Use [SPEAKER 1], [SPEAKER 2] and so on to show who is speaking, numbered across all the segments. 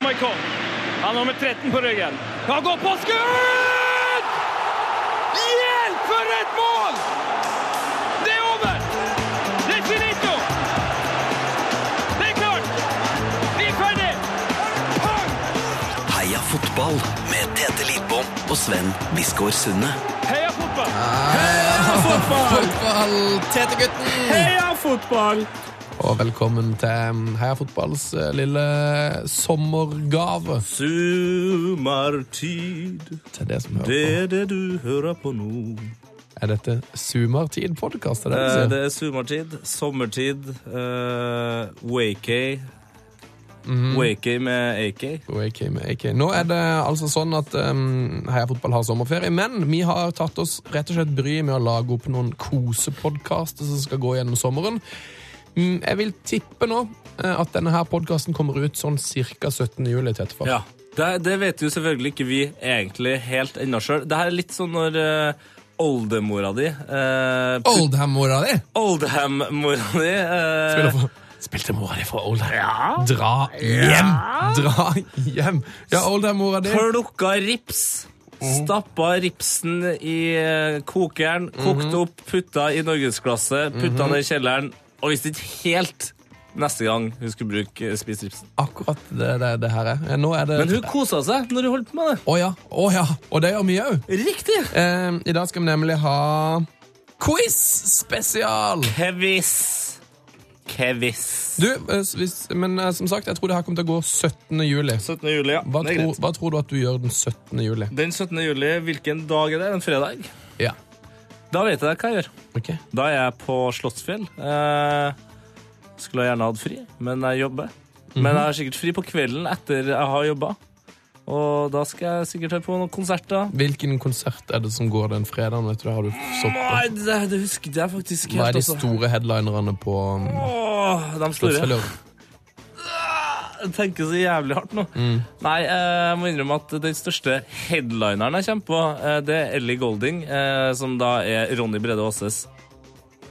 [SPEAKER 1] Michael. Han har nummer 13 på ryggen. Han går på skudd! Hjelp for et mål! Det er over! Det er finito! Det er klart! Vi er ferdig!
[SPEAKER 2] Heia fotball med Tete Lidbom og Sven Biskår Sunne.
[SPEAKER 1] Heia fotball!
[SPEAKER 3] Fotball, Tete-gutten!
[SPEAKER 1] Heia fotball!
[SPEAKER 3] Og velkommen til Heia Fotballs eh, lille sommergave
[SPEAKER 4] Sumartid,
[SPEAKER 3] til det som
[SPEAKER 4] det
[SPEAKER 3] hører på.
[SPEAKER 4] er det du hører på nå.
[SPEAKER 3] Er dette Sumartid-podkast? Det,
[SPEAKER 4] Eh,
[SPEAKER 3] du
[SPEAKER 4] Det er sumartid, sommertid, uh, wakey. Wakey med AK.
[SPEAKER 3] sier? Og AK med AK. Nå er det altså sånn at um, Heia Fotball har sommerferie, men vi har tatt oss rett og slett bryet med å lage opp noen kosepodkaster som skal gå gjennom sommeren. Mm, Jeg vil tippe nå eh, at denne her podkasten kommer ut sånn ca. 17. juli. Tete, for.
[SPEAKER 4] Ja. Det, det vet jo selvfølgelig ikke vi egentlig helt ennå sjøl. Det her er litt sånn når eh, oldemora di eh,
[SPEAKER 3] Oldham-mora di!
[SPEAKER 4] Oldham-mora di eh,
[SPEAKER 3] Spiller for Spilte mora di fra Oldham? Dra hjem! Dra hjem! Ja, Oldham-mora di.
[SPEAKER 4] Plukka rips. Stappa ripsen i eh, kokeren, kokte opp, putta i norgesglasset, putta ned i kjelleren og visste ikke helt neste gang hun skulle bruke eh, spise ripsen.
[SPEAKER 3] Akkurat det, det, det her er. Eh, Nå er det
[SPEAKER 4] Men hun kosa seg når hun holdt på med det.
[SPEAKER 3] Å ja. Å ja. Og det gjør vi òg.
[SPEAKER 4] Riktig!
[SPEAKER 3] Eh, I dag skal vi nemlig ha quiz-spesial!
[SPEAKER 4] Kevis. Kevis.
[SPEAKER 3] Du, eh, s- hvis, men eh, som sagt, jeg tror det her kommer til å gå 17. juli.
[SPEAKER 4] 17. juli, ja.
[SPEAKER 3] Hva,
[SPEAKER 4] Det er
[SPEAKER 3] tror-
[SPEAKER 4] greit.
[SPEAKER 3] hva tror du at du gjør den 17. juli?
[SPEAKER 4] Den 17. juli, hvilken dag er det? En fredag?
[SPEAKER 3] Ja.
[SPEAKER 4] Da vet jeg hva jeg gjør.
[SPEAKER 3] Ok.
[SPEAKER 4] Da er jeg på Slottsfjell. Eh, skulle gjerne hatt fri, men jeg jobber.
[SPEAKER 3] Mhm.
[SPEAKER 4] Men jeg har sikkert fri på kvelden etter jeg har jobba. Og da skal jeg sikkert høre på noen konserter.
[SPEAKER 3] Hvilken konsert er det som går den fredagen? Vet du, det har du så på.
[SPEAKER 4] Nei, det, det husket jeg faktisk helt.
[SPEAKER 3] Hva er de
[SPEAKER 4] altså.
[SPEAKER 3] store headlinerne på um,
[SPEAKER 4] Åh, de store.
[SPEAKER 3] Slottsfjelløret?
[SPEAKER 4] Jeg tenker så jævlig hardt nå. Nei, eh, jeg må innrømme at den største headlineren jeg kommer på, eh, det er Ellie Golding, eh, som da er Ronny Brede Aases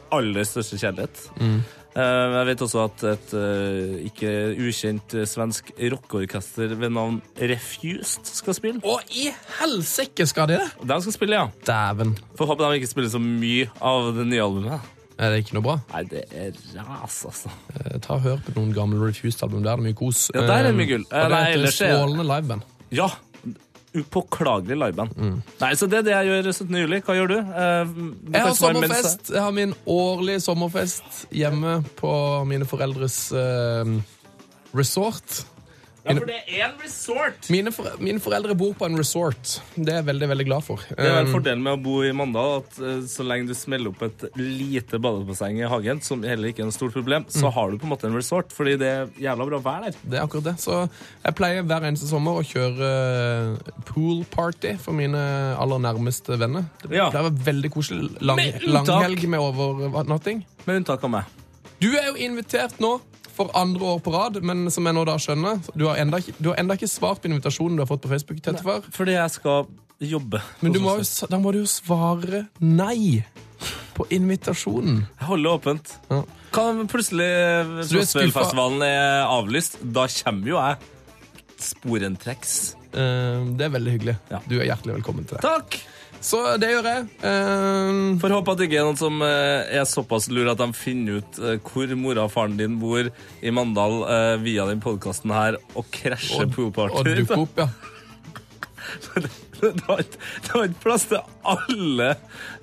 [SPEAKER 4] aller største kjærlighet. Eh, Jeg vet også at et eh, ikke ukjent eh, svensk rockeorkester ved navn Refused skal spille.
[SPEAKER 3] Å, i helsike skal de det?
[SPEAKER 4] De skal spille, ja.
[SPEAKER 3] Dæven.
[SPEAKER 4] Får håpe de ikke spiller så mye av det nye albumet.
[SPEAKER 3] Er Eh, det ikke noe bra?
[SPEAKER 4] Nei, det er ras, altså.
[SPEAKER 3] Eh, Ta og Hør på noen gamle Refused-album. Der er det mye kos.
[SPEAKER 4] Ja, der er det mye gull.
[SPEAKER 3] Eh, Og det
[SPEAKER 4] Nei,
[SPEAKER 3] er et
[SPEAKER 4] ellers er-
[SPEAKER 3] strålende liveband.
[SPEAKER 4] Ja. Upåklagelig liveband.
[SPEAKER 3] Mm.
[SPEAKER 4] Nei, så det er det jeg gjør 17. juli. Hva gjør du? Eh, du
[SPEAKER 3] Jeg
[SPEAKER 4] kan
[SPEAKER 3] har
[SPEAKER 4] svare mens jeg-
[SPEAKER 3] sommerfest. Jeg har min årlige sommerfest hjemme på mine foreldres eh, resort.
[SPEAKER 4] Ja, for det er en resort.
[SPEAKER 3] Mine, for, mine foreldre bor på en resort. Det er jeg veldig, veldig glad for.
[SPEAKER 4] Det er vel
[SPEAKER 3] Eh,
[SPEAKER 4] fordelen med å bo i Mandal at eh, så lenge du smeller opp et lite badebasseng i hagen, som heller ikke er noe stort problem,
[SPEAKER 3] Mm.
[SPEAKER 4] så har du på en måte en resort, fordi det er jævla bra vær der.
[SPEAKER 3] Eh, Det er akkurat det. Så jeg pleier hver eneste sommer å kjøre eh, pool party for mine aller nærmeste venner. Det
[SPEAKER 4] Ja.
[SPEAKER 3] pleier å være veldig koselig. Lang,
[SPEAKER 4] Med unntak.
[SPEAKER 3] langhelg med overnatting.
[SPEAKER 4] Med unntak av meg.
[SPEAKER 3] Du er jo invitert nå for andre år på rad, men som jeg nå da skjønner Du har enda ikke, du har enda ikke svart på invitasjonen du har fått på Facebook. Tettefar.
[SPEAKER 4] Fordi jeg skal jobbe.
[SPEAKER 3] Men du må, jo s- da må du jo svare nei på invitasjonen.
[SPEAKER 4] Jeg holder åpent.
[SPEAKER 3] Ja.
[SPEAKER 4] Kan plutselig
[SPEAKER 3] du er skuffa?
[SPEAKER 4] Slottsfjellfestivalen er avlyst, da kommer jo jeg sporentreks.
[SPEAKER 3] Eh, det er veldig hyggelig.
[SPEAKER 4] Ja.
[SPEAKER 3] Du er hjertelig velkommen til det.
[SPEAKER 4] Takk!
[SPEAKER 3] Så det gjør jeg. Eh,
[SPEAKER 4] Får håpe at det ikke er noen som eh, er såpass lur at de finner ut eh, hvor mora og faren din bor i Mandal eh, via den podkasten her, og krasjer
[SPEAKER 3] og
[SPEAKER 4] poolparty.
[SPEAKER 3] dukke opp, ja.
[SPEAKER 4] Det var ikke det var ikke plass til alle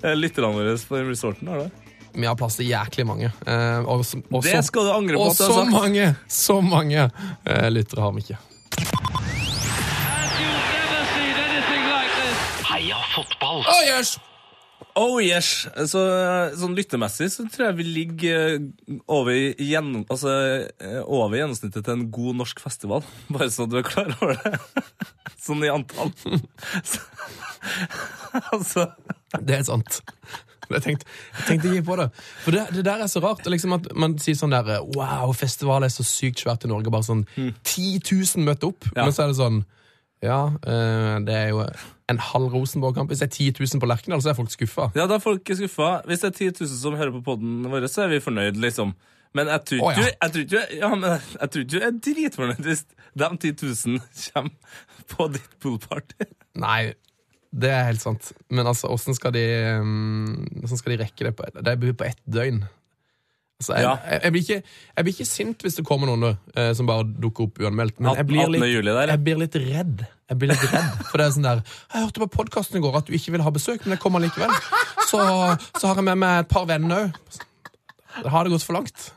[SPEAKER 4] eh, lytterne våre på resorten. Har det?
[SPEAKER 3] Vi har plass til jæklig mange. Eh, og så- og
[SPEAKER 4] det
[SPEAKER 3] så-
[SPEAKER 4] skal du angre på altså.
[SPEAKER 3] og
[SPEAKER 4] at du har
[SPEAKER 3] så
[SPEAKER 4] sagt.
[SPEAKER 3] mange, så mange eh, lyttere har vi ikke.
[SPEAKER 1] And you've never seen anything like this.
[SPEAKER 2] Heia fotball!
[SPEAKER 3] Oh, yes!
[SPEAKER 4] Oh yes! Så, eh, sånn lyttemessig så tror jeg vi ligger eh, over, i gjennom, altså, eh, over gjennomsnittet til en god norsk festival. Bare sånn at du er klar over det. Sånn i antall. Så, altså
[SPEAKER 3] Det er sant. Jeg tenkte, jeg tenkte ikke på det. For det, det der er så rart. Liksom at Man sier sånn der Wow, festival er så sykt svært i Norge. Bare sånn 10 000 møtte opp.
[SPEAKER 4] Ja.
[SPEAKER 3] Men så er det sånn Ja, eh, det er jo en halv Rosenborg-kamp. Hvis det er 10 000 på Lerkendal, så er folk skuffa.
[SPEAKER 4] Ja, da er folk skuffa. Hvis det er 10 000 som hører på podden vår, så er vi fornøyd, liksom. Men jeg tror
[SPEAKER 3] Å, ja.
[SPEAKER 4] ikke jeg tror ikke- ja, men jeg tror ikke du er dritfornøyd hvis de 10 000 kommer på ditt poolparty.
[SPEAKER 3] Nei, det er helt sant. Men altså, åssen skal de um, Hvordan skal de rekke det på ett Det blir på ett døgn. Altså, jeg,
[SPEAKER 4] Ja.
[SPEAKER 3] jeg, jeg, blir ikke, jeg blir ikke sint hvis det kommer noen eh, som bare dukker opp uanmeldt. Men jeg
[SPEAKER 4] 18.
[SPEAKER 3] blir, litt,
[SPEAKER 4] juli der, ja.
[SPEAKER 3] jeg blir litt redd. Jeg blir litt redd, For det er sånn der Jeg hørte på podkasten i går at du ikke vil ha besøk, men jeg kommer likevel. Så, så har jeg med meg et par venner òg. Da har det gått for langt.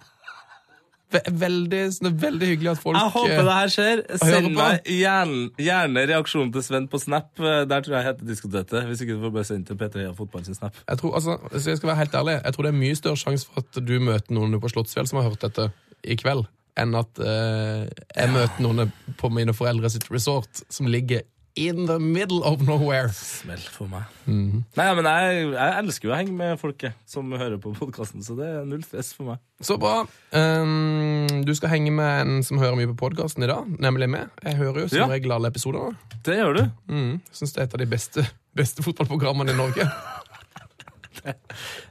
[SPEAKER 3] Ve- Veldig, sånn, det er veldig hyggelig at folk eh,
[SPEAKER 4] Jeg håper det her skjer.
[SPEAKER 3] hører
[SPEAKER 4] Send
[SPEAKER 3] på.
[SPEAKER 4] meg gjerne, gjerne reaksjonen til Sven på Snap. Eh, Der tror jeg heter Diskotete. Hvis ikke du får bare sendt til P3 og fotball sin Snap.
[SPEAKER 3] Jeg tror, altså, hvis jeg skal være helt ærlig, jeg tror det er mye større sjanse for at du møter noen på Slottsfjell som har hørt dette i kveld, enn at eh, jeg møter noen på mine foreldres resort som ligger in the middle of nowhere.
[SPEAKER 4] Smell for meg.
[SPEAKER 3] Mhm.
[SPEAKER 4] Nei, ja, men jeg, jeg elsker jo å henge med folket som hører på podkasten, så det er null stress for meg.
[SPEAKER 3] Så bra. Ehm, du skal henge med en som hører mye på podkasten i dag, nemlig meg. Jeg hører jo som
[SPEAKER 4] Ja.
[SPEAKER 3] regel alle episoder.
[SPEAKER 4] Det gjør du.
[SPEAKER 3] Syns det er et av de beste, beste fotballprogrammene i Norge.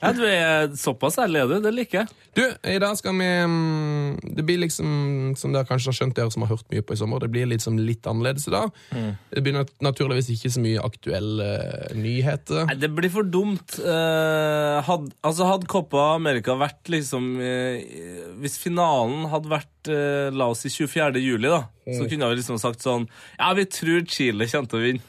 [SPEAKER 4] Ja, du er såpass ærlig, er du. Det liker jeg.
[SPEAKER 3] Du, i dag skal vi mm, Det blir liksom, som dere kanskje har skjønt, dere som har hørt mye på i sommer, det blir liksom litt annerledes i dag.
[SPEAKER 4] Mm.
[SPEAKER 3] Det blir nat- naturligvis ikke så mye aktuelle nyheter.
[SPEAKER 4] Nei, det blir for dumt. Eh, had, altså hadde Copa America vært liksom eh, Hvis finalen hadde vært, eh, la oss si, 24. juli, da, så kunne vi liksom sagt sånn Ja, vi tror Chile kommer til å vinne.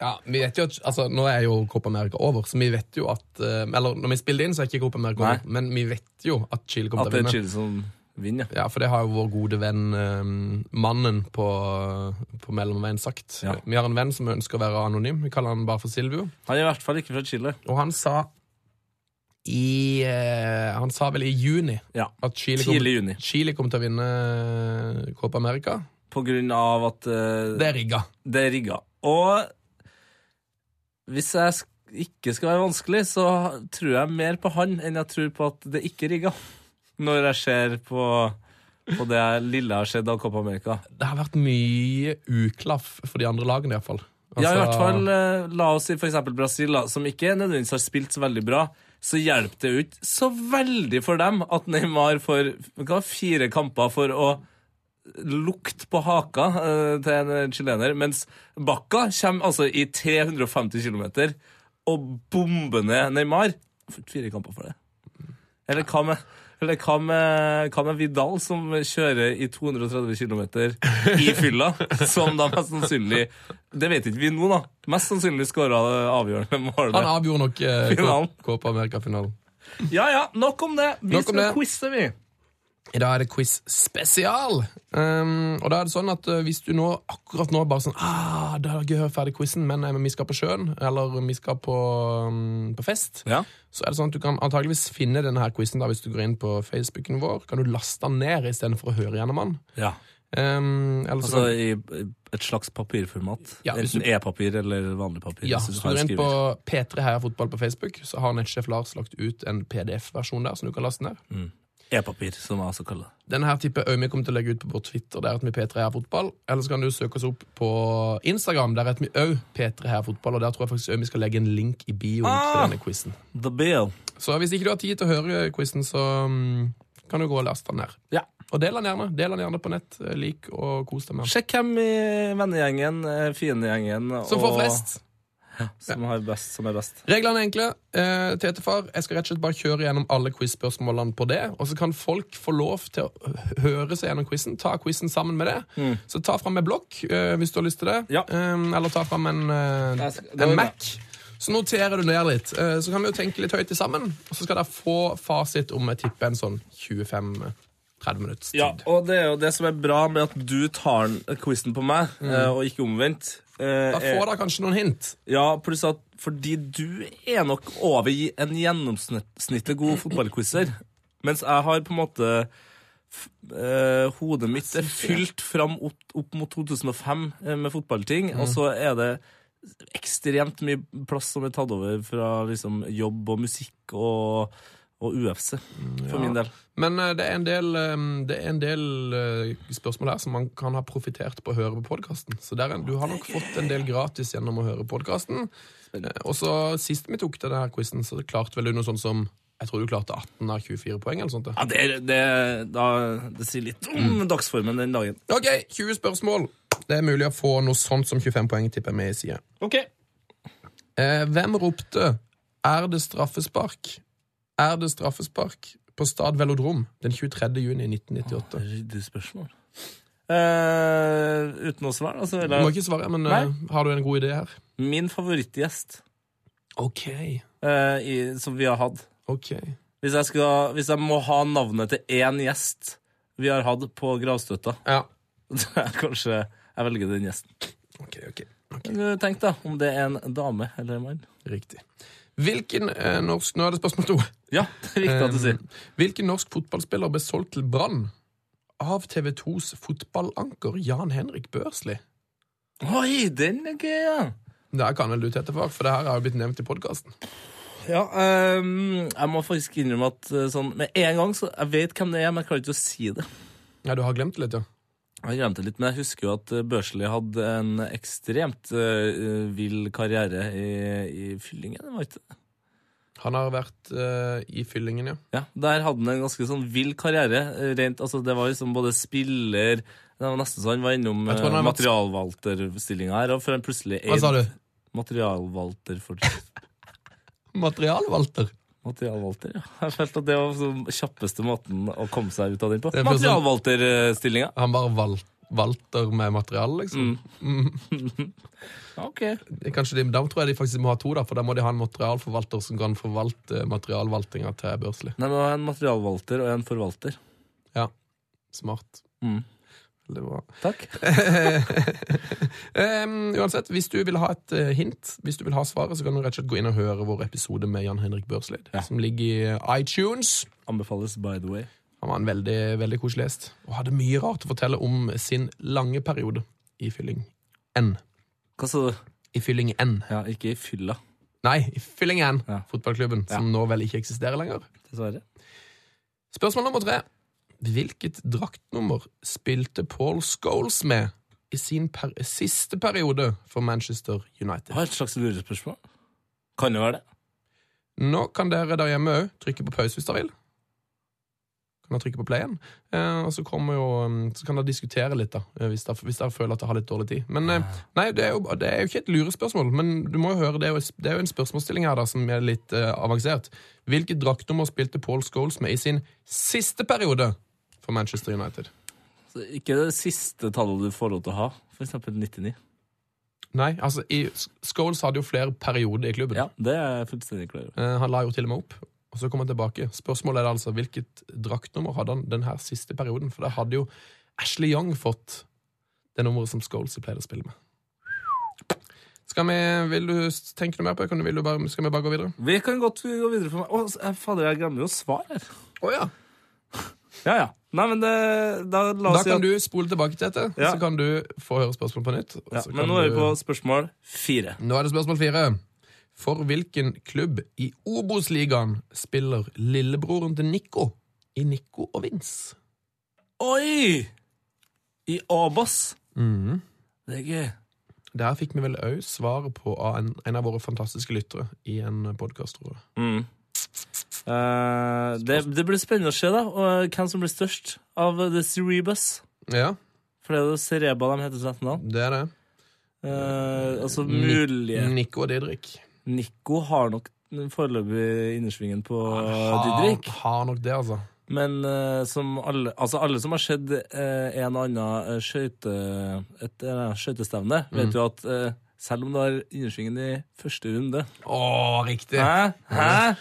[SPEAKER 3] Ja, vi vet jo at, altså, Nå er jo Copa America over, så vi vet jo at eh, Eller når vi spiller inn, så er ikke Copa America over, men vi vet jo at Chile kommer
[SPEAKER 4] At
[SPEAKER 3] til
[SPEAKER 4] det
[SPEAKER 3] å
[SPEAKER 4] er
[SPEAKER 3] vinne.
[SPEAKER 4] Chile som vinner, ja.
[SPEAKER 3] Ja, for det har jo vår gode venn, eh, mannen på, på mellomveien, sagt.
[SPEAKER 4] Ja.
[SPEAKER 3] Vi har en venn som ønsker å være anonym. Vi kaller han bare for Silvio.
[SPEAKER 4] Han er i hvert fall ikke fra Chile.
[SPEAKER 3] Og han sa i eh, Han sa vel i juni
[SPEAKER 4] Ja.
[SPEAKER 3] at Chile kom,
[SPEAKER 4] Tidlig i juni.
[SPEAKER 3] Chile kom til å vinne Copa America.
[SPEAKER 4] På grunn av at eh,
[SPEAKER 3] Det er rigga.
[SPEAKER 4] det er rigga. Og hvis jeg sk- ikke skal være vanskelig, så tror jeg mer på han enn jeg tror på at det ikke er rigga. Når jeg ser på, på det lille jeg har sett av Copa America.
[SPEAKER 3] Det har vært mye uklaff for de andre lagene, iallfall. Altså,
[SPEAKER 4] ja, i hvert fall, eh, la oss si for eksempel Brasil, da, som ikke nødvendigvis har spilt så veldig bra, så hjelper det jo ikke så veldig for dem at Neymar får hva, fire kamper for å lukte på haka eh, til en chilener, mens Bakka kommer altså i 350 km og bomber ned Neymar. Fire kamper for det. Eller hva med eller hva med, hva med Vidal, som kjører i 230 km i fylla? Som da mest sannsynlig Det vet ikke vi nå, da. Mest sannsynlig skåra det avgjørende
[SPEAKER 3] Han
[SPEAKER 4] målet.
[SPEAKER 3] avgjorde nok eh,
[SPEAKER 4] Finalen.
[SPEAKER 3] Cop- Copa America-finalen.
[SPEAKER 4] Ja ja, nok om det. Vi
[SPEAKER 3] Nok om
[SPEAKER 4] skal
[SPEAKER 3] det.
[SPEAKER 4] quize, vi.
[SPEAKER 3] I dag er det quiz spesial. Um, og da er det sånn at eh, hvis du nå akkurat nå bare sånn ah, Det er gøy å høre ferdig quizen, men eh, vi skal på sjøen, eller vi skal på, um, på fest.
[SPEAKER 4] Ja.
[SPEAKER 3] så er det sånn at du kan antageligvis finne denne her quizen da, hvis du går inn på Facebooken vår. Kan du laste den ned istedenfor å høre gjennom den?
[SPEAKER 4] ja.
[SPEAKER 3] Um, eller så
[SPEAKER 4] Altså
[SPEAKER 3] kan,
[SPEAKER 4] i et slags papirformat.
[SPEAKER 3] Ja, hvis
[SPEAKER 4] Enten e-papir eller vanlig papir.
[SPEAKER 3] ja,
[SPEAKER 4] hvis
[SPEAKER 3] så
[SPEAKER 4] har
[SPEAKER 3] går du inn
[SPEAKER 4] skriver.
[SPEAKER 3] på P3 Heia Fotball på Facebook, så har nettsjef Lars lagt ut en PDF-versjon der som du kan laste ned.
[SPEAKER 4] Mm. E-papir, som jeg også kaller det.
[SPEAKER 3] Denne her tipper jeg vi kommer til å legge ut på vår Twitter, der heter vi P3 Heia Fotball. Eller så kan du søke oss opp på Instagram, der heter vi òg P3 Heia Fotball, og der tror jeg faktisk også vi skal legge en link i bioen til
[SPEAKER 4] Ah!
[SPEAKER 3] denne quizen.
[SPEAKER 4] The Bill.
[SPEAKER 3] Så hvis ikke du har tid til å høre quizen, så mm, kan du gå og laste den ned.
[SPEAKER 4] Ja.
[SPEAKER 3] Og del den gjerne. Del den gjerne på nett. Eh, Lik og kos deg med den.
[SPEAKER 4] Sjekk hvem i vennegjengen, eh, fiendegjengen
[SPEAKER 3] Som får flest.
[SPEAKER 4] Som, har best, som er best.
[SPEAKER 3] Reglene er enkle. Eh, Tetefar, jeg skal rett og slett bare kjøre gjennom alle quiz-spørsmålene på det. Og så kan folk få lov til å hø- høre seg gjennom quizen. Ta quizen sammen med det. Så ta fram en blokk eh, hvis du har lyst til det.
[SPEAKER 4] Mm. Ja.
[SPEAKER 3] Eh, eller ta fram en, eh,
[SPEAKER 4] Jeg skal- det var
[SPEAKER 3] en
[SPEAKER 4] bra.
[SPEAKER 3] Mac. Så noterer du ned litt. Eh, så kan vi jo tenke litt høyt til sammen. Og så skal dere få fasit om jeg tipper en sånn 25-30 minutts tid.
[SPEAKER 4] Ja, og det er jo det som er bra med at du tar den- quizen på meg, eh, og ikke omvendt. eh,
[SPEAKER 3] Mm. Da
[SPEAKER 4] er-
[SPEAKER 3] får dere kanskje noen hint.
[SPEAKER 4] Ja, pluss at fordi du er nok over i en gjennomsnittlig god fotballquizer, mens jeg har på en måte f- eh, Hodet mitt er fylt fram opp, opp mot 2005 eh, med fotballting,
[SPEAKER 3] Mm.
[SPEAKER 4] og så er det ekstremt mye plass som er tatt over fra liksom, jobb og musikk og, og UFC,
[SPEAKER 3] Mm,
[SPEAKER 4] for min del.
[SPEAKER 3] Men eh, det er en del, eh, det er en del eh, spørsmål her som man kan ha profitert på å høre på podkasten. Så der, er- du har nok fått en del gratis Eh, gjennom å høre podkasten. Og så sist vi tok denne her quizen, så klarte vel du noe sånt som Jeg tror du klarte 18 av 24 poeng. eller sånt. det.
[SPEAKER 4] Ja, det, er- det, er- da, det sier litt om dagsformen den dagen.
[SPEAKER 3] Ok, 20 spørsmål. Det er mulig å få noe sånt som 25 poeng, tipper jeg med i sida.
[SPEAKER 1] Ok.
[SPEAKER 3] Eh, hvem ropte 'Er det straffespark? Er det straffespark?' på Stad Velodrom den 23. juni 1998?
[SPEAKER 4] Ryddig spørsmål. Eh, uten å svare, altså.
[SPEAKER 3] Du må
[SPEAKER 4] Eller,
[SPEAKER 3] ikke svare, men
[SPEAKER 4] Nei.
[SPEAKER 3] eh, har du en god idé her?
[SPEAKER 4] min favorittgjest
[SPEAKER 3] Ok.
[SPEAKER 4] eh, i, som vi har hatt
[SPEAKER 3] Ok.
[SPEAKER 4] hvis jeg, skal, hvis jeg må ha navnet til én gjest vi har hatt på gravstøtta,
[SPEAKER 3] Ja.
[SPEAKER 4] så er kanskje jeg velger den gjesten.
[SPEAKER 3] Ok, ok.
[SPEAKER 4] Men Tenk da, om det er en dame eller en mann.
[SPEAKER 3] Riktig. Hvilken eh, norsk Nå er det spørsmål to.
[SPEAKER 4] Ja, det er viktig at du sier.
[SPEAKER 3] Eh, Hvilken norsk fotballspiller ble solgt til Brann av TV2s fotballanker Jan Henrik Børsli?
[SPEAKER 4] Oi, den er gøy, ja!
[SPEAKER 3] Det her kan vel du tette for, for det her er jo blitt nevnt i podkasten.
[SPEAKER 4] Ja, ehm, jeg må faktisk innrømme at eh, sånn, med en gang så, Jeg vet hvem det er, men jeg klarer ikke å si det.
[SPEAKER 3] Ja, du har glemt det litt, ja.
[SPEAKER 4] Jeg glemte litt, men jeg husker jo at eh, Børsli hadde en ekstremt eh, vill karriere i, i fyllingen. var ikke det?
[SPEAKER 3] Han har vært eh, i fyllingen, ja.
[SPEAKER 4] Ja, Der hadde han en ganske sånn vill karriere. eh, Rent, altså, det var liksom både spiller Det var nesten så han var innom
[SPEAKER 3] Jeg tror han
[SPEAKER 4] eh,
[SPEAKER 3] har vært-
[SPEAKER 4] materialvalterstillinga her, og før han plutselig
[SPEAKER 3] Hva sa du?
[SPEAKER 4] materialvalter for
[SPEAKER 3] Materialvalter.
[SPEAKER 4] Materialvalter, ja. Jeg følte at det var den kjappeste måten å komme seg ut av den på.
[SPEAKER 3] Det er for sånn-
[SPEAKER 4] Materialvalter-stillinga.
[SPEAKER 3] Han bare val valter med materiale, liksom.
[SPEAKER 4] Ok.
[SPEAKER 3] Det er Kanskje de, Da tror jeg de faktisk må ha to, da, for da må de ha en materialforvalter som kan forvalte eh, materialvaltinga til Børsli.
[SPEAKER 4] Nei, men det var en materialvalter og en forvalter.
[SPEAKER 3] Smart.
[SPEAKER 4] Mm.
[SPEAKER 3] Veldig bra.
[SPEAKER 4] Takk.
[SPEAKER 3] Em, uansett, hvis du vil ha et eh, hint, hvis du vil ha svaret, så kan du rett og slett gå inn og høre vår episode med Jan Henrik Børslid, som ligger i eh, iTunes.
[SPEAKER 4] Anbefales by the way.
[SPEAKER 3] Han var en veldig, veldig koselig gjest, og hadde mye rart å fortelle om sin lange periode i fylling N.
[SPEAKER 4] Hva sa du?
[SPEAKER 3] I fylling N.
[SPEAKER 4] Ja, ikke i fylla,
[SPEAKER 3] Nei, i fylling N,
[SPEAKER 4] Ja.
[SPEAKER 3] fotballklubben, som nå vel ikke eksisterer lenger.
[SPEAKER 4] dessverre.
[SPEAKER 3] Spørsmål nummer tre. Hvilket draktnummer spilte Paul Scholes med i sin per siste periode for Manchester United?
[SPEAKER 4] Det var et slags lurespørsmål. Kan det være det?
[SPEAKER 3] Nå kan dere der hjemme òg trykke på pause hvis dere vil. Kan dere trykke på play-en. Eh, og så, kommer jo, mm, så kan dere diskutere litt, da, eh, hvis dere, hvis dere føler at dere har litt dårlig tid. Men eh, nei, det er, jo, det er jo ikke et lurespørsmål, men du må jo høre, det er jo, det er jo en spørsmålsstilling her da, som er litt eh, avansert. Hvilket draktnummer spilte Paul Scholes med i sin siste periode for Manchester United?
[SPEAKER 4] Så Ikke det siste tallet du får lov til å ha, for eksempel 99.
[SPEAKER 3] Nei, altså, i, Scholes hadde jo flere perioder i klubben.
[SPEAKER 4] Ja, det er jeg fullstendig klar over.
[SPEAKER 3] Eh, Han la jo til og med opp, og så kom han tilbake. Spørsmålet er da altså hvilket draktnummer hadde han den her siste perioden? For da hadde jo Ashley Young fått det nummeret som Scholes pleide å spille med. Skal vi, vil du s- tenke noe mer på det? Kan du- Vil du bare, skal vi bare gå videre?
[SPEAKER 4] Vi kan godt gå videre for meg. Å, s- eh, fader, jeg glemmer jo svar her.
[SPEAKER 3] Å ja.
[SPEAKER 4] Ja, ja. Nei, men det, da la
[SPEAKER 3] Da
[SPEAKER 4] oss si
[SPEAKER 3] kan
[SPEAKER 4] at...
[SPEAKER 3] du spole tilbake til dette,
[SPEAKER 4] Ja.
[SPEAKER 3] så kan du få høre spørsmålet på nytt. og
[SPEAKER 4] Ja,
[SPEAKER 3] så
[SPEAKER 4] men
[SPEAKER 3] kan
[SPEAKER 4] nå er vi
[SPEAKER 3] du-
[SPEAKER 4] på spørsmål fire.
[SPEAKER 3] Nå er det spørsmål fire. For hvilken klubb i Obos-ligaen spiller lillebroren til Nico i Nico og Vince?
[SPEAKER 4] Oi! I Abas. Mhm. Det er gøy.
[SPEAKER 3] Der fikk vi vel òg svaret på av en, en av våre fantastiske lyttere i en podkast.
[SPEAKER 4] Mm. Eh, det, det blir spennende å se da og hvem som blir størst av The Cerebus.
[SPEAKER 3] Ja,
[SPEAKER 4] For det er jo Cereba de heter til etternavn.
[SPEAKER 3] det er det.
[SPEAKER 4] Eh, altså
[SPEAKER 3] Ni- Mm.
[SPEAKER 4] mulige
[SPEAKER 3] Nico og Didrik.
[SPEAKER 4] Nico har nok foreløpig innersvingen på Didrik.
[SPEAKER 3] Har, har nok det, altså.
[SPEAKER 4] Men eh, som alle, altså alle som har sett eh, en og annen eh, skøyte, et eh, skøytestevne,
[SPEAKER 3] Mm.
[SPEAKER 4] vet jo at eh, selv om du har innersvingen i første runde
[SPEAKER 3] Å, riktig.
[SPEAKER 4] Hæ? Hæ?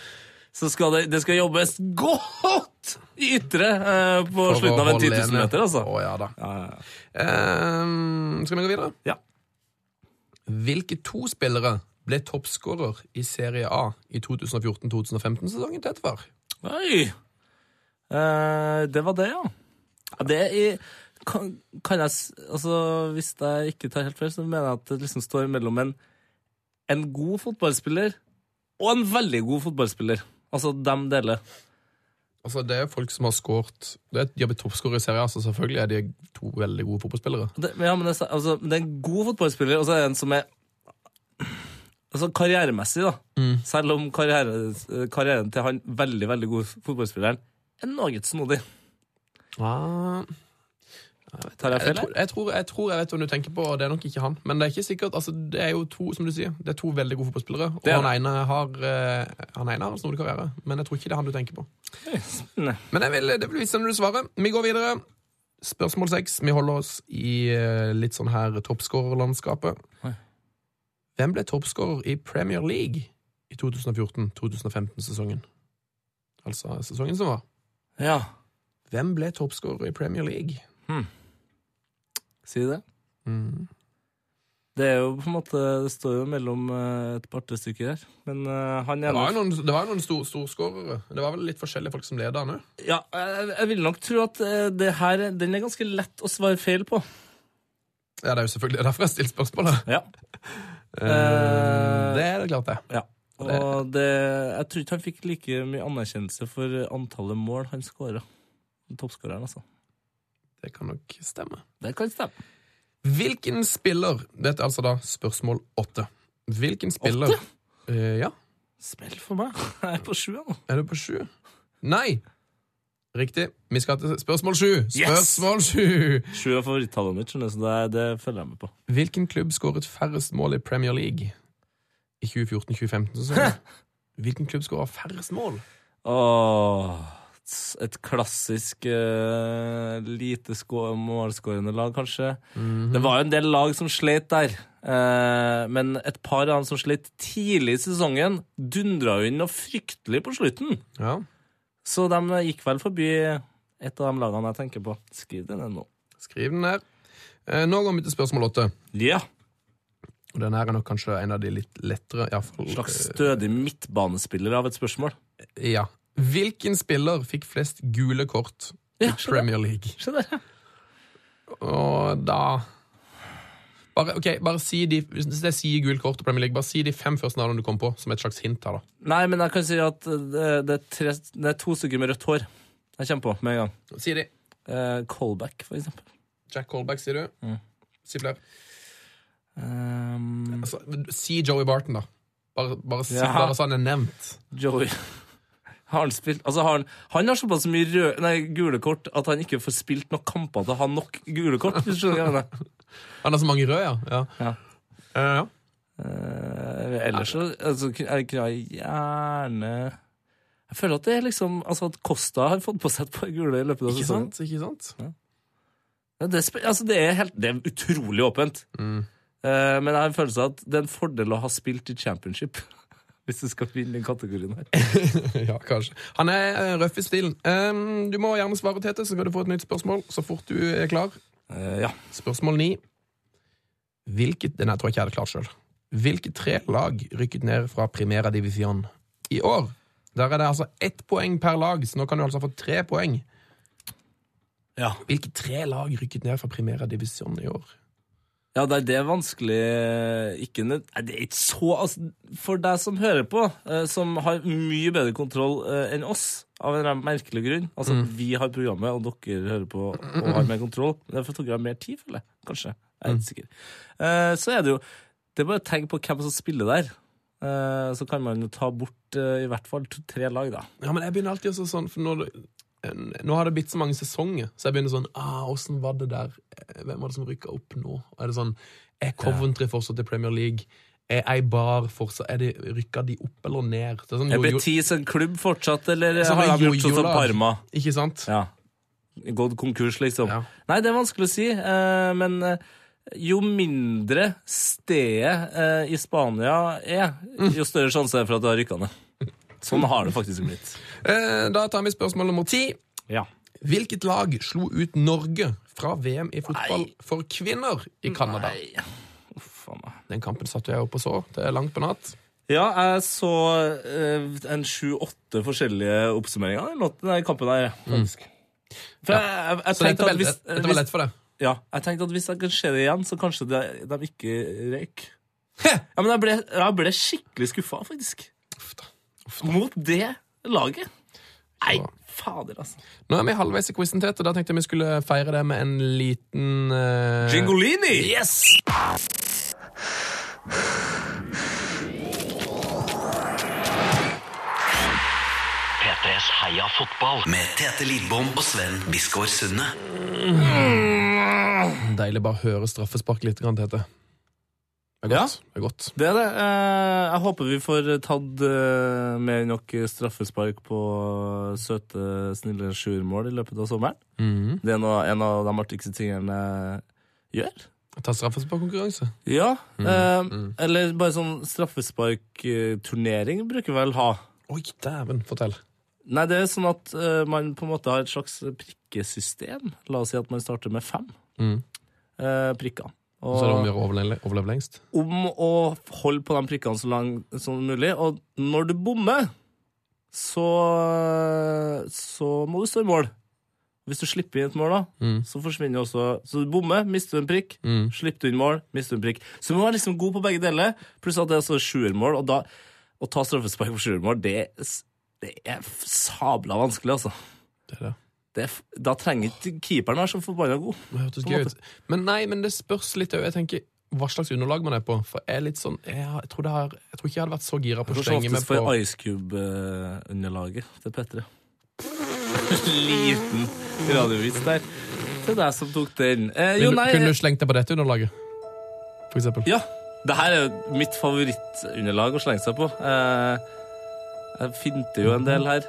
[SPEAKER 4] Så skal det, det skal jobbes godt i ytre eh, på
[SPEAKER 3] For å
[SPEAKER 4] slutten av en
[SPEAKER 3] holde
[SPEAKER 4] 10 000
[SPEAKER 3] ene.
[SPEAKER 4] meter, altså.
[SPEAKER 3] Å, ja da.
[SPEAKER 4] Ja, ja, ja.
[SPEAKER 3] Ehm, skal vi gå videre?
[SPEAKER 4] Ja.
[SPEAKER 3] Hvilke to spillere ble toppskårer i Serie A i 2014-2015-sesongen til etterpå?
[SPEAKER 4] Oi! Eh, det var det, ja. ja det er i, kan, kan jeg s- Altså, hvis jeg ikke tar helt feil, så mener jeg at det liksom står mellom en, en god fotballspiller og en veldig god fotballspiller. Altså dem deler.
[SPEAKER 3] Altså, det er folk som har skåret det er- De har blitt toppskårere i Serie A, så selvfølgelig er de to veldig gode fotballspillere.
[SPEAKER 4] Det, men ja, men det, er sa- altså, det er en god fotballspiller, og så er det en som er altså karrieremessig, da, selv om karriere, karrieren til han veldig, veldig god fotballspilleren er noe snodig.
[SPEAKER 3] Ah,
[SPEAKER 4] Tar jeg
[SPEAKER 3] jeg,
[SPEAKER 4] feil? her?
[SPEAKER 3] tror, jeg, tror, jeg tror jeg vet hvem du tenker på, og det er nok ikke han. Men det er ikke sikkert, altså det er jo to som du sier, det er to veldig gode fotballspillere. Og
[SPEAKER 4] Det er
[SPEAKER 3] han ene har eh, Han ene har en snodig karriere, men jeg tror ikke det er han du tenker på.
[SPEAKER 4] Nei.
[SPEAKER 3] Men jeg vil, det vil vise seg når du svarer. Vi går videre. Spørsmål seks. Vi holder oss i eh, litt sånn her toppskårerlandskapet.
[SPEAKER 4] Oi.
[SPEAKER 3] Hvem ble toppskårer i Premier League i 2014-2015-sesongen? Altså sesongen som var.
[SPEAKER 4] Ja.
[SPEAKER 3] Hvem ble toppskårer i Premier League?
[SPEAKER 4] Si det. Mm. Det er jo på en måte Det står jo mellom eh, et par-tre stykker her. Men eh, han
[SPEAKER 3] Det
[SPEAKER 4] ene
[SPEAKER 3] var jo noen, det var jo noen stor, storskårere. Det var vel litt forskjellige folk som leda nå.
[SPEAKER 4] Ja, jeg, jeg vil nok tro at eh, det her Den er ganske lett å svare feil på.
[SPEAKER 3] Ja, det er jo selvfølgelig derfor jeg stilte spørsmålet.
[SPEAKER 4] Ja. Eh,
[SPEAKER 3] Det er det klart, det.
[SPEAKER 4] ja. Og Mm, det, jeg tror ikke han fikk like mye anerkjennelse for antallet mål han skåra. Toppskåreren, altså.
[SPEAKER 3] Det kan nok stemme.
[SPEAKER 4] Det kan stemme.
[SPEAKER 3] Hvilken spiller Dette er altså da spørsmål åtte. Hvilken spiller Eh, ja.
[SPEAKER 4] Smell for meg. Jeg er på sjua nå.
[SPEAKER 3] Er du på sju? Nei! Riktig. Vi skal til spørsmål sju. Spørsmål sju!
[SPEAKER 4] Sju er favorittallet mitt, skjønner du, så det, det følger jeg med på.
[SPEAKER 3] Hvilken klubb skåret færrest mål i Premier League i 2014-2015-sesongen? Hvilken klubb skåra færrest mål?
[SPEAKER 4] Åh, s- et klassisk eh, lite skå- målskårende lag, kanskje. Det var jo en del lag som slet der. eh, men et par av dem som slet tidlig i sesongen, dundra jo inn noe fryktelig på slutten.
[SPEAKER 3] Ja.
[SPEAKER 4] Så de eh, gikk vel forbi et av de lagene jeg tenker på. Skriv det ned nå.
[SPEAKER 3] Skriv den der. Eh, Nå går vi til spørsmål åtte.
[SPEAKER 4] Ja.
[SPEAKER 3] Og den her er nok kanskje en av de litt lettere. i hvert fall,
[SPEAKER 4] Slags stødig midtbanespiller av et spørsmål.
[SPEAKER 3] eh, ja. Hvilken spiller fikk flest gule kort i
[SPEAKER 4] Ja, skjønner.
[SPEAKER 3] Premier League?
[SPEAKER 4] Se der, ja.
[SPEAKER 3] Og da bare, ok, bare si de, Hvis jeg sier gul kort og Premier League, bare si de fem første navnene du kom på, som et slags hint her, da.
[SPEAKER 4] Nei, men jeg kan si at eh, det, det, er, tre, det er to stykker med rødt hår jeg kommer på med en gang.
[SPEAKER 3] Si de.
[SPEAKER 4] Eh, Colback, for eksempel.
[SPEAKER 3] Jack Colback, sier du. Si flere.
[SPEAKER 4] Ehm,
[SPEAKER 3] Altså, si Joey Barton, da. Bare, bare, si,
[SPEAKER 4] Ja.
[SPEAKER 3] bare så han er nevnt.
[SPEAKER 4] Joey Har han spilt Altså, har han, han har såpass mye rød, nei, gule kort at han ikke får spilt nok kamper til å ha nok gule kort. Hvis du skjønner hva jeg mener.
[SPEAKER 3] Han har så mange røde, ja. ja.
[SPEAKER 4] Ja.
[SPEAKER 3] Eh, ja.
[SPEAKER 4] Eh, ellers så altså, kunne jeg kunne jeg gjerne Jeg føler at det er liksom Altså at Costa har fått på seg et par gule i løpet av
[SPEAKER 3] Ikke
[SPEAKER 4] sesongen.
[SPEAKER 3] sant? Ikke sant?
[SPEAKER 4] Ja, Det, er spe- altså, det, er helt, det er utrolig åpent. Eh, men jeg har en følelse av at det er en fordel å ha spilt i championship. Hvis du skal vinne den kategorien her.
[SPEAKER 3] ja, kanskje. Han er eh, røff i stilen. Em, du må gjerne svare, Tete, så skal du få et nytt spørsmål så fort du er klar.
[SPEAKER 4] Eh, ja.
[SPEAKER 3] Spørsmål ni. Hvilket Den her tror jeg ikke jeg hadde klart sjøl. Hvilke tre lag rykket ned fra Primera Divisjon i år? Der er det altså ett poeng per lag, så nå kan du altså få tre poeng.
[SPEAKER 4] ja.
[SPEAKER 3] Hvilke tre lag rykket ned fra Primera Divisjon i år?
[SPEAKER 4] Ja, det er det vanskelig eh, ikke, nød- Nei, Det er ikke så altså, For deg som hører på, eh, som har mye bedre kontroll eh, enn oss, av en eller annen merkelig grunn Altså,
[SPEAKER 3] Mm.
[SPEAKER 4] vi har programmet, og dere hører på og har mer kontroll. Derfor tok jeg mer tid, føler jeg. Kanskje.
[SPEAKER 3] Mm.
[SPEAKER 4] Jeg er ikke sikker. Eh, så er det jo Det er bare å tenke på hvem som spiller der. Eh, så kan man jo ta bort eh, i hvert fall to- tre lag, da.
[SPEAKER 3] Ja, men jeg begynner alltid også sånn, for når du en- nå har det blitt så mange sesonger, så jeg begynner sånn ah, 'Åssen var det der? Eh, Hvem var det som rykka opp nå?' Og er det sånn, Er Coventry fortsatt i Premier League? Er Eibar fortsatt Er det Rykka de opp eller ned? Det er sånn,
[SPEAKER 4] Er
[SPEAKER 3] jo- jo-
[SPEAKER 4] Betis en klubb fortsatt, eller
[SPEAKER 3] sånn
[SPEAKER 4] har de gjort sånn som
[SPEAKER 3] jojo-lag.
[SPEAKER 4] Parma?
[SPEAKER 3] Ikke sant?
[SPEAKER 4] Ja. Gått konkurs, liksom.
[SPEAKER 3] Ja.
[SPEAKER 4] Nei, det er vanskelig å si, eh, men eh, jo mindre stedet eh, i Spania er, jo større sjanse er det for at du har rykka ned. Sånn har det faktisk blitt.
[SPEAKER 3] Eh, Da tar vi spørsmål nummer ti.
[SPEAKER 4] Ja.
[SPEAKER 3] Hvilket lag slo ut Norge fra VM i fotball
[SPEAKER 4] Nei.
[SPEAKER 3] for kvinner i Canada?
[SPEAKER 4] Nei. Uff a meg.
[SPEAKER 3] Den kampen satt jeg oppe og så. Det er langt på natt.
[SPEAKER 4] Ja, jeg så eh, en sju-åtte forskjellige oppsummeringer av den låten- den kampen der, faktisk. For jeg, jeg, jeg
[SPEAKER 3] Mm. Så dette,
[SPEAKER 4] tenkte
[SPEAKER 3] var
[SPEAKER 4] at hvis,
[SPEAKER 3] lett- dette var lett for deg.
[SPEAKER 4] Ja, jeg tenkte at hvis jeg kan se det igjen, så kanskje de, de ikke røyk. Ja, men jeg ble, jeg ble skikkelig skuffa, faktisk. Mot det laget. Nei,
[SPEAKER 3] bra.
[SPEAKER 4] fader, altså.
[SPEAKER 3] Nå er vi halvveis i quizen, Tete. Da tenkte jeg vi skulle feire det med en liten eh,
[SPEAKER 4] Jingolini! Yes!
[SPEAKER 2] Heia fotball med Tete Lidbom og Sven Biskår Sunne.
[SPEAKER 3] Deilig bare å høre straffespark litt, grann, Tete. Det er
[SPEAKER 4] Ja.
[SPEAKER 3] godt. Det er godt.
[SPEAKER 4] Det er det. Eh, Jeg håper vi får tatt eh, mer enn nok straffespark på søte, snille sjuermål i løpet av sommeren.
[SPEAKER 3] Mhm.
[SPEAKER 4] Det er noe, en av de artigste tingene jeg gjør.
[SPEAKER 3] Ta straffesparkkonkurranse.
[SPEAKER 4] Ja. eh, Eller bare sånn straffesparkturnering bruker vi vel ha.
[SPEAKER 3] Oi, dæven. Fortell.
[SPEAKER 4] Nei, det er sånn at eh, man på en måte har et slags prikkesystem. La oss si at man starter med fem
[SPEAKER 3] Mhm.
[SPEAKER 4] eh, prikker. Og,
[SPEAKER 3] Og så er det om å gjøre å overle- overleve lengst.
[SPEAKER 4] om å holde på de prikkene så langt som mulig. Og når du bommer, så, så må du stå i mål. Hvis du slipper inn et mål, da,
[SPEAKER 3] Mm.
[SPEAKER 4] så forsvinner jo også Så du bommer, mister du en prikk.
[SPEAKER 3] Mm.
[SPEAKER 4] Slipper du inn mål, mister du en prikk. Så du må være liksom god på begge deler. Pluss at det er altså sjuermål, og da å ta straffespark på sjuermål, det, er s- det er f- sabla vanskelig, altså.
[SPEAKER 3] Det er det.
[SPEAKER 4] Det er, f- da trenger ikke keeperen være så forbanna god.
[SPEAKER 3] Det hørtes
[SPEAKER 4] På en
[SPEAKER 3] gøy
[SPEAKER 4] måte.
[SPEAKER 3] ut. Men nei, men det spørs litt òg. Jeg tenker hva slags underlag man er på. For jeg er litt sånn Jeg, har- jeg, tror, det har, jeg tror ikke jeg hadde vært så gira på å
[SPEAKER 4] Kanskje
[SPEAKER 3] slenge meg
[SPEAKER 4] oftest
[SPEAKER 3] på
[SPEAKER 4] for Ice Cube-underlaget til Petre. Liten radiovits der. Til deg som tok den. Eh, jo,
[SPEAKER 3] Kunne-
[SPEAKER 4] nei
[SPEAKER 3] Kunne du
[SPEAKER 4] eh,
[SPEAKER 3] slengt deg på dette underlaget? For eksempel.
[SPEAKER 4] Ja. Det her er jo mitt favorittunderlag å slenge seg på. Eh, jeg finter jo en del her.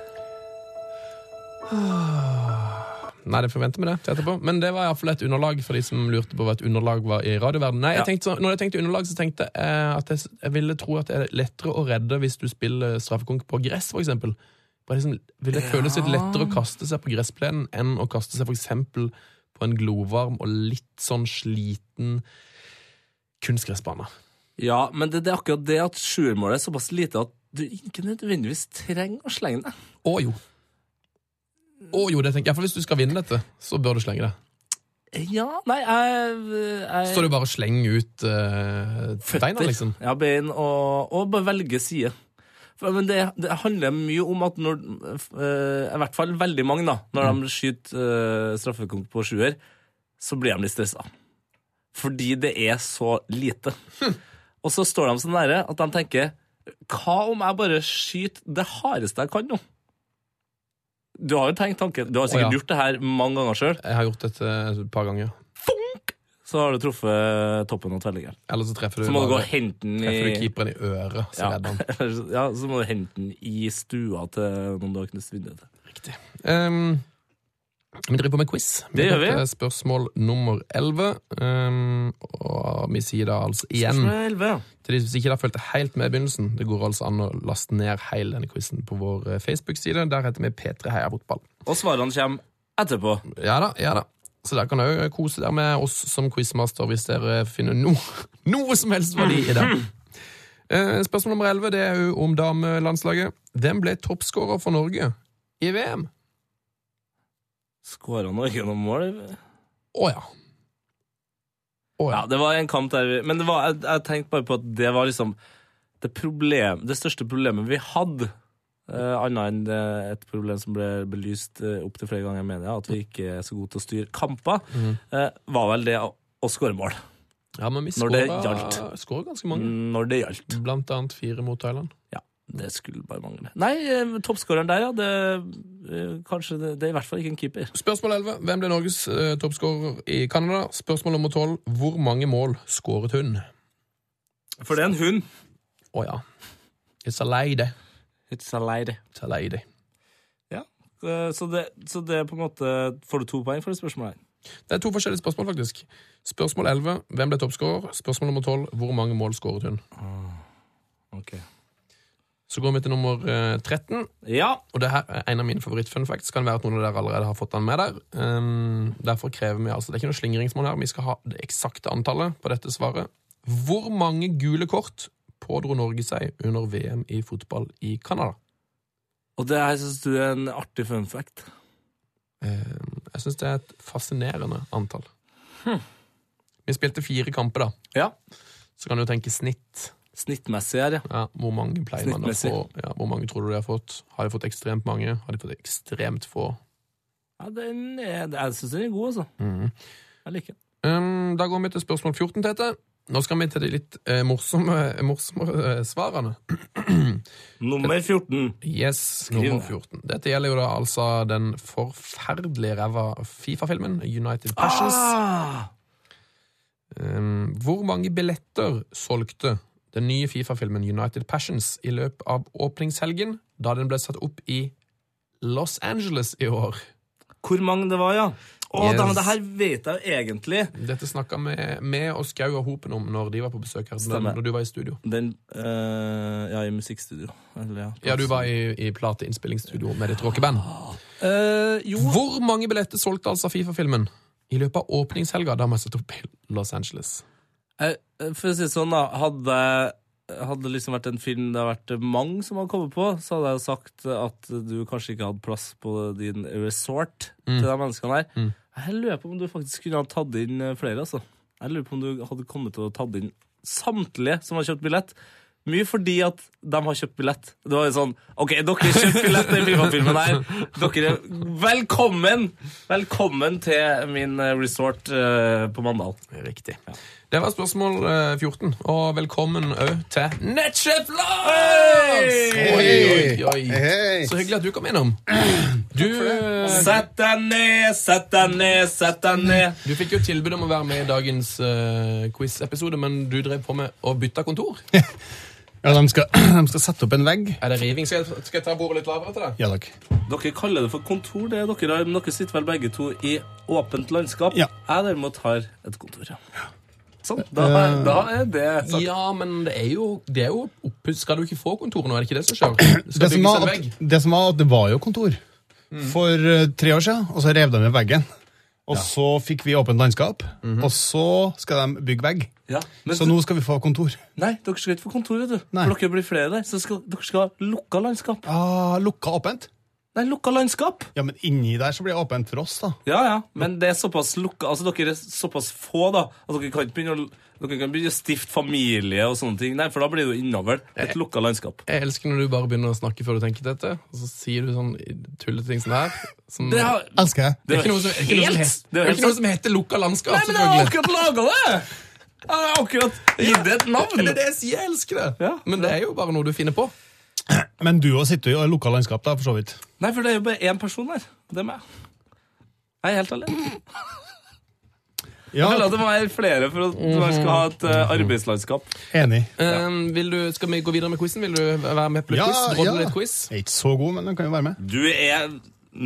[SPEAKER 3] Nei, det forventer vi det til etterpå. Men det var iallfall et underlag for de som lurte på hva et underlag var i radioverden. Nei, jeg
[SPEAKER 4] Ja.
[SPEAKER 3] tenkte sånn, når jeg tenkte underlag, så tenkte jeg eh, at jeg, s- jeg ville tro at det er lettere å redde hvis du spiller straffekonk på gress, for eksempel. Bare Liksom, vil det føles litt lettere å kaste seg på gressplenen enn å kaste seg for eksempel på en glovarm og litt sånn sliten kunstgressbane.
[SPEAKER 4] Ja, men det, det er akkurat det at sjuermålet er såpass lite at du ikke nødvendigvis trenger å slenge deg.
[SPEAKER 3] Å jo. Å jo, det tenker jeg. For hvis du skal vinne dette, så bør du slenge det.
[SPEAKER 4] Ja, nei, jeg, eh, jeg
[SPEAKER 3] Så står det bare å slenge ut eh, beina, liksom.
[SPEAKER 4] Ja, bein og, og bare velge side. For, men det, det handler mye om at når eh, I hvert fall veldig mange, da. Når
[SPEAKER 3] Mm.
[SPEAKER 4] de skyter uh, straffekonk på sjuer, så blir de litt stressa. Fordi det er så lite.
[SPEAKER 3] Hm.
[SPEAKER 4] Og så står de så nære at de tenker Hva om jeg bare skyter det hardeste jeg kan nå? Du har jo tenkt tanken. Du har sikkert
[SPEAKER 3] Å, ja.
[SPEAKER 4] gjort det her mange ganger sjøl.
[SPEAKER 3] Jeg har gjort dette et par ganger.
[SPEAKER 4] Så har du truffet toppen av tvellingeren.
[SPEAKER 3] Eller så treffer du,
[SPEAKER 4] Så må du gå
[SPEAKER 3] bare-
[SPEAKER 4] og hente den
[SPEAKER 3] treffer du
[SPEAKER 4] i
[SPEAKER 3] keeperen i øret. Så
[SPEAKER 4] Ja.
[SPEAKER 3] redder han.
[SPEAKER 4] ja, så må du hente den i stua til noen du har knust vinduet til.
[SPEAKER 3] Ehm, vi driver på med quiz.
[SPEAKER 4] Det gjør vi.
[SPEAKER 3] heter Spørsmål nummer 11. Ehm, og vi sier da altså igjen
[SPEAKER 4] Spørsmål 11, ja.
[SPEAKER 3] til de som ikke har fulgt det helt med i begynnelsen. Det går altså an å laste ned hele denne quizen på vår eh, Facebook-side. Der heter vi P3 Heia Fotball.
[SPEAKER 4] Og svarene kommer etterpå.
[SPEAKER 3] Ja da, ja da. Så der kan dere òg kose dere med oss som quizmaster hvis dere finner no, noe som helst verdi i det. Eh, Spørsmål nummer 11 det er jo om damelandslaget. Hvem ble toppskårer for Norge i VM?
[SPEAKER 4] Skåra Norge noen mål?
[SPEAKER 3] Å ja. Å ja.
[SPEAKER 4] Ja, det var en kamp der vi Men det var, jeg, jeg tenkte bare på at det var liksom det, problem, det største problemet vi hadde. Uh, Annet enn eh, et problem som ble belyst uh, opptil flere ganger i media, at vi ikke er så gode til å styre kamper, eh, var vel det å, å skåre mål.
[SPEAKER 3] ja men vi
[SPEAKER 4] Når det
[SPEAKER 3] skåra
[SPEAKER 4] gjaldt. Mm.
[SPEAKER 3] skåra ganske mange.
[SPEAKER 4] Når det gjaldt.
[SPEAKER 3] Blant annet fire mot Thailand.
[SPEAKER 4] Ja, det skulle bare mangle. Nei, eh, toppskåreren der, ja. Det, eh, kanskje det, det er i hvert fall ikke en keeper.
[SPEAKER 3] Spørsmål 11. Hvem ble Norges eh, toppskårer i Canada? Spørsmål nummer 12. Hvor mange mål skåret hun?
[SPEAKER 4] For det er en hund.
[SPEAKER 3] Å ja. It's a lady.
[SPEAKER 4] It's a lady.
[SPEAKER 3] It's a lady.
[SPEAKER 4] Ja. Eh, Så det, så det er på en måte Får du to poeng for det spørsmålet her?
[SPEAKER 3] Det er to forskjellige spørsmål, faktisk. Spørsmål 11 hvem ble toppskårer? Spørsmål nummer 12 hvor mange mål skåret hun?
[SPEAKER 4] Ok.
[SPEAKER 3] Så går vi til nummer eh, 13,
[SPEAKER 4] Ja.
[SPEAKER 3] og det her er en av mine favorittfun facts. Kan være at noen av dere allerede har fått den med der. Ehm, derfor krever vi altså Det er ikke noe slingringsmål her, vi skal ha det eksakte antallet på dette svaret. Hvor mange gule kort pådro Norge seg under VM i fotball i Canada?
[SPEAKER 4] Og det her syns du er en artig fun fact.
[SPEAKER 3] Ehm, jeg syns det er et fascinerende antall. Vi spilte fire kamper, da.
[SPEAKER 4] Ja.
[SPEAKER 3] Så kan du tenke snitt.
[SPEAKER 4] Snittmessig her, ja.
[SPEAKER 3] Ja, hvor mange pleier man å
[SPEAKER 4] Snittmessig.
[SPEAKER 3] få? Ja, hvor mange tror du de har fått? Har de fått ekstremt mange? Har de fått ekstremt få?
[SPEAKER 4] ja den Mm. er, jeg syns den er god, altså. Jeg liker den.
[SPEAKER 3] Um, da går vi til spørsmål 14, Tete. Nå skal vi til de litt eh, morsomme, morsommere eh, svarene.
[SPEAKER 4] Nummer 14.
[SPEAKER 3] Yes, nummer
[SPEAKER 4] ned.
[SPEAKER 3] 14. Dette gjelder jo da altså den forferdelige ræva Fifa-filmen, United Passions. Um, hvor mange billetter solgte den nye Fifa-filmen United Passions i løpet av åpningshelgen, da den ble satt opp i Los Angeles i år?
[SPEAKER 4] Hvor mange det var, ja. Å,
[SPEAKER 3] Yes.
[SPEAKER 4] da, men det her vet jeg jo egentlig.
[SPEAKER 3] Dette snakka vi med og Skau og Hopen om når de var på besøk her,
[SPEAKER 4] Stemmer.
[SPEAKER 3] når du var i studio.
[SPEAKER 4] Den eh, Ja, i musikkstudio. Eller, ja.
[SPEAKER 3] Ja, du var i, i plateinnspillingsstudio med ditt rockeband.
[SPEAKER 4] Eh, jo
[SPEAKER 3] Hvor mange billetter solgte altså Fifa-filmen i løpet av åpningshelga da man satt opp i Los Angeles?
[SPEAKER 4] Eh, For å si det sånn, da. Hadde, hadde det liksom vært en film det har vært mange som hadde kommet på, så hadde jeg jo sagt at du kanskje ikke hadde plass på din resort til de menneskene her. Jeg lurer på om du faktisk kunne ha tatt inn flere, altså. Jeg lurer på om du hadde kommet til å tatt inn samtlige som har kjøpt billett. Mye fordi at de har kjøpt billett. Det var jo sånn OK, dere kjøpte billett til Fifa-filmen her. Dere er velkommen! Velkommen til min eh, resort eh, på Mandal.
[SPEAKER 3] Riktig. Det var spørsmål eh, 14, og velkommen òg til Netsjef Lars! Oi, oi, oi.
[SPEAKER 5] Hei.
[SPEAKER 3] Så hyggelig at du kom innom. Du, eh,
[SPEAKER 4] Sett deg ned, sett deg ned, sett deg ned.
[SPEAKER 3] du fikk jo tilbud om å være med i dagens eh, quiz-episode, men du drev på med å bytte kontor.
[SPEAKER 5] Ja, de skal, de skal sette opp en vegg.
[SPEAKER 3] Er det riving? Skal jeg, skal jeg ta bordet litt lavere til deg?
[SPEAKER 5] Ja takk.
[SPEAKER 4] Dere kaller det for kontor, det er dere har, men dere sitter vel begge to i åpent landskap.
[SPEAKER 5] Ja.
[SPEAKER 4] Jeg derimot har et kontor, ja. Sånn, da, er- da er det sagt.
[SPEAKER 3] Ja, men det er jo, det er jo opp- Skal du ikke få kontor nå? Er det ikke det som skjer? Det
[SPEAKER 5] Det
[SPEAKER 3] skal
[SPEAKER 5] som,
[SPEAKER 3] bygges
[SPEAKER 5] var
[SPEAKER 3] en
[SPEAKER 5] at,
[SPEAKER 3] vegg.
[SPEAKER 5] det som var at det var jo kontor for eh, tre år siden, og så rev de ned veggen. Og så fikk vi åpent landskap, og så skal de bygge vegg.
[SPEAKER 4] Ja, men
[SPEAKER 5] Så nå skal vi få kontor.
[SPEAKER 4] Nei, dere skal ikke få kontor, vet du.
[SPEAKER 5] Nei.
[SPEAKER 4] For dere blir flere der, så skal, dere skal ha lukka landskap.
[SPEAKER 5] Ah, lukka åpent?
[SPEAKER 4] Nei, lukka landskap!
[SPEAKER 5] Ja, men inni der så blir det åpent for oss, da.
[SPEAKER 4] Ja, ja, men det er såpass lukka Altså, dere er såpass få, da, at dere kan ikke begynne å, dere kan ikke begynne å stifte familie og sånne ting. Nei, for da blir det jo innavl. Et lukka landskap.
[SPEAKER 3] Jeg elsker når du bare begynner å snakke før du tenker dette, og så sier du sånn tullete ting som det her. Som,
[SPEAKER 4] Det har,
[SPEAKER 5] Elsker jeg.
[SPEAKER 3] Det er ikke noe som, ikke noe som,
[SPEAKER 4] Helt-
[SPEAKER 3] het-
[SPEAKER 4] det er jo
[SPEAKER 3] det er
[SPEAKER 4] helt
[SPEAKER 3] ikke noe som heter lukka landskap,
[SPEAKER 4] Nei, men jeg har
[SPEAKER 3] selvfølgelig.
[SPEAKER 4] akkurat laga det! Jeg har akkurat gitt det et
[SPEAKER 3] Det
[SPEAKER 4] navn.
[SPEAKER 3] er det jeg sier, jeg elsker det.
[SPEAKER 4] Ja.
[SPEAKER 3] men det er jo bare noe du finner på.
[SPEAKER 5] Men du òg sitter jo i lukka landskap, da, for så vidt.
[SPEAKER 4] Nei, for det er jo bare én person der. Det er meg. Jeg er helt alene. Jeg
[SPEAKER 5] Ja,
[SPEAKER 4] føler at det må være flere for at man skal ha et eh, arbeidslandskap.
[SPEAKER 5] enig.
[SPEAKER 3] Ehm, vil du, skal vi gå videre med quizen? Vil du være med på litt
[SPEAKER 5] Ja,
[SPEAKER 3] quiz? Drodle
[SPEAKER 5] ja.
[SPEAKER 3] litt quiz?
[SPEAKER 5] Jeg er ikke så god, men den kan jo være med.
[SPEAKER 4] Du er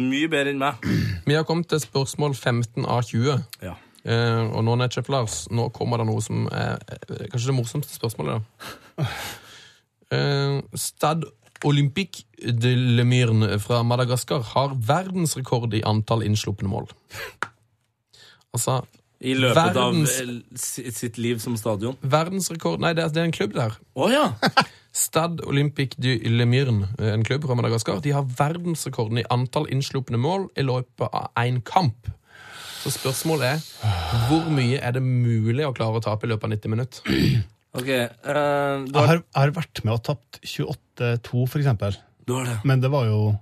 [SPEAKER 4] mye bedre enn meg.
[SPEAKER 3] Vi har kommet til spørsmål 15 av 20.
[SPEAKER 4] Ja.
[SPEAKER 3] Eh, og nå, Netchef Lars, nå kommer det noe som er eh, kanskje det morsomste spørsmålet. da. Eh, Stad Olympique de Lemyrne fra Madagaskar har verdensrekord i antall innslupne mål. Altså
[SPEAKER 4] I løpet
[SPEAKER 3] Verdens-
[SPEAKER 4] av eh, si- sitt liv som stadion.
[SPEAKER 3] verdensrekord Nei, det er, det er en klubb der.
[SPEAKER 4] Å ja!
[SPEAKER 3] Stad Olympique de Lemyrne, en klubb fra Madagaskar, de har verdensrekorden i antall innslupne mål i løpet av én kamp. Så spørsmålet er hvor mye er det mulig å klare å tape i løpet av 90 minutter?
[SPEAKER 4] Ok, eh, du,
[SPEAKER 5] Jeg
[SPEAKER 4] har,
[SPEAKER 5] har, jeg har vært med og tapt 28-2, for eksempel.
[SPEAKER 4] du har det.
[SPEAKER 5] Men det var jo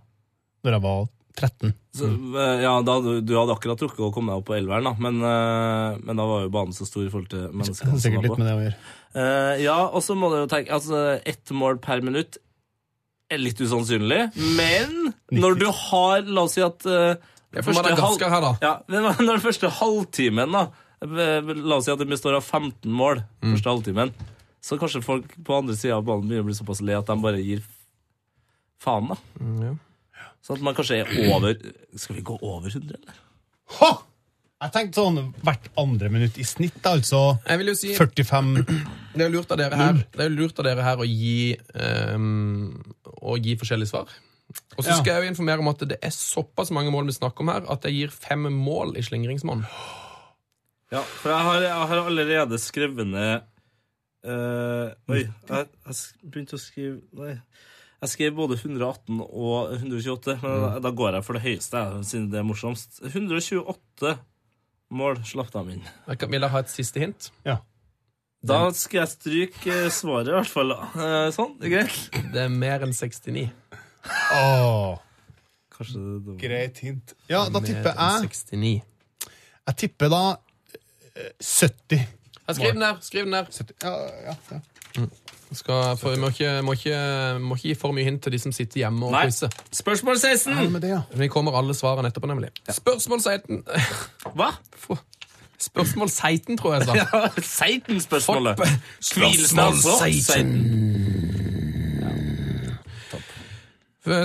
[SPEAKER 5] da jeg var 13.
[SPEAKER 4] Så, eh, ja, da, du, du hadde akkurat rukket å komme deg opp på elveren, da. Men, eh, men da var jo banen så stor i forhold til menneskene. som var
[SPEAKER 5] Sikkert
[SPEAKER 4] på.
[SPEAKER 5] litt med det å gjøre.
[SPEAKER 4] Eh, ja, og så må du jo tenke Altså, ett mål per minutt er litt usannsynlig, men når du har La oss si at eh,
[SPEAKER 3] er for Madagaskar her, da.
[SPEAKER 4] Ja, men når den første halvtimen, da eh, La oss si at det består av 15 mål
[SPEAKER 3] Mm.
[SPEAKER 4] første halvtimen, så kanskje folk på andre sida av banen begynner å bli såpass le at de bare gir faen, da.
[SPEAKER 3] Mm, ja.
[SPEAKER 4] Sånn at man kanskje er over Skal vi gå over 100, eller?
[SPEAKER 5] Ha! Jeg tenkte sånn hvert andre minutt i snitt, da, altså
[SPEAKER 3] Jeg vil jo si
[SPEAKER 5] 45
[SPEAKER 3] Det er jo lurt av dere her, det er jo lurt av dere her å, gi, ehm, å gi forskjellige svar. Og så
[SPEAKER 5] Ja.
[SPEAKER 3] skal jeg jo informere om at det er såpass mange mål vi snakker om her, at jeg gir fem mål i slingringsmonn.
[SPEAKER 4] Ja, for jeg har, jeg har allerede skrevet ned eh, Oi, jeg, jeg sk- begynte å skrive Nei. Jeg skrev både 118 og 128, men da, da går jeg for det høyeste, jeg, siden det er morsomst. 128 mål slapp de inn.
[SPEAKER 3] Jeg kan- Vil dere ha et siste hint?
[SPEAKER 5] Ja.
[SPEAKER 4] Da skal jeg stryke eh, svaret, i hvert fall. da. Eh, sånn, det er greit.
[SPEAKER 3] Det er mer enn 69.
[SPEAKER 5] Åh,
[SPEAKER 4] Kanskje det var
[SPEAKER 5] greit hint. Ja, da
[SPEAKER 3] Mer
[SPEAKER 5] tipper
[SPEAKER 3] enn
[SPEAKER 5] jeg
[SPEAKER 3] 69.
[SPEAKER 5] Jeg tipper da eh,
[SPEAKER 3] Ja,
[SPEAKER 5] 70.
[SPEAKER 3] Ja, Skriv den der. skriv den der.
[SPEAKER 5] Ja, ja, ja.
[SPEAKER 3] Skal, for, vi må ikke, må, ikke, må ikke gi for mye hint til de som sitter hjemme og
[SPEAKER 4] Nei.
[SPEAKER 3] quizer.
[SPEAKER 4] Spørsmål 16!
[SPEAKER 5] Med det, ja.
[SPEAKER 3] Vi kommer alle svarene etterpå, nemlig. Spørsmål 16
[SPEAKER 4] Hva?
[SPEAKER 3] Spørsmål 16, tror jeg jeg sa.
[SPEAKER 4] Ja, 16-spørsmålet.
[SPEAKER 3] Hoppe.
[SPEAKER 4] Tvilelsen altså. 16.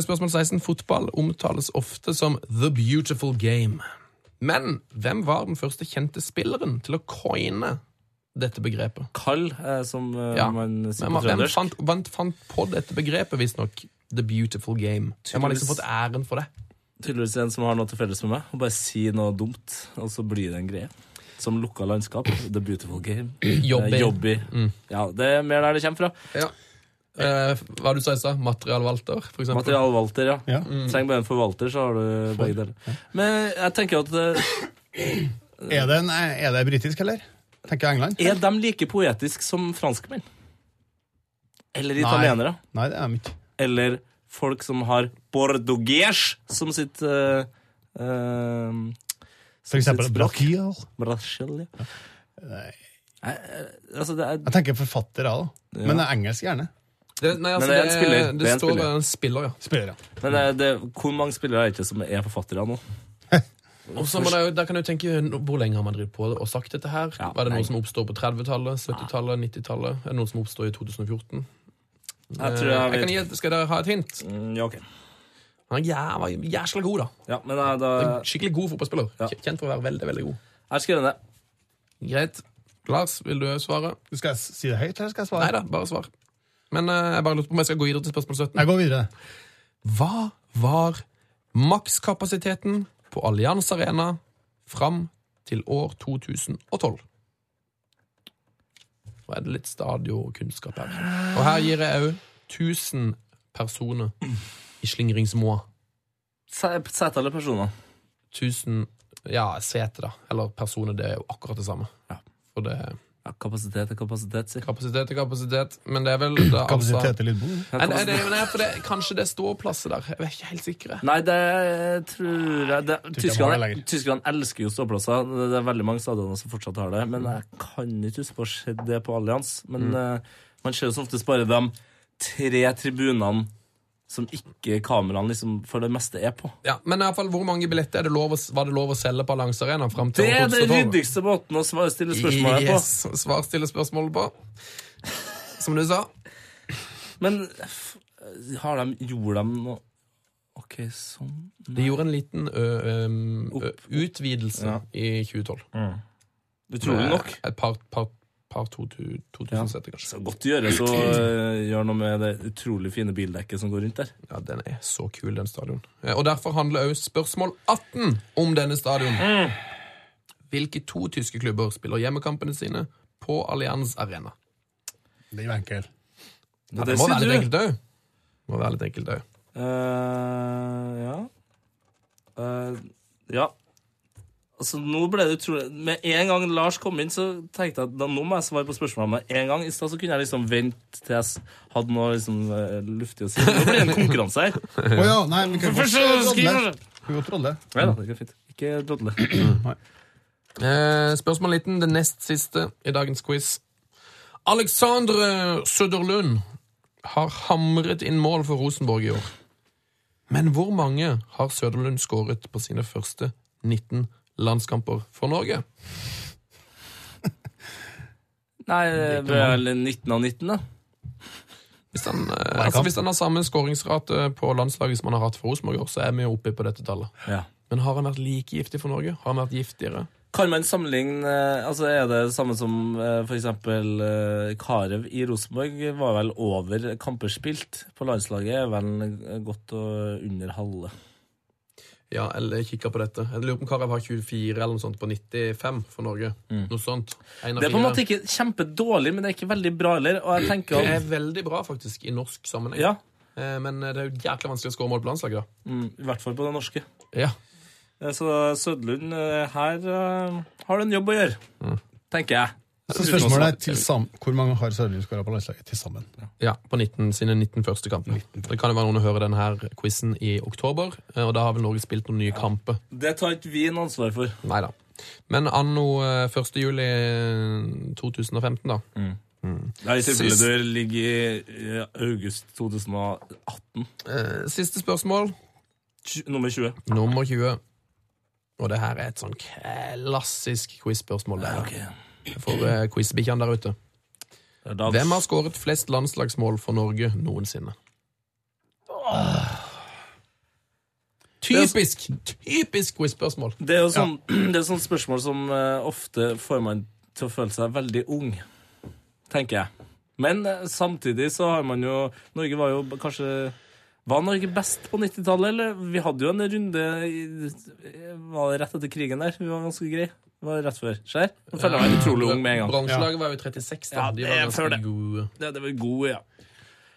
[SPEAKER 3] Spørsmål 16. Fotball omtales ofte som the beautiful game. Men hvem var den første kjente spilleren til å coine dette begrepet?
[SPEAKER 4] Kall, eh, som eh,
[SPEAKER 3] Ja.
[SPEAKER 4] man sier
[SPEAKER 3] Hvem,
[SPEAKER 4] på
[SPEAKER 3] hvem
[SPEAKER 4] trøndersk.
[SPEAKER 3] fant, hvem fant på dette begrepet, visstnok? The beautiful game. Hvem har liksom fått æren for det?
[SPEAKER 4] Tydeligvis en som har noe til felles med meg. Og bare si noe dumt, og så blir det en greie. Som lukka landskap. The beautiful game.
[SPEAKER 3] Jobby.
[SPEAKER 4] Eh, Jobby. Ja, det er mer der det kommer fra.
[SPEAKER 3] Ja. Eh, hva du sa i stad? Materialvalter, for eksempel?
[SPEAKER 4] Materialvalter, ja.
[SPEAKER 5] Ja.
[SPEAKER 4] Trenger bare en forvalter, så har du begge deler. Men jeg tenker at eh,
[SPEAKER 5] Er det, en, er det britisk, eller? Tenker jeg England?
[SPEAKER 4] Er de like poetiske som franskmenn? Eller italienere?
[SPEAKER 5] Nei, det er de ikke.
[SPEAKER 4] Eller folk som har bordogues som sitt eh, eh,
[SPEAKER 5] For eksempel
[SPEAKER 4] Sitt språk.
[SPEAKER 5] Brasil.
[SPEAKER 4] Brasil, ja. Nei, eh, altså det er,
[SPEAKER 5] Jeg tenker forfattere, da. Men det er engelsk gjerne.
[SPEAKER 3] Det, nei, altså,
[SPEAKER 4] Men det er en spiller.
[SPEAKER 3] Det,
[SPEAKER 4] Det er en
[SPEAKER 3] står
[SPEAKER 4] spiller.
[SPEAKER 3] en spiller, ja.
[SPEAKER 5] Spillere.
[SPEAKER 4] men det, er- det, hvor mange spillere er det ikke som er forfattere nå?
[SPEAKER 3] Og så må det, jo- da kan du tenke no- Hvor lenge har man drevet på det og sagt dette her?
[SPEAKER 4] Ja,
[SPEAKER 3] Var det
[SPEAKER 4] nei.
[SPEAKER 3] noe som oppstår på 30-tallet, 70-tallet, 90-tallet? Er det noe som oppstår i 2014?
[SPEAKER 4] Jeg tror
[SPEAKER 3] Eh,
[SPEAKER 4] jeg
[SPEAKER 3] jeg kan
[SPEAKER 4] vet.
[SPEAKER 3] gi, et- skal dere ha et hint?
[SPEAKER 4] Mm, Ja, ok.
[SPEAKER 3] Han er jævla, jæsla god, da.
[SPEAKER 4] Ja, men da, da,
[SPEAKER 3] Skikkelig god fotballspiller.
[SPEAKER 4] Eh, Ja.
[SPEAKER 3] Kj- Kjent for å være veldig, veldig god.
[SPEAKER 4] jeg skrev ned.
[SPEAKER 3] Greit. Lars, vil du svare?
[SPEAKER 5] Skal jeg si det høyt, eller skal jeg svare?
[SPEAKER 3] Nei da, bare svar. Men eh, jeg bare lurte på om jeg skal gå videre til spørsmål 17.
[SPEAKER 5] Jeg går videre.
[SPEAKER 3] Hva var makskapasiteten på Allianz Arena fram til år 2012? Nå er det litt stadiokunnskap her. Og her gir jeg òg 1000 personer i slingringsmåa.
[SPEAKER 4] Se- Sett alle personer.
[SPEAKER 3] 1000 ja, sete, da. Eller personer, det er jo akkurat det samme.
[SPEAKER 4] Ja.
[SPEAKER 3] For det er
[SPEAKER 4] Ja, kapasitet er kapasitet, si.
[SPEAKER 3] kapasitet er kapasitet, men det er vel det, er altså,
[SPEAKER 5] Kapasitet til lydbok.
[SPEAKER 4] Ja,
[SPEAKER 3] Nei, nei, det,
[SPEAKER 4] kapasitet.
[SPEAKER 3] nei, for det, Kanskje det er ståplasser der. Jeg er ikke helt sikker. jeg.
[SPEAKER 4] Nei, det tror jeg det,
[SPEAKER 5] ikke de har det
[SPEAKER 4] tyskerne,
[SPEAKER 5] lenger.
[SPEAKER 4] tyskerne elsker jo ståplasser. Det det er veldig mange stadioner som fortsatt har det. Men jeg kan ikke huske på å ha sett det på Allianz. Men eh, man ser jo som oftest bare de tre tribunene som ikke kameraene liksom for det meste er på.
[SPEAKER 3] Ja, men i alle fall, hvor mange billetter er det lov å, var det lov å selge på Allianz Arena fram til
[SPEAKER 4] Det er
[SPEAKER 3] år
[SPEAKER 4] den
[SPEAKER 3] 2012?
[SPEAKER 4] ryddigste måten å svare- stille spørsmålet
[SPEAKER 3] Yes. Svar stille spørsmålet på. Som du sa.
[SPEAKER 4] på. Men f- har de, gjorde de noe OK, sånn
[SPEAKER 3] De gjorde en liten ø, ø, ø, utvidelse
[SPEAKER 4] Ja.
[SPEAKER 3] i 2012.
[SPEAKER 4] Utrolig nok.
[SPEAKER 3] Et par, par, par 2000 setter, kanskje.
[SPEAKER 4] Så godt å gjøre så eh, gjør noe med det utrolig fine bildekket som går rundt der.
[SPEAKER 3] Ja, Den er så kul, den stadion. Eh, Og derfor handler også spørsmål 18 om denne stadion.
[SPEAKER 4] Mm.
[SPEAKER 3] Hvilke to tyske klubber spiller hjemmekampene sine på Allianz Arena?
[SPEAKER 5] Det er jo enkelt.
[SPEAKER 3] Ja, det må være litt enkelt òg. Må være litt enkelt òg.
[SPEAKER 4] Eh, ja. Eh, ja. Altså, nå ble det utrolig Med en gang Lars kom inn, så tenkte jeg at da, nå må jeg svare på spørsmålet med en gang. I stad så kunne jeg liksom vente til jeg s- hadde noe liksom, eh, luftig å si. Nå blir det en konkurranse her.
[SPEAKER 5] Å ja, nei, vi kan
[SPEAKER 4] Først så skriver jeg
[SPEAKER 5] Vi kan godt rolle.
[SPEAKER 4] Nei da, det går fint. Ikke drodle.
[SPEAKER 3] Eh, spørsmål liten, det nest siste i dagens quiz. Alexandre Søderlund har hamret inn mål for Rosenborg i år. Men hvor mange har Søderlund skåret på sine første 19 landskamper for Norge?
[SPEAKER 4] Nei, det ble vel 19 av 19, da.
[SPEAKER 3] Hvis han, eh, altså, hvis han har samme skåringsrate på landslaget som han har hatt for Rosenborg, i år, så er vi jo oppe på dette tallet.
[SPEAKER 4] Ja.
[SPEAKER 3] Men har han vært like giftig for Norge? Har han vært giftigere?
[SPEAKER 4] Kan man sammenligne eh, Altså Er det det samme som eh, for eksempel eh, Karev i Rosenborg var vel over kamper spilt på landslaget, er vel eh, godt og under halve.
[SPEAKER 3] Ja, eller kikka på dette. Jeg lurer på om Karev har 24 eller noe sånt på 95 for Norge. Noe sånt. En av
[SPEAKER 4] Det er på
[SPEAKER 3] fire.
[SPEAKER 4] en måte ikke kjempedårlig, men det er ikke veldig bra heller. Og jeg tenker
[SPEAKER 3] Det
[SPEAKER 4] at
[SPEAKER 3] er veldig bra, faktisk, i norsk sammenheng.
[SPEAKER 4] Ja,
[SPEAKER 3] Eh, Men det er jo jækla vanskelig å skåre mål på landslaget, da.
[SPEAKER 4] mm, i hvert fall på det norske.
[SPEAKER 3] Ja.
[SPEAKER 4] Eh, Så Sødlund, eh, her eh, har du en jobb å gjøre, tenker jeg.
[SPEAKER 5] Mm. Så spørsmålet er til sam hvor mange har Sørlund skåra på landslaget til sammen?
[SPEAKER 3] ja på 19, sine 19 første kamper. Det kan jo være noen å høre denne quizen i oktober, eh, og da har vel Norge spilt noen nye kamper.
[SPEAKER 4] Det tar ikke vi en ansvar for.
[SPEAKER 3] Nei da. Men anno eh, 1. juli 2015, da.
[SPEAKER 4] Ja, I tilfelle
[SPEAKER 3] Sist-
[SPEAKER 4] du ligger i eh, august 2018.
[SPEAKER 3] Eh, Siste spørsmål,
[SPEAKER 4] Tj- Nummer 20.
[SPEAKER 3] nummer 20. Og det her er et sånn klassisk quiz-spørsmål. det her. For eh, quizbikkjene der ute.
[SPEAKER 4] Det er da-
[SPEAKER 3] Hvem har skåret flest landslagsmål for Norge noensinne? Typisk typisk quiz-spørsmål.
[SPEAKER 4] Det er jo sånn, det er sånn spørsmål som eh, ofte får man til å føle seg veldig ung, tenker jeg. Men eh, samtidig så har man jo Norge var jo b- kanskje Var Norge best på 90-tallet, eller? Vi hadde jo en runde i, Var det rett etter krigen der? Vi var ganske greie. Det var rett før. Skjer? Jeg føler meg utrolig ung med en gang.
[SPEAKER 3] Bronselaget var jo 36, da.
[SPEAKER 4] Ja,
[SPEAKER 3] De
[SPEAKER 4] det er
[SPEAKER 3] var
[SPEAKER 4] før
[SPEAKER 3] ganske
[SPEAKER 4] det.
[SPEAKER 3] gode.
[SPEAKER 4] Det, det var god, ja.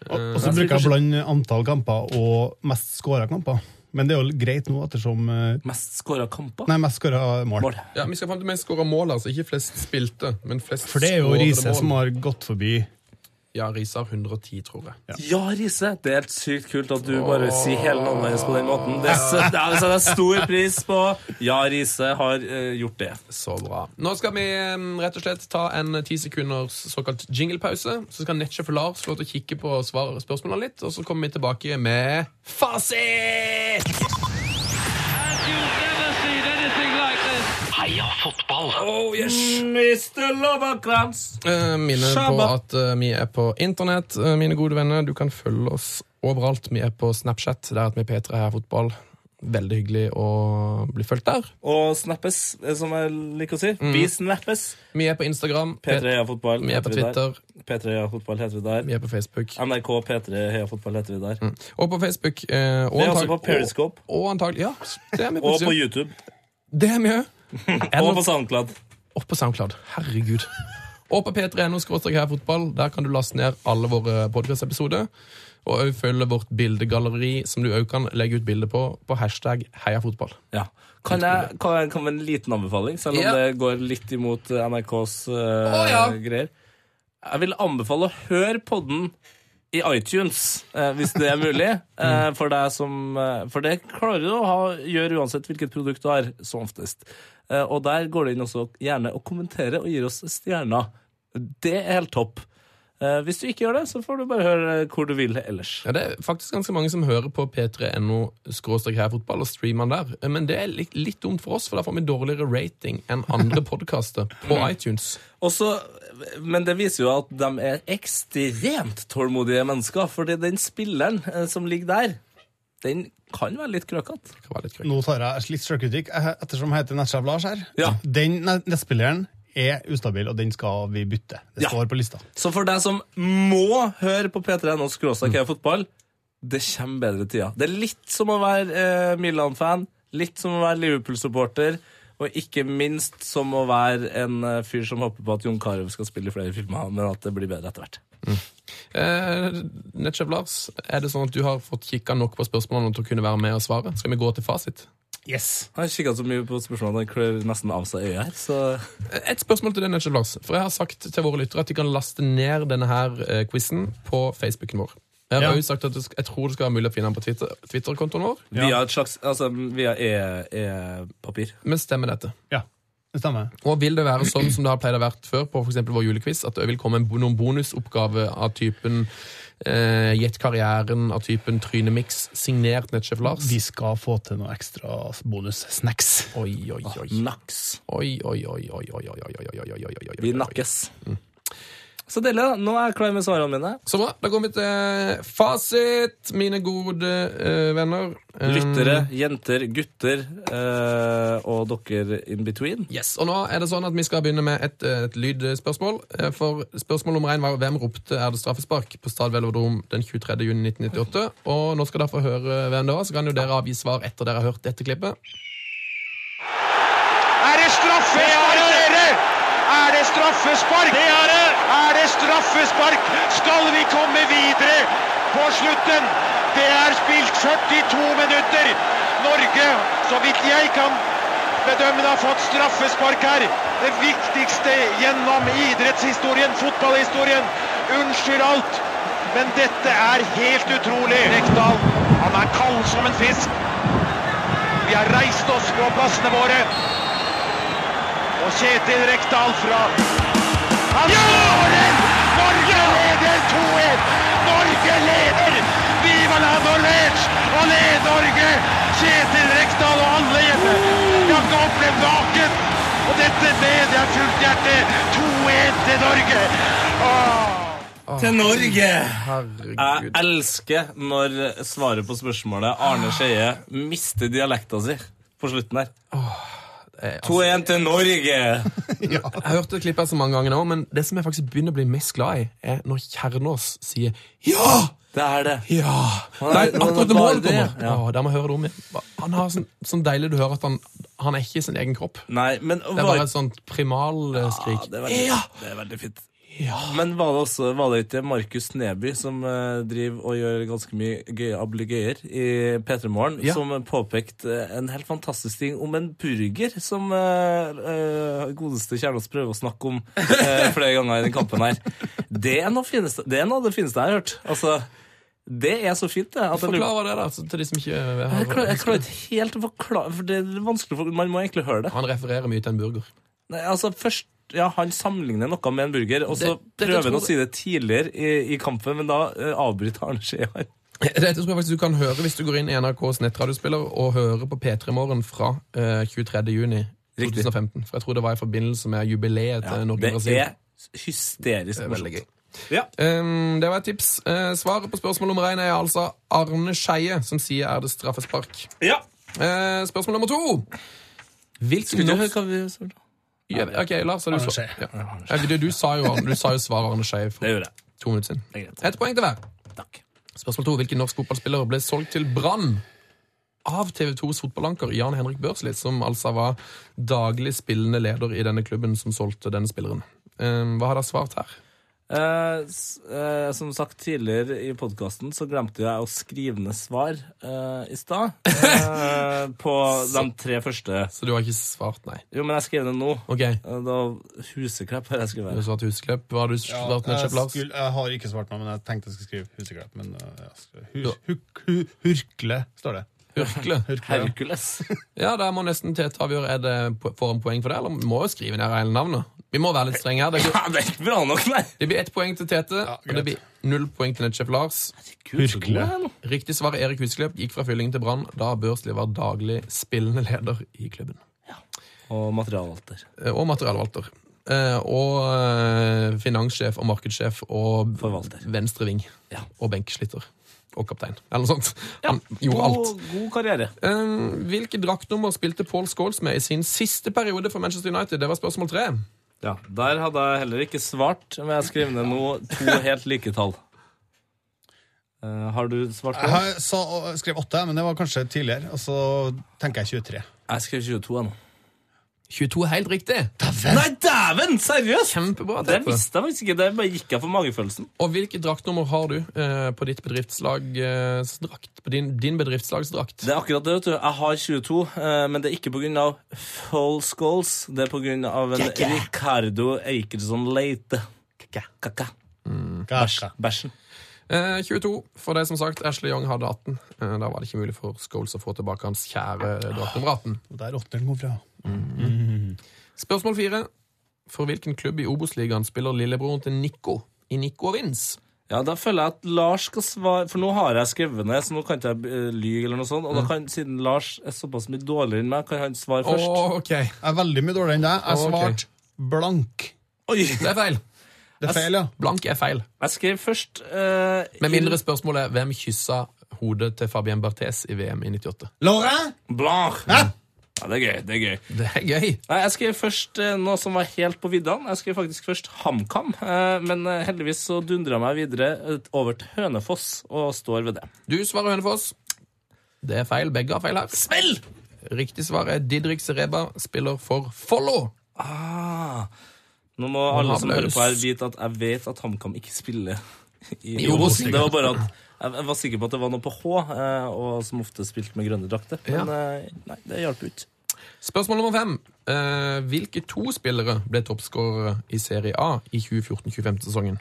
[SPEAKER 5] Og så bruker jeg å blande antall kamper og mest skåra kamper. Men det er jo greit nå ettersom eh,
[SPEAKER 4] Mest skåra kamper?
[SPEAKER 5] Nei, mest skåra mål.
[SPEAKER 4] Mål.
[SPEAKER 3] Ja, Vi skal fram til mest skåra mål, altså. Ikke flest spilte, men flest
[SPEAKER 5] For det er jo
[SPEAKER 3] skårede
[SPEAKER 5] Riise
[SPEAKER 3] mål.
[SPEAKER 5] som har gått forbi.
[SPEAKER 3] Ja, Riise har 110, tror jeg.
[SPEAKER 4] Ja, Riise! Det er helt sykt kult at du bare sier hele navnet hennes på den måten. Det setter det er- altså, det setter jeg stor pris på. Ja, Riise har eh, gjort det.
[SPEAKER 3] Så bra. Nå skal vi eh, rett og slett ta en ti sekunders såkalt jinglepause. Så skal nettsjef Lars få lov til å kikke på svar spørsmålene litt, og så kommer vi tilbake med fasit!
[SPEAKER 1] As you've never seen anything like this.
[SPEAKER 4] Oh, yes. Mr. Loverkrans.
[SPEAKER 3] Eh, minne på
[SPEAKER 4] Shabba.
[SPEAKER 3] at eh, vi er på internett, eh, mine gode venner. Du kan følge oss overalt. Vi er på Snapchat, der at vi P3 her fotball. Veldig hyggelig å bli fulgt der.
[SPEAKER 4] Og snappes, eh, som jeg liker å si. Vi snappes.
[SPEAKER 3] Vi er på Instagram.
[SPEAKER 4] P3 Heia Fotball.
[SPEAKER 3] Mm. Vi er på
[SPEAKER 4] heter vi der.
[SPEAKER 3] Twitter.
[SPEAKER 4] P3 Heia Fotball heter vi der.
[SPEAKER 3] Vi er på Facebook.
[SPEAKER 4] NRK P3 Heia Fotball heter vi der.
[SPEAKER 3] Og på Facebook. eh, Mm. og
[SPEAKER 4] Vi er også
[SPEAKER 3] antag-
[SPEAKER 4] på Periscope.
[SPEAKER 3] Og, og antagelig, ja, det er vi
[SPEAKER 4] Og på
[SPEAKER 3] på,
[SPEAKER 4] YouTube.
[SPEAKER 3] det er vi òg.
[SPEAKER 4] Og på SoundCloud.
[SPEAKER 3] Og på SoundCloud. Herregud. Og på p3.no her fotball. Der kan du laste ned alle våre podkastepisoder. Og også følge vårt bildegalleri, som du òg kan legge ut bilde på, på hashtag heiafotball.
[SPEAKER 4] Ja. Kan jeg kan jeg komme med en liten anbefaling, selv om
[SPEAKER 3] Ja.
[SPEAKER 4] det går litt imot eh, NRKs eh,
[SPEAKER 3] ja.
[SPEAKER 4] greier? Jeg vil anbefale å høre podden i iTunes, eh, hvis det er mulig. Eh, for, deg som, eh, for det klarer du å ha, gjøre uansett hvilket produkt du har, som oftest. Eh, og der går det inn også gjerne og kommenterer og gir oss stjerner. Det er helt topp. Eh, hvis du ikke gjør det, så får du bare høre eh, hvor du vil ellers.
[SPEAKER 3] Ja, Det er faktisk ganske mange som hører på p3.no herfotball og streamer den der. Men det er litt, litt dumt for oss, for da får vi dårligere rating enn andre podkaster på iTunes.
[SPEAKER 4] Og så- men det viser jo at de er ekstremt tålmodige mennesker, fordi den spilleren eh, som ligger der, den kan være litt krøkete.
[SPEAKER 3] Det kan være litt krøkt.
[SPEAKER 5] Nå tar jeg litt sjølkritikk, eh, ettersom jeg heter Nesjef Lars her.
[SPEAKER 4] Ja.
[SPEAKER 5] Den ne- nettspilleren er ustabil, og den skal vi bytte. Det
[SPEAKER 4] Ja.
[SPEAKER 5] står på lista.
[SPEAKER 4] Så for deg som må høre på P3NO skråstrek mm. fotball, det kommer bedre tider. Det er litt som å være eh, Milan-fan, litt som å være Liverpool-supporter, og ikke minst som å være en eh, fyr som håper på at Jon Carew skal spille i flere filmer, men at det blir bedre etter hvert.
[SPEAKER 3] Eh, Nettsjef Lars, er det sånn at du har fått kikka nok på spørsmålene til å kunne være med og svare? Skal vi gå til fasit?
[SPEAKER 5] Yes.
[SPEAKER 4] Jeg har kikka så mye på spørsmålene at jeg klør nesten av seg øyet her, så
[SPEAKER 3] Et spørsmål til deg, Nigel Lars. For jeg har sagt til våre lyttere at de kan laste ned denne her eh, quizen på Facebooken vår. Jeg har
[SPEAKER 5] Ja.
[SPEAKER 3] også sagt at det sk- jeg tror det skal være mulig å finne den på Twitter- Twitter-kontoen vår.
[SPEAKER 4] Via et slags Altså via e- e-papir.
[SPEAKER 3] Men stemmer dette.
[SPEAKER 5] Ja, det stemmer.
[SPEAKER 3] Og vil det være sånn som det har pleid å vært før på for eksempel vår julequiz, at det vil komme en bo- noen bonusoppgave av typen eh, Gjett karrieren, av typen Trynemiks, signert Nettsjef Lars?
[SPEAKER 5] Vi skal få til noe ekstra bonussnacks.
[SPEAKER 3] Oi, oi, oi.
[SPEAKER 4] Naks.
[SPEAKER 3] Oi, oi, oi, oi, oi, oi, oi, oi, oi, oi, oi.
[SPEAKER 4] Vi nakkes.
[SPEAKER 3] Mm.
[SPEAKER 4] Så deilig, da. Nå er jeg klar med svarene mine.
[SPEAKER 3] Så bra. Da går vi til fasit, mine gode eh, venner. Um,
[SPEAKER 4] Lyttere, jenter, gutter eh, og dere in between.
[SPEAKER 3] Yes, og nå er det sånn at Vi skal begynne med et, eh, et lydspørsmål. Eh, For Spørsmål nummer én var hvem ropte 'er det straffespark' på Stadvelodrom den 23. juni 1998. Og Nå skal dere få høre hvem det var, så kan jo dere avgi svar etter dere har hørt dette klippet.
[SPEAKER 6] Er det straffe? Det er det! Er det straffespark? Det er det! Er det straffespark? Skal vi komme videre på slutten? Det er spilt 42 minutter. Norge, så vidt jeg kan bedømme, har fått straffespark her. Det viktigste gjennom idrettshistorien, fotballhistorien. Unnskyld alt, men dette er helt utrolig. Rekdal, han er kald som en fisk. Vi har reist oss på plassene våre. og Kjetil Rekdal fra Han skårer! Norge leder 2-1! Norge leder! Viva la Norwich! Og led Norge! Kjetil Rekdal og alle hjemme. Jeg har ikke opplevd maken. Og dette med jeg fullt hjerte. 2-1 til Norge. Åh.
[SPEAKER 3] Ah.
[SPEAKER 4] Til Norge! Jeg
[SPEAKER 3] Herregud.
[SPEAKER 4] elsker når svaret på spørsmålet Arne Skeie mister dialekta si på slutten her.
[SPEAKER 3] Eh, altså,
[SPEAKER 4] 2-1 til Norge!
[SPEAKER 3] jeg har hørt det klippet her så mange ganger nå, men det som jeg faktisk begynner å bli mest glad i, er når Kjernås sier ja!
[SPEAKER 4] Det er det.
[SPEAKER 3] Ja!
[SPEAKER 4] Han er-
[SPEAKER 3] Nei, akkurat når
[SPEAKER 4] bare
[SPEAKER 3] målet
[SPEAKER 4] det,
[SPEAKER 3] kommer.
[SPEAKER 4] ja.
[SPEAKER 3] Åh, der må jeg høre det om igjen. Han har sånn, sånn deilig du hører at han, han er ikke i sin egen kropp.
[SPEAKER 4] Nei, men
[SPEAKER 3] Det er bare et sånt primalskrik.
[SPEAKER 4] Ja, det, er veldig, det er veldig fint. Men var det, også, var det ikke Markus Neby som eh, driver og gjør ganske mye gøye ablegøyer i P3 Morgen,
[SPEAKER 3] Ja.
[SPEAKER 4] som påpekte eh, en helt fantastisk ting om en burger som eh, eh, godeste Kjernås prøver å snakke om eh, flere ganger i den kampen her. Det er noe, fineste, det er noe av det fineste jeg har hørt. Altså, det er så fint, det. At jeg lurer-
[SPEAKER 3] Forklar det, da, så- til de som ikke eh,
[SPEAKER 4] jeg klarer, jeg
[SPEAKER 3] har
[SPEAKER 4] klarer ikke helt å forklare, for det er vanskelig for, Man må egentlig høre det.
[SPEAKER 3] Han refererer mye til en burger.
[SPEAKER 4] Nei, altså først ja, Han sammenligner noe med en burger, og så
[SPEAKER 3] Det- dette
[SPEAKER 4] prøver han
[SPEAKER 3] tror
[SPEAKER 4] å si det tidligere i, i kampen, men da eh, avbryter Arne Skei her.
[SPEAKER 3] Dette tror jeg faktisk du kan høre hvis du går inn i NRKs nettradiospiller og hører på P3 Morgen fra eh, 23. juni
[SPEAKER 4] Riktig.
[SPEAKER 3] 2015. For jeg tror det var i forbindelse med jubileet til Norge
[SPEAKER 4] Det
[SPEAKER 3] og Brasil.
[SPEAKER 4] er hysterisk
[SPEAKER 3] Veldig gøy.
[SPEAKER 4] morsomt. Ja.
[SPEAKER 3] Ehm, det var et tips. Eh, svaret på spørsmål nummer én er altså Arne Skeie, som sier er det straffespark.
[SPEAKER 4] ja.
[SPEAKER 3] Eh, spørsmål nummer to. Hvilken
[SPEAKER 4] Vil du
[SPEAKER 3] norsk
[SPEAKER 4] høre hva vi svarte?
[SPEAKER 3] Ja, Ok, Lars, har du
[SPEAKER 5] Arne
[SPEAKER 3] svar?
[SPEAKER 5] Skeie.
[SPEAKER 3] Ja. Ja, du, du sa jo Arne- du sa jo svaret Arne Skeie for
[SPEAKER 4] Det gjør jeg.
[SPEAKER 3] to minutter siden.
[SPEAKER 4] Det er greit.
[SPEAKER 3] Ett poeng til hver.
[SPEAKER 4] Takk.
[SPEAKER 3] Spørsmål to. Hvilken norsk fotballspiller ble solgt til Brann av TV 2s fotballanker Jan Henrik Børsli, som altså var daglig spillende leder i denne klubben som solgte denne spilleren? Ehm, hva har dere svart her?
[SPEAKER 4] Eh, s- eh, som sagt tidligere i podkasten så glemte jeg å skrive ned svar eh, i stad. eh, på de tre første.
[SPEAKER 3] Så du har ikke svart nei?
[SPEAKER 4] Jo, men jeg skrev det nå.
[SPEAKER 3] Ok, du
[SPEAKER 4] Eh, Da Huseklepp har jeg skrevet.
[SPEAKER 3] har svart Husklepp. Hva har du
[SPEAKER 5] Ja,
[SPEAKER 3] svart
[SPEAKER 5] jeg,
[SPEAKER 3] nettopp, Lars?
[SPEAKER 5] skulle, jeg har ikke svart noe, men jeg tenkte jeg skulle skrive Huseklepp. Men uh, ja, skal- hus, huk, hu, Hurkle står det.
[SPEAKER 3] Hurkle.
[SPEAKER 5] Hurkle, ja.
[SPEAKER 4] Hercules.
[SPEAKER 3] Ja, der må nesten Tete avgjøre. Er det po- får han poeng for det, eller vi må jo skrive ned hele navnet? Vi må være litt strenge her. Det, går,
[SPEAKER 4] Ja, det er ikke bra nok, nei!
[SPEAKER 3] det blir ett poeng til Tete, og det
[SPEAKER 5] greit.
[SPEAKER 3] blir null poeng til Nettsjef Lars.
[SPEAKER 5] Hurkle.
[SPEAKER 3] Riktig svar er Erik Husklepp. Gikk fra fylling til brann da Børsli var daglig spillende leder i klubben.
[SPEAKER 4] Og materialvalter.
[SPEAKER 3] Eh, Og materialvalter. Eh, Og eh, finanssjef og markedssjef og
[SPEAKER 4] Forvalter.
[SPEAKER 3] venstreving.
[SPEAKER 4] Ja.
[SPEAKER 3] Og benkesliter. Og kaptein, eller noe sånt. Han gjorde alt.
[SPEAKER 4] god karriere.
[SPEAKER 3] Eh, Hvilke draktnummer spilte Paul Scholes med i sin siste periode for Manchester United? Det var spørsmål tre.
[SPEAKER 4] Ja, Der hadde jeg heller ikke svart, men jeg skrev ned nå to helt like tall. Eh, har du svart på det?
[SPEAKER 5] Jeg sa, jeg skrev åtte, men det var kanskje tidligere. Og så tenker jeg 23.
[SPEAKER 4] Jeg skrev 22 jeg, nå.
[SPEAKER 3] 22 er helt riktig.
[SPEAKER 4] Nei, dæven! Seriøst!
[SPEAKER 3] Kjempebra.
[SPEAKER 4] Det
[SPEAKER 3] Tete.
[SPEAKER 4] visste jeg faktisk ikke. Det bare gikk jeg for magefølelsen.
[SPEAKER 3] Og hvilket draktnummer har du eh, på ditt bedriftslagsdrakt? På din, din bedriftslagsdrakt?
[SPEAKER 4] Det er akkurat det, vet du. Jeg har 22, eh, men det er ikke pga. full skulls. Det er pga. en Ricardo Eikerson Leite. Kaka.
[SPEAKER 5] Gæsja.
[SPEAKER 4] Bæsjen.
[SPEAKER 3] Eh, 22, for det som sagt, Ashley Young hadde 18. Eh, da var det ikke mulig for Scholes å få tilbake hans kjære draktnummer 18.
[SPEAKER 5] Og Der åtteren kom fra.
[SPEAKER 3] Spørsmål 4. For hvilken klubb i Obos-ligaen spiller lillebroren til Nico i Nico og Vins?
[SPEAKER 4] Ja, da føler jeg at Lars skal svare For nå har jeg skrevet ned, så nå kan ikke jeg eh, lyge eller noe sånt.
[SPEAKER 3] Mm.
[SPEAKER 4] Og da kan, siden Lars er såpass mye dårligere enn meg, kan han svare
[SPEAKER 3] Å,
[SPEAKER 4] først.
[SPEAKER 3] ok.
[SPEAKER 5] Jeg er veldig mye dårligere enn deg. Jeg
[SPEAKER 3] Ok.
[SPEAKER 5] svarte blank.
[SPEAKER 4] Oi!
[SPEAKER 3] Det er feil.
[SPEAKER 5] Det er feil, ja.
[SPEAKER 3] Blank er feil.
[SPEAKER 4] Jeg skrev først eh,
[SPEAKER 3] Med mindre spørsmålet er hvem kyssa hodet til Fabien Barthes i VM i 98?
[SPEAKER 5] Laurent!
[SPEAKER 4] Blanc. Ja, det er gøy. det er gøy.
[SPEAKER 3] Det er gøy.
[SPEAKER 4] Nei, Jeg skrev først eh, noe som var helt på viddene. Jeg skrev faktisk først HamKam. eh, Men eh, heldigvis så dundra jeg meg videre eh, over til Hønefoss og står ved det.
[SPEAKER 3] Du svarer Hønefoss. Det er feil. Begge har feil her.
[SPEAKER 4] Spill!
[SPEAKER 3] Riktig svar er Didrik Sereba, spiller for Follo.
[SPEAKER 4] Ah, nå må alle som hører
[SPEAKER 3] Applaus.
[SPEAKER 4] på her vite at jeg vet at HamKam ikke spiller i
[SPEAKER 3] I Obos-ligaen.
[SPEAKER 4] Det var bare at jeg jeg var sikker på at det var noe på H, eh, og som ofte spilte med grønne drakter. Men eh, nei, det hjalp ikke.
[SPEAKER 3] Spørsmål nummer fem. Eh, hvilke to spillere ble toppskårere i Serie A i 2014-2015-sesongen?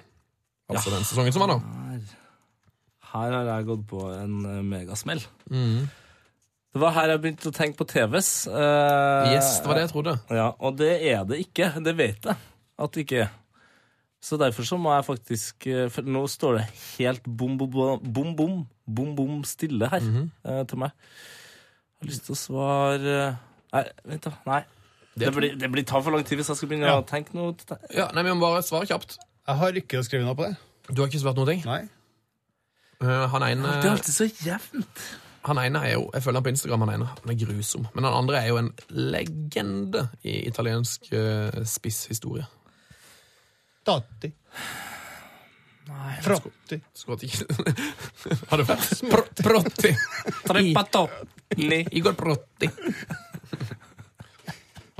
[SPEAKER 3] Altså den sesongen som var nå. Mm.
[SPEAKER 4] Her har jeg gått på en eh, megasmell. Det var her jeg begynte å tenke på TVs. eh,
[SPEAKER 3] Yes, det var Eh, det jeg trodde.
[SPEAKER 4] Ja, og det er det ikke. Det vet jeg at det ikke er. Så derfor så må jeg faktisk eh, For nå står det helt bom, bom, bom, bom, bom, bom, bom stille her eh, til meg. Jeg har lyst til å svare eh, Nei, vent, da. Nei. Det,
[SPEAKER 3] Det-
[SPEAKER 4] blir, det blir ta for lang tid hvis jeg skal begynne
[SPEAKER 5] Ja.
[SPEAKER 4] å tenke noe. til det.
[SPEAKER 3] Ja, nei, Vi må bare svare kjapt.
[SPEAKER 5] Jeg har ikke skrevet noe på det.
[SPEAKER 3] Du har ikke svart noen ting?
[SPEAKER 5] Nei.
[SPEAKER 3] Eh, han ene
[SPEAKER 4] Det er alltid så jevnt.
[SPEAKER 3] Han ene er jo, jeg følger han på Instagram, han ene han er grusom. Men han andre er jo en legende i italiensk eh, spisshistorie.
[SPEAKER 5] Tatti.
[SPEAKER 4] Nei,
[SPEAKER 5] Frotti.
[SPEAKER 3] Skåret ikke Har du vært Pro Protti? I-
[SPEAKER 4] Nei.
[SPEAKER 3] Igor Protti.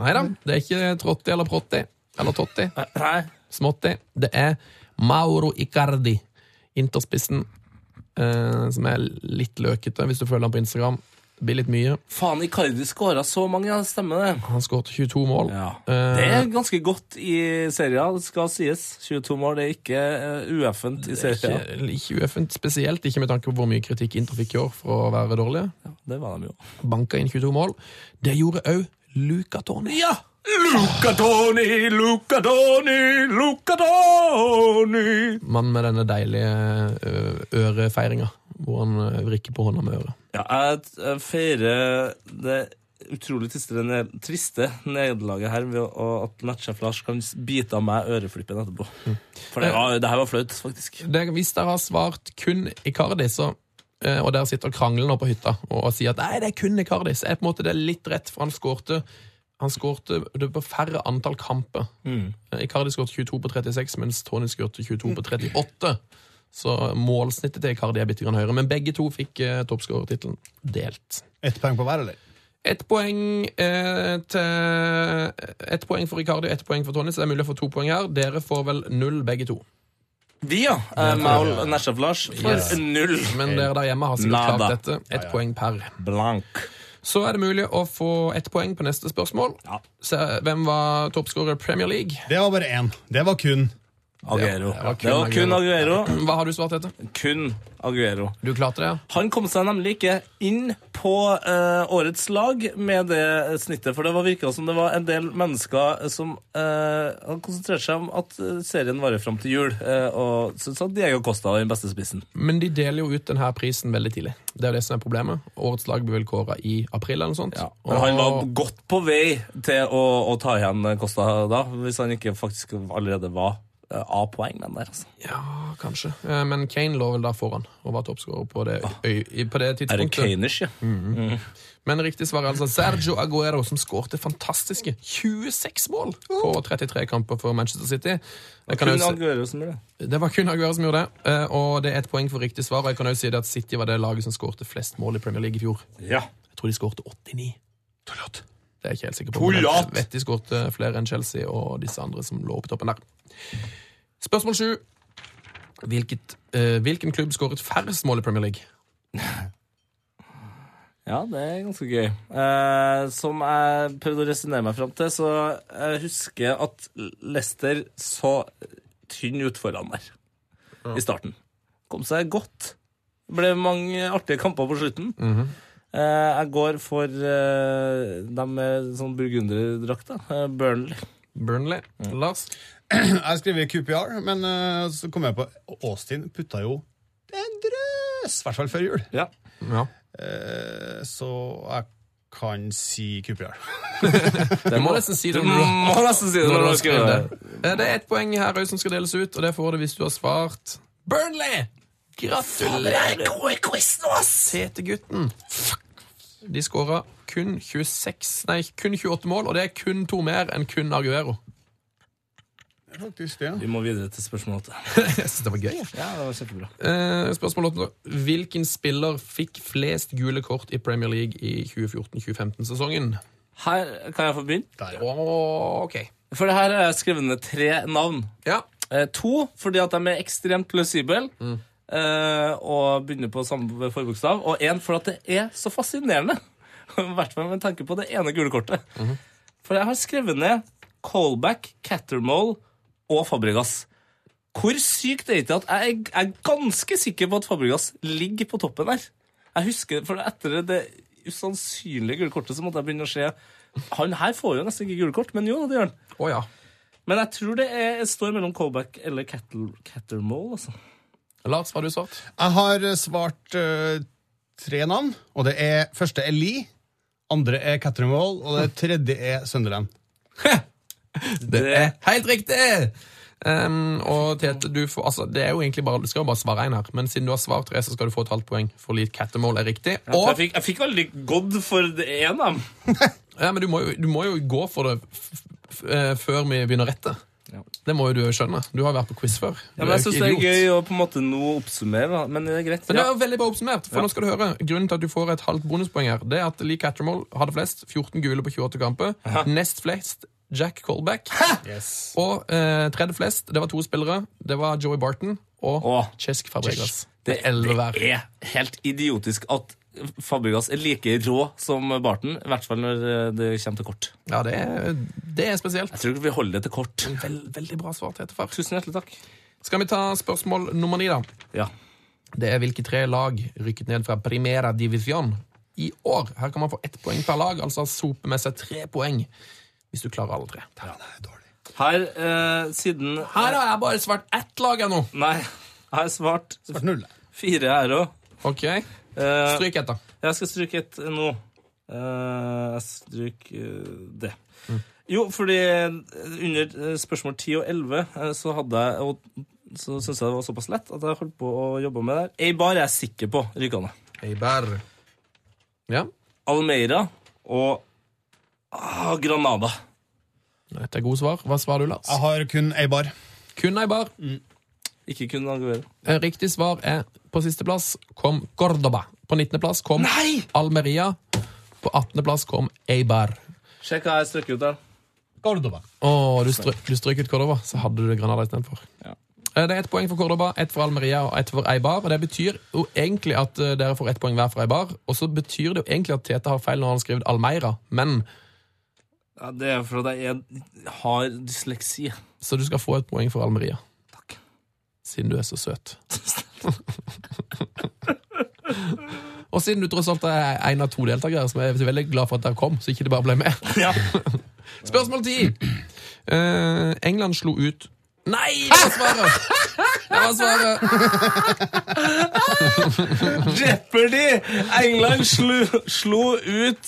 [SPEAKER 3] Nei da, det er ikke Trotti eller Protti eller Totti.
[SPEAKER 4] Nei.
[SPEAKER 3] Smotti. Det er Mauro Icardi, interspissen, eh, som er litt løkete, hvis du følger han på Instagram. Det blir litt mye.
[SPEAKER 4] Faen, Icardi skåra så mange, ja, det stemmer det.
[SPEAKER 3] Han skåret 22 mål. Eh,
[SPEAKER 4] Det er ganske godt i serien, det skal sies. 22 mål det er ikke eh, ueffent i serien.
[SPEAKER 3] Ikke, ikke ueffent, spesielt ikke med tanke på hvor mye kritikk Inter fikk i år for å være dårlige.
[SPEAKER 4] Det var de jo.
[SPEAKER 3] Banka inn 22 mål. Det gjorde òg Luca Toni.
[SPEAKER 4] Ja! Luca Toni, Luca Toni, Luca Toni.
[SPEAKER 3] Mannen med denne deilige ø, ørefeiringa, hvor han ø, vrikker på hånda med øret.
[SPEAKER 4] Ja, jeg jeg feirer det utrolig triste, ned, triste nederlaget her ved å, at nettsjef Lars kan bite av meg øreflippen etterpå. For det, var, det her var flaut, faktisk.
[SPEAKER 3] Det, hvis dere har svart kun Icardi, så ø, og dere sitter og krangler nå på hytta og, og sier at nei, det er kun Icardi, så er på en måte det litt rett, for han skårte han skårte det på færre antall kamper. Eh, Icardi skårte 22 på 36, mens Tony skårte 22 på 38. Så målsnittet til Icardi er bitte grann høyere. Men begge to fikk eh, toppskårertittelen delt.
[SPEAKER 5] Ett poeng på hver, eller?
[SPEAKER 3] Ett poeng, eh, til- ett poeng for Icardi og ett poeng for Tony, så det er mulig å få to poeng her. Dere får vel null, begge to.
[SPEAKER 4] Vi, ja. eh, Meg og nettsjef Lars får
[SPEAKER 3] Yes.
[SPEAKER 4] null
[SPEAKER 3] Men dere der hjemme har sikkert
[SPEAKER 4] Nada.
[SPEAKER 3] klart dette. Ett poeng per.
[SPEAKER 4] blank.
[SPEAKER 3] Så er det mulig å få ett poeng på neste spørsmål.
[SPEAKER 4] Ja.
[SPEAKER 3] Så, hvem var toppskårer i Premier League?
[SPEAKER 5] Det var bare én. Det var kun
[SPEAKER 4] Aguero.
[SPEAKER 3] Det var kun
[SPEAKER 4] Det var kun Aguero.
[SPEAKER 3] Hva har du svart etter?
[SPEAKER 4] Kun Aguero.
[SPEAKER 3] Du klarte det? ja?
[SPEAKER 4] Han kom seg nemlig ikke inn på eh, årets lag med det snittet, for det var virka som det var en del mennesker som eh, han konsentrerte seg om at eh, serien varer fram til jul, eh, og syntes at Diego Costa var den beste spissen.
[SPEAKER 3] Men de deler jo ut denne prisen veldig tidlig. Det er jo det som er problemet. Årets lag blir vel kåra i april eller noe sånt.
[SPEAKER 4] Men han var
[SPEAKER 3] Og-
[SPEAKER 4] godt på vei til å, å ta igjen Costa da, hvis han ikke faktisk allerede var eh, A-poeng, den der, altså.
[SPEAKER 3] Ja, kanskje. Eh, Men Kane lå vel der foran og var toppskårer på det, øy- i- på det
[SPEAKER 4] Ah. Er det
[SPEAKER 3] tidspunktet.
[SPEAKER 4] Kanish, ja?
[SPEAKER 3] Men riktig svar er altså Sergio Aguero, som skårte fantastiske 26 mål på 33 kamper for Manchester City. Jeg kan jo
[SPEAKER 4] Kun
[SPEAKER 3] si-
[SPEAKER 4] Aguero som gjør det.
[SPEAKER 3] Det var kun Aguero som gjorde det, eh, og det er et poeng for riktig svar. Og jeg kan også si det at City var det laget som skårte flest mål i Premier League i fjor.
[SPEAKER 4] Ja.
[SPEAKER 3] Jeg tror de skårte 89. Tullat. Det er jeg ikke helt sikker på. men Jeg vet de skårte flere enn Chelsea og disse andre som lå på toppen der. Spørsmål sju. Hvilket, eh, hvilken klubb skåret færrest mål i Premier League?
[SPEAKER 4] Ja, det er ganske gøy. Eh, som jeg prøvde å resonnere meg fram til, så jeg husker at Lester så tynn ut foran der i starten. Kom seg godt. Det ble mange artige kamper på slutten. Eh, jeg går for eh, dem med sånn burgunderdrakta. eh, Burnley.
[SPEAKER 3] Burnley. Lars?
[SPEAKER 5] Jeg skrev QPR, men eh, så kom jeg på Austin putta jo en drøs, i hvert fall før jul.
[SPEAKER 4] Ja.
[SPEAKER 3] Ja.
[SPEAKER 5] Eh, Så jeg kan si QPR.
[SPEAKER 3] Du må nesten si det
[SPEAKER 4] Du
[SPEAKER 3] når du
[SPEAKER 4] må nesten si det når du skriver det.
[SPEAKER 3] Eh, Det er ett poeng her også som skal deles ut, og det får du hvis du har svart Burnley! Gratulerer! Se til gutten. De skåra kun 26, nei, kun 28 mål, og det er kun to mer enn kun Arguero.
[SPEAKER 5] Faktisk, det,
[SPEAKER 4] Vi
[SPEAKER 5] ja.
[SPEAKER 4] må videre til spørsmål åtte.
[SPEAKER 3] Jeg synes det var gøy. jeg.
[SPEAKER 4] Ja, det var kjempebra.
[SPEAKER 3] Eh, spørsmål 8. Hvilken spiller fikk flest gule kort i Premier League i 2014-2015-sesongen?
[SPEAKER 4] Her kan jeg få begynne.
[SPEAKER 5] Der, ja.
[SPEAKER 3] Ok.
[SPEAKER 4] For det her har jeg skrevet ned tre navn.
[SPEAKER 3] Ja.
[SPEAKER 4] Eh, to, fordi at de er ekstremt plausible eh, og begynner på samme forbokstav. Og én, for at det er så fascinerende. I hvert fall med tanke på det ene gule kortet. For jeg har skrevet ned Colback, Cattermole og Fabregas. Hvor sykt er det ikke at jeg er- jeg er ganske sikker på at Fabregas ligger på toppen her. Jeg husker, for etter det usannsynlige gule kortet, så måtte jeg begynne å se Han her får jo nesten ikke gule kort, men jo, det gjør han.
[SPEAKER 3] Å ja.
[SPEAKER 4] Men jeg tror det er, står mellom Colback eller Cattle- Cattermole, altså.
[SPEAKER 3] Lars, hva har du svart?
[SPEAKER 5] Jeg har eh, svart eh, tre navn, og det er første er Lee, andre er Catherine Wall, og det tredje er Sunderland.
[SPEAKER 3] Det er helt riktig! Ehm, og Tete, du får, altså, det er jo egentlig bare, du skal jo bare svare en her, men siden du har svart tre, så skal du få et halvt poeng for litt kattemål er riktig.
[SPEAKER 4] Jeg
[SPEAKER 3] Og,
[SPEAKER 4] fikk, jeg fikk veldig godt for én av dem.
[SPEAKER 3] ja, men du må, jo, du må jo gå for det f f eh, før vi begynner rette.
[SPEAKER 4] Ja.
[SPEAKER 3] Det må jo du skjønne. Du har vært på quiz før. Du
[SPEAKER 4] Ja, men jeg
[SPEAKER 3] jo
[SPEAKER 4] syns
[SPEAKER 3] ikke
[SPEAKER 4] det er
[SPEAKER 3] idiot.
[SPEAKER 4] gøy å på en måte nå oppsummere, da. men det er greit.
[SPEAKER 3] Men det
[SPEAKER 4] Ja.
[SPEAKER 3] er jo veldig bra oppsummert, for
[SPEAKER 4] Ja.
[SPEAKER 3] nå skal du høre. Grunnen til at du får et halvt bonuspoeng her, det er at Lee Cattermole hadde flest, 14 gule på 28 kamper. Nest flest, Jack Colback. Og eh, tredje flest, det var to spillere. Det var Joey Barton og
[SPEAKER 4] Åh.
[SPEAKER 3] Chesk Fabregas.
[SPEAKER 4] Det,
[SPEAKER 3] Med elleve hver.
[SPEAKER 4] det er helt idiotisk at Fabregas er like rå som Barton, i hvert fall når eh, det kommer til kort.
[SPEAKER 3] Ja, det er, det er spesielt.
[SPEAKER 4] Jeg tror ikke vi holder det til kort.
[SPEAKER 3] Vel, veldig bra svar til etterfar.
[SPEAKER 4] Tusen hjertelig takk.
[SPEAKER 3] Skal vi ta spørsmål nummer ni, da?
[SPEAKER 4] Ja.
[SPEAKER 3] Det er hvilke tre lag rykket ned fra Primera Divisjon i år. Her kan man få ett poeng per lag, altså sope med seg tre poeng hvis du klarer alle tre.
[SPEAKER 4] Her, eh, siden
[SPEAKER 3] Her har jeg bare svart ett lag ennå.
[SPEAKER 4] Nei, jeg har svart
[SPEAKER 5] Svart null.
[SPEAKER 4] fire her Eh, òg.
[SPEAKER 3] Ok, Eh, Stryk ett, da.
[SPEAKER 4] Jeg skal stryke et nå. Eh, jeg stryker eh, det. Jo, fordi under eh, spørsmål 10 og 11 eh, så hadde jeg og så syntes jeg det var såpass lett at jeg holdt på å jobbe med det her. Ei bar er jeg sikker på rykker ned.
[SPEAKER 3] Eibar. Ja.
[SPEAKER 4] Almeira og ah, Granada.
[SPEAKER 3] Dette er gode svar. Hva svarer du, Lars?
[SPEAKER 5] Jeg har kun ei bar.
[SPEAKER 3] Kun Eibar.
[SPEAKER 4] Ikke kunne Aguero.
[SPEAKER 3] Eh, Riktig svar er på sisteplass kom Cordoba. På 19. plass kom
[SPEAKER 4] Nei!
[SPEAKER 3] Almeria. På 18. plass kom Eibar.
[SPEAKER 4] Sjekk hva jeg strøk ut der.
[SPEAKER 5] Cordoba.
[SPEAKER 3] Å, du, stry du stryk ut Cordoba, så hadde du Granada istedenfor.
[SPEAKER 4] Ja.
[SPEAKER 3] Eh, Det er ett poeng for Cordoba, ett for Almeria og ett for Eibar. Og Det betyr jo egentlig at eh, dere får ett poeng hver for Eibar. Og så betyr det jo egentlig at Tete har feil når han har skrevet Almeira, men
[SPEAKER 4] Ja, det er fordi jeg har dysleksi.
[SPEAKER 3] Så du skal få et poeng for Almeria.
[SPEAKER 4] Takk.
[SPEAKER 3] Siden du er så søt. Og siden du tross alt er en av to deltakere, som jeg er veldig glad for at dere kom. så ikke det bare ble med.
[SPEAKER 4] Ja.
[SPEAKER 3] Spørsmål ti. Eh, England slo ut Nei, det var svaret! Det var svaret.
[SPEAKER 4] Jeopardy! England slo, slo ut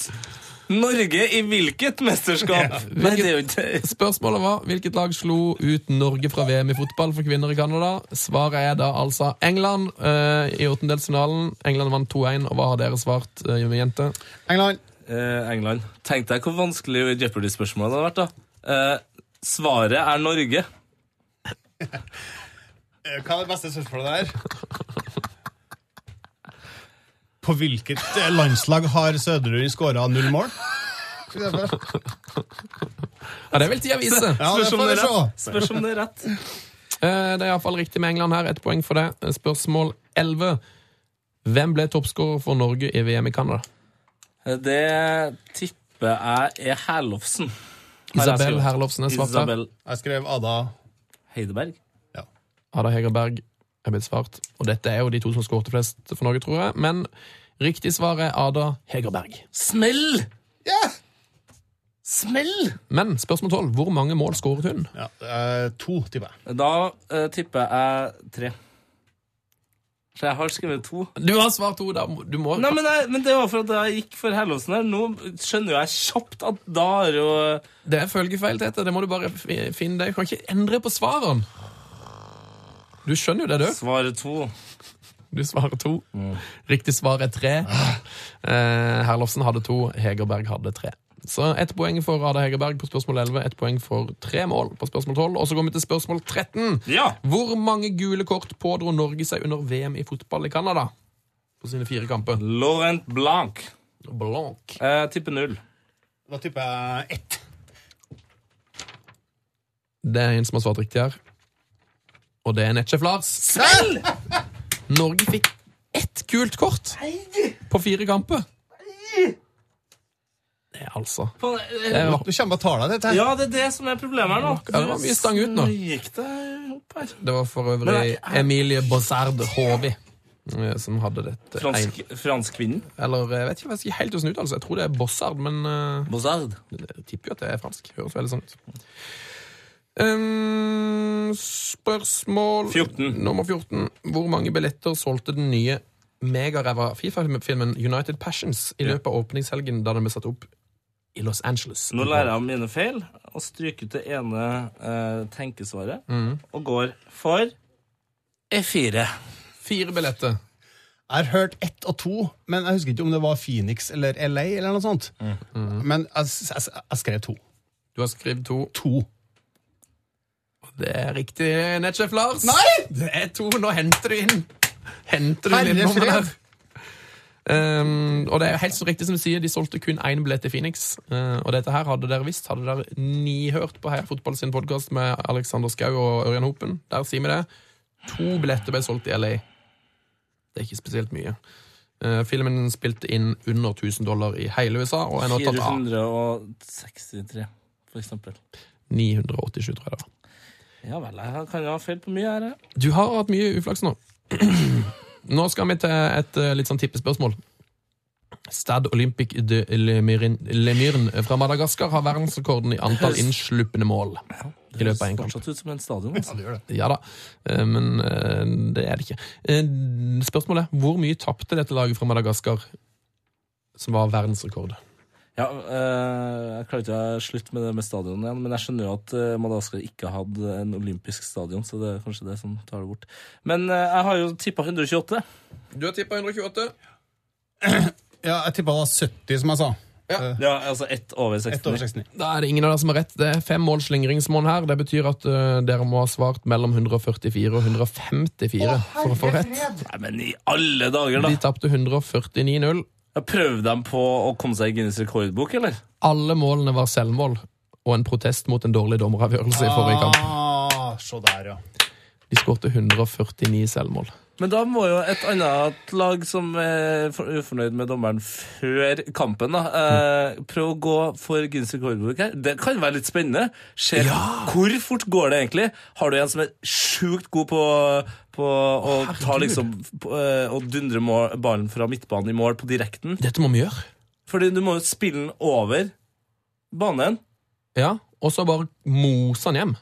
[SPEAKER 4] Norge i hvilket mesterskap? Nei, det er jo ikke
[SPEAKER 3] Spørsmålet var hvilket lag slo ut Norge fra VM i fotball for kvinner i Canada. Svaret er da altså England eh, i åttendelsfinalen. England vant 2-1, og hva har dere svart, eh, jente?
[SPEAKER 5] England.
[SPEAKER 4] eh, England. Tenk deg hvor vanskelig Jeopardy-spørsmålet hadde vært. da. Eh, svaret er Norge.
[SPEAKER 5] Eh, Hva er det beste spørsmålet der? På hvilket eh, landslag har Søderud skåra null mål? For eksempel.
[SPEAKER 3] Ja, det vil tida vise.
[SPEAKER 5] Ja, det
[SPEAKER 4] Spørs om
[SPEAKER 5] får vi
[SPEAKER 4] det er
[SPEAKER 5] se.
[SPEAKER 4] rett. Spørs om det er rett.
[SPEAKER 3] Eh, Det er iallfall riktig med England her. Ett poeng for det. Spørsmål 11. Hvem ble toppskårer for Norge i VM i Canada?
[SPEAKER 4] Eh, Det tipper jeg er Herlofsen. Har jeg
[SPEAKER 3] Isabel
[SPEAKER 4] skrevet.
[SPEAKER 3] Herlofsen er svart her.
[SPEAKER 4] Isabel
[SPEAKER 5] Jeg skrev Ada.
[SPEAKER 4] Heideberg.
[SPEAKER 3] Ada Hegerberg er blitt svart. Og dette er jo de to som skårte flest for Norge, tror jeg. Men riktig svar er Ada Hegerberg.
[SPEAKER 4] Smell!
[SPEAKER 5] Ja!
[SPEAKER 4] Smell!
[SPEAKER 3] Men spørsmål 12. Hvor mange mål skåret hun?
[SPEAKER 5] ja eh, to, tipper jeg.
[SPEAKER 4] Da eh, tipper jeg tre. Så jeg har skrevet to.
[SPEAKER 3] Du har svart to, da. må- Du må
[SPEAKER 4] Nei, men, jeg, men det var for at jeg gikk for Herlovsen her. Nå skjønner jo jeg kjapt at da er jo
[SPEAKER 3] Det er følgefeil, Tete. Det må du bare fi- finne. deg. Du kan ikke endre på svaren. Du skjønner jo det, du.
[SPEAKER 4] svaret to.
[SPEAKER 3] Du svarer to. Riktig svar er tre. Eh, Herlofsen hadde to, Hegerberg hadde tre. Så ett poeng for Ada Hegerberg på spørsmål 11, ett poeng for tre mål på spørsmål 12. Og så går vi til spørsmål 13.
[SPEAKER 4] Ja!
[SPEAKER 3] Hvor mange gule kort pådro Norge seg under VM i fotball i Canada? På sine fire kamper.
[SPEAKER 4] Laurent Blanc.
[SPEAKER 3] Blanc.
[SPEAKER 4] Eh, tipper null.
[SPEAKER 5] Da tipper jeg ett.
[SPEAKER 3] Det er en som har svart riktig her. Og det er Netchef Lars.
[SPEAKER 4] Smell!
[SPEAKER 3] Norge fikk ett gult kort på fire kamper. Det er altså Det er
[SPEAKER 5] Du kommer bare tala dette. her.
[SPEAKER 4] eh, Ja, det er det som er problemet her nå.
[SPEAKER 3] Ja, det var mye stang ut nå.
[SPEAKER 4] Gikk det opp her?
[SPEAKER 3] Det var for
[SPEAKER 4] Men
[SPEAKER 3] øvrig
[SPEAKER 4] jeg-
[SPEAKER 3] Emilie Bozard Håvi. eh, som hadde dette
[SPEAKER 4] Fransk, Franskvinnen.
[SPEAKER 3] en- Eller eh, jeg vet ikke, jeg vet ikke helt hvordan uttalelse. Jeg tror det er Bossard, men eh,
[SPEAKER 4] Mozart.
[SPEAKER 3] jeg tipper jo at det er fransk. Høres veldig sånn ut. Ehm, spørsmål
[SPEAKER 4] 14.
[SPEAKER 3] nummer 14. Hvor mange billetter solgte den nye megaræva Fifa-filmen United Passions i løpet av åpningshelgen da den ble satt opp i Los Angeles?
[SPEAKER 4] Nå lærer jeg av mine feil og stryker ut det ene eh, tenkesvaret
[SPEAKER 3] Mm.
[SPEAKER 4] og går for E E4.
[SPEAKER 3] Fire billetter.
[SPEAKER 5] Jeg har hørt ett og to, men jeg husker ikke om det var Phoenix eller LA eller noe sånt. Men jeg, s- jeg, s- jeg skrev to.
[SPEAKER 3] Du har skrevet to.
[SPEAKER 5] To.
[SPEAKER 3] Det er riktig, nettsjef Lars. Nei! Det er to. Nå henter du inn. Henter du
[SPEAKER 5] Herre
[SPEAKER 3] inn nummeren
[SPEAKER 5] fred.
[SPEAKER 3] her. Um, og det er helt så riktig som du sier, de solgte kun én billett til Phoenix. Uh, og dette her hadde dere visst, hadde dere nihørt på Heia Fotball sin podkast med Alexander Skau og Ørjan Hopen. Der sier vi det. To billetter ble solgt i LA. Det er ikke spesielt mye. Uh, filmen spilte inn under 1000 dollar i hele USA, og er nå tatt av
[SPEAKER 4] 463, for eksempel.
[SPEAKER 3] 987, tror jeg det var.
[SPEAKER 4] Ja vel, jeg kan jo ha feil på mye her. jeg.
[SPEAKER 3] Du har hatt mye uflaks nå. nå skal vi til et eh, litt sånn tippespørsmål. Stad Olympic de Lemirin, Lemiren fra Madagaskar har verdensrekorden i antall innsluppende mål. I løpet av en
[SPEAKER 4] Det høres
[SPEAKER 3] kamp.
[SPEAKER 4] fortsatt ut som en stadion. Altså.
[SPEAKER 3] Ja da, eh, men eh, det er det ikke. Eh, Spørsmålet er hvor mye tapte dette laget fra Madagaskar, som var verdensrekord?
[SPEAKER 4] Ja, eh, jeg klarer ikke å slutte med det med stadion igjen, men jeg skjønner jo at eh, Madagaskar ikke hadde en olympisk stadion, så det er kanskje det som tar det bort. Men eh, jeg har jo tippa 128.
[SPEAKER 3] Du har tippa 128.
[SPEAKER 5] Ja, jeg tippa det var 70, som jeg sa.
[SPEAKER 4] Ja, altså ett over 69.
[SPEAKER 5] Ett over 69.
[SPEAKER 3] Da er det ingen av dere som har rett. Det er fem mål slingringsmål her. Det betyr at eh, dere må ha svart mellom 144 og 154 for å få rett.
[SPEAKER 4] Nei, men i alle dager, da!
[SPEAKER 3] De tapte 149-0.
[SPEAKER 4] Jeg prøvde de på å komme seg i Guinness rekordbok, eller?
[SPEAKER 3] Alle målene var selvmål og en protest mot en dårlig dommeravgjørelse i forrige kamp.
[SPEAKER 5] Ah, se der, ja.
[SPEAKER 3] De skårte 149 selvmål.
[SPEAKER 4] Men da må jo et annet lag som er for- ufornøyd med dommeren før kampen, da, eh, prøve å gå for Guinness rekordbok her. Det kan være litt spennende. Se hvor fort går det egentlig. Har du en som er sjukt god på, på å ta liksom på, eh, Å dundre mål, ballen fra midtbanen i mål på direkten?
[SPEAKER 3] Dette må vi gjøre.
[SPEAKER 4] Fordi du må jo spille den over banen.
[SPEAKER 3] Ja, Og så bare mose han hjem.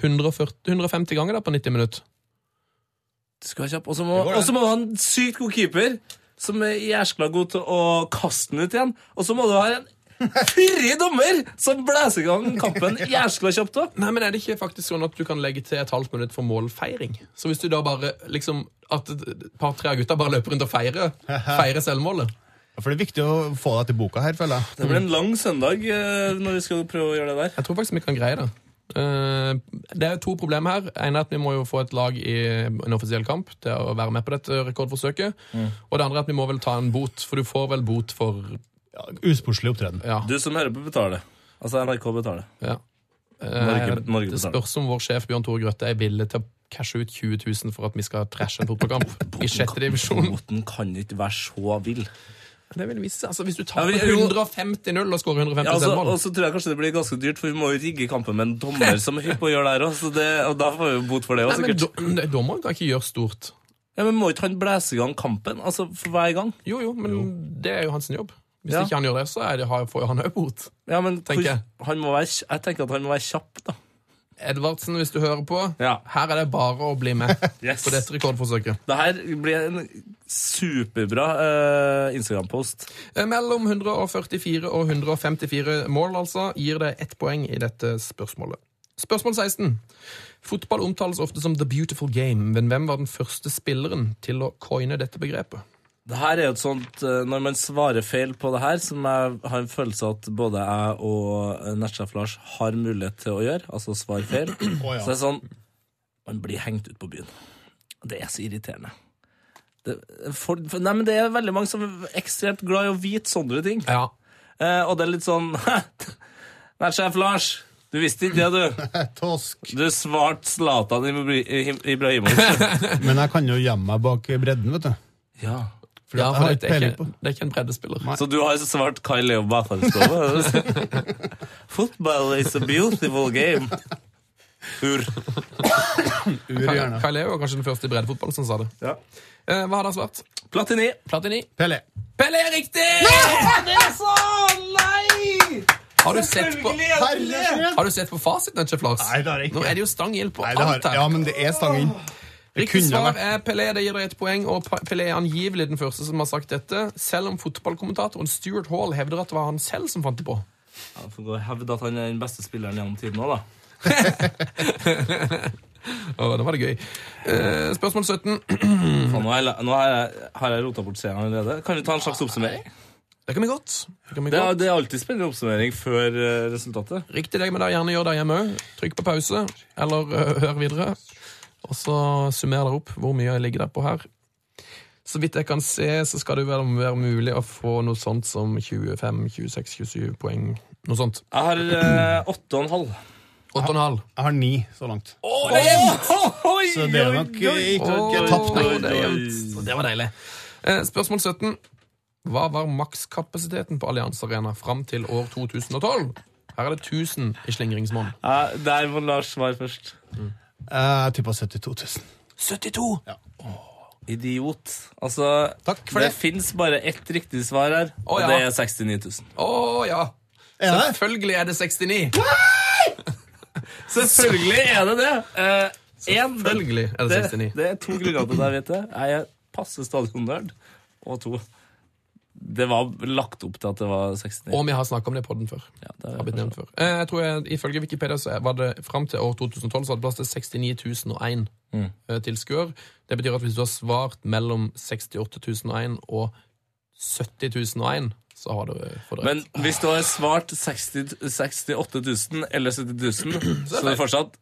[SPEAKER 3] 140, 150 ganger da på 90 minutter.
[SPEAKER 4] Du skal være kjapp. Og så må, og så må du ha en sykt god keeper som er jæskla god til å kaste den ut igjen. Og så må du ha en fyrig dommer som blæser i gang kampen jæskla kjapt òg.
[SPEAKER 3] Nei, men Er det ikke faktisk sånn at du kan legge til et halvt minutt for målfeiring? Så hvis du da bare liksom At et par-tre av gutta bare løper rundt og feirer, feirer selvmålet?
[SPEAKER 5] Ja, For det er viktig å få deg til boka her, føler jeg.
[SPEAKER 4] Det blir en lang søndag eh, når vi skal prøve å gjøre det der.
[SPEAKER 3] Jeg tror faktisk vi kan greie det. Eh, Det er jo to problemer her. En er at vi må jo få et lag i en offisiell kamp til å være med på dette rekordforsøket.
[SPEAKER 4] Mm.
[SPEAKER 3] Og det andre er at vi må vel ta en bot, for du får vel bot for
[SPEAKER 5] Ja, Usportslig opptreden.
[SPEAKER 3] Ja.
[SPEAKER 4] Du som hører på, betaler. Altså NRK betaler.
[SPEAKER 3] ja. Eh,
[SPEAKER 4] Norge- Norge
[SPEAKER 3] det
[SPEAKER 4] betaler.
[SPEAKER 3] spørs om vår sjef Bjørn Tore Grøtte er villig til å cashe ut 20 000 for at vi skal trashe en fotballkamp i sjette divisjon.
[SPEAKER 4] Boten kan ikke være så vill.
[SPEAKER 3] Det vil vise, seg. altså Hvis du tar
[SPEAKER 4] Ja, vi- jo.
[SPEAKER 3] 150-0 og skårer 150
[SPEAKER 4] Ja, altså,
[SPEAKER 3] selvmål
[SPEAKER 4] og så tror jeg kanskje det blir ganske dyrt, for vi må jo rigge kampen med en dommer som er hypp på å gjøre det her òg, så det, og da får vi jo bot for det òg,
[SPEAKER 3] Nei, men
[SPEAKER 4] sikkert.
[SPEAKER 3] do- Dommeren kan ikke gjøre stort.
[SPEAKER 4] Ja, men må ikke han blæse i gang kampen? Altså for hver gang?
[SPEAKER 3] Jo, jo, men det er jo hans jobb. Hvis
[SPEAKER 4] Ja.
[SPEAKER 3] ikke han gjør det, så er det, har- får jo han òg bot.
[SPEAKER 4] Ja, men
[SPEAKER 3] Tenker
[SPEAKER 4] hvor-
[SPEAKER 3] jeg.
[SPEAKER 4] Han må være, jeg tenker at han må være kjapp, da.
[SPEAKER 3] Edvardsen, hvis du hører på,
[SPEAKER 4] Ja.
[SPEAKER 3] her er det bare å bli med
[SPEAKER 4] Yes.
[SPEAKER 3] på dette rekordforsøket.
[SPEAKER 4] Det her blir en superbra eh, Instagram-post.
[SPEAKER 3] Eh, Mellom 144 og 154 mål altså, gir det ett poeng i dette spørsmålet. Spørsmål 16. Fotball omtales ofte som the beautiful game, men hvem var den første spilleren til å coine dette begrepet?
[SPEAKER 4] Det her er jo et sånt eh, Når man svarer feil på det her, som jeg har en følelse av at både jeg og eh, nettsjef Lars har mulighet til å gjøre, altså svare feil,
[SPEAKER 5] ja.
[SPEAKER 4] så det er sånn Man blir hengt ut på byen. Det er så irriterende. Det, for, for, nei, men det er veldig mange som er ekstremt glad i å vite sånne ting.
[SPEAKER 3] Ja,
[SPEAKER 4] Eh, og det er litt sånn Nettsjef Lars, du visste ikke det, du.
[SPEAKER 5] Tosk.
[SPEAKER 4] Du svarte Zlatan Ibra- Ibra- Ibrahimovic.
[SPEAKER 5] Men jeg kan jo gjemme meg bak bredden, vet du.
[SPEAKER 4] Ja.
[SPEAKER 5] For
[SPEAKER 3] ja
[SPEAKER 5] jeg
[SPEAKER 3] for
[SPEAKER 5] har
[SPEAKER 3] det
[SPEAKER 5] ikke
[SPEAKER 3] er,
[SPEAKER 5] peiling
[SPEAKER 3] ikke,
[SPEAKER 5] på.
[SPEAKER 3] det er ikke en breddespiller.
[SPEAKER 4] Så du har svart Kai Leo Batalskova? Football is a beautiful game. Ur.
[SPEAKER 5] Ur i hjørnet.
[SPEAKER 3] Kaileo var kanskje den første i breddefotball som sa det.
[SPEAKER 4] Ja.
[SPEAKER 3] Eh, hva har dere svart?
[SPEAKER 4] Platini.
[SPEAKER 3] Platini.
[SPEAKER 5] Pelé.
[SPEAKER 3] Pelle er riktig! Har du sett på,
[SPEAKER 5] Nei,
[SPEAKER 3] har du sett på fasiten, Etche Flars?
[SPEAKER 5] Nei, det har jeg ikke.
[SPEAKER 3] Nå er det jo stang inn på
[SPEAKER 5] det
[SPEAKER 3] alt
[SPEAKER 5] har,
[SPEAKER 3] her.
[SPEAKER 5] ja, men det er stang inn. Det
[SPEAKER 3] Riktig
[SPEAKER 5] kunne ha
[SPEAKER 3] svar
[SPEAKER 5] vært
[SPEAKER 3] er Pelé, det gir deg ett poeng, og Pa- Pelé er angivelig den første som har sagt dette, selv om fotballkommentatoren Stuart Hall hevder at det var han selv som fant det på.
[SPEAKER 4] Jeg får gå og hevde at han er den beste spilleren gjennom tiden òg, da.
[SPEAKER 3] Å, det var det gøy. Eh, spørsmål 17.
[SPEAKER 4] Faen, nå har jeg, nå har jeg, har jeg rota bort seieren allerede. Kan vi ta en slags oppsummering?
[SPEAKER 3] Det kan vi godt. Det kan vi
[SPEAKER 4] Det
[SPEAKER 3] godt.
[SPEAKER 4] er, det er alltid spennende oppsummering før eh, resultatet.
[SPEAKER 3] Riktig deg, men da gjerne gjør det hjemme òg. Trykk på pause, eller ø, hør videre. Og så summer dere opp hvor mye jeg ligger der på her. Så vidt jeg kan se, så skal det jo være, være mulig å få noe sånt som 25, 26, 27 poeng. Noe sånt.
[SPEAKER 4] Jeg har eh, åtte og en halv.
[SPEAKER 3] 8,5.
[SPEAKER 5] Jeg har ni så langt. Så
[SPEAKER 4] Så
[SPEAKER 5] det er nok ikke ikke tapt, nei.
[SPEAKER 3] det, er jevnt. Så det var deilig. Eh, Spørsmål 17. Hva var makskapasiteten på Allianz Arena fram til år 2012? Her er det 1000 i slingringsmonn.
[SPEAKER 4] Der må Lars svare først.
[SPEAKER 5] Eh, Jeg tippa 72 000.
[SPEAKER 3] 72!
[SPEAKER 4] Idiot. Altså,
[SPEAKER 5] Takk for
[SPEAKER 4] det
[SPEAKER 5] det.
[SPEAKER 4] fins bare ett riktig svar her, og
[SPEAKER 3] ja.
[SPEAKER 4] det er 69 000.
[SPEAKER 3] Å ja!
[SPEAKER 5] Er det?
[SPEAKER 3] Selvfølgelig er det 69.
[SPEAKER 4] Selvfølgelig er det det! Eh, en, det,
[SPEAKER 3] Selvfølgelig er det
[SPEAKER 4] det,
[SPEAKER 3] 69.
[SPEAKER 4] det er to grunner til det, jeg vet det. Jeg er passe stadionnerd. Og to Det var lagt opp til at det var 69.
[SPEAKER 3] Og vi har snakka om det i podden før.
[SPEAKER 4] Ja, det
[SPEAKER 3] har
[SPEAKER 4] er,
[SPEAKER 3] blitt nevnt før. Eh, Jeg tror jeg, Ifølge Wikipedia så var det fram til år 2012 så var det plass til 69.001 mm. tilskuere. Det betyr at hvis du har svart mellom 68.001 og 70.001, så har du eh, fått rett.
[SPEAKER 4] men hvis du har svart 60, 68 000 eller 70 000, så er det fortsatt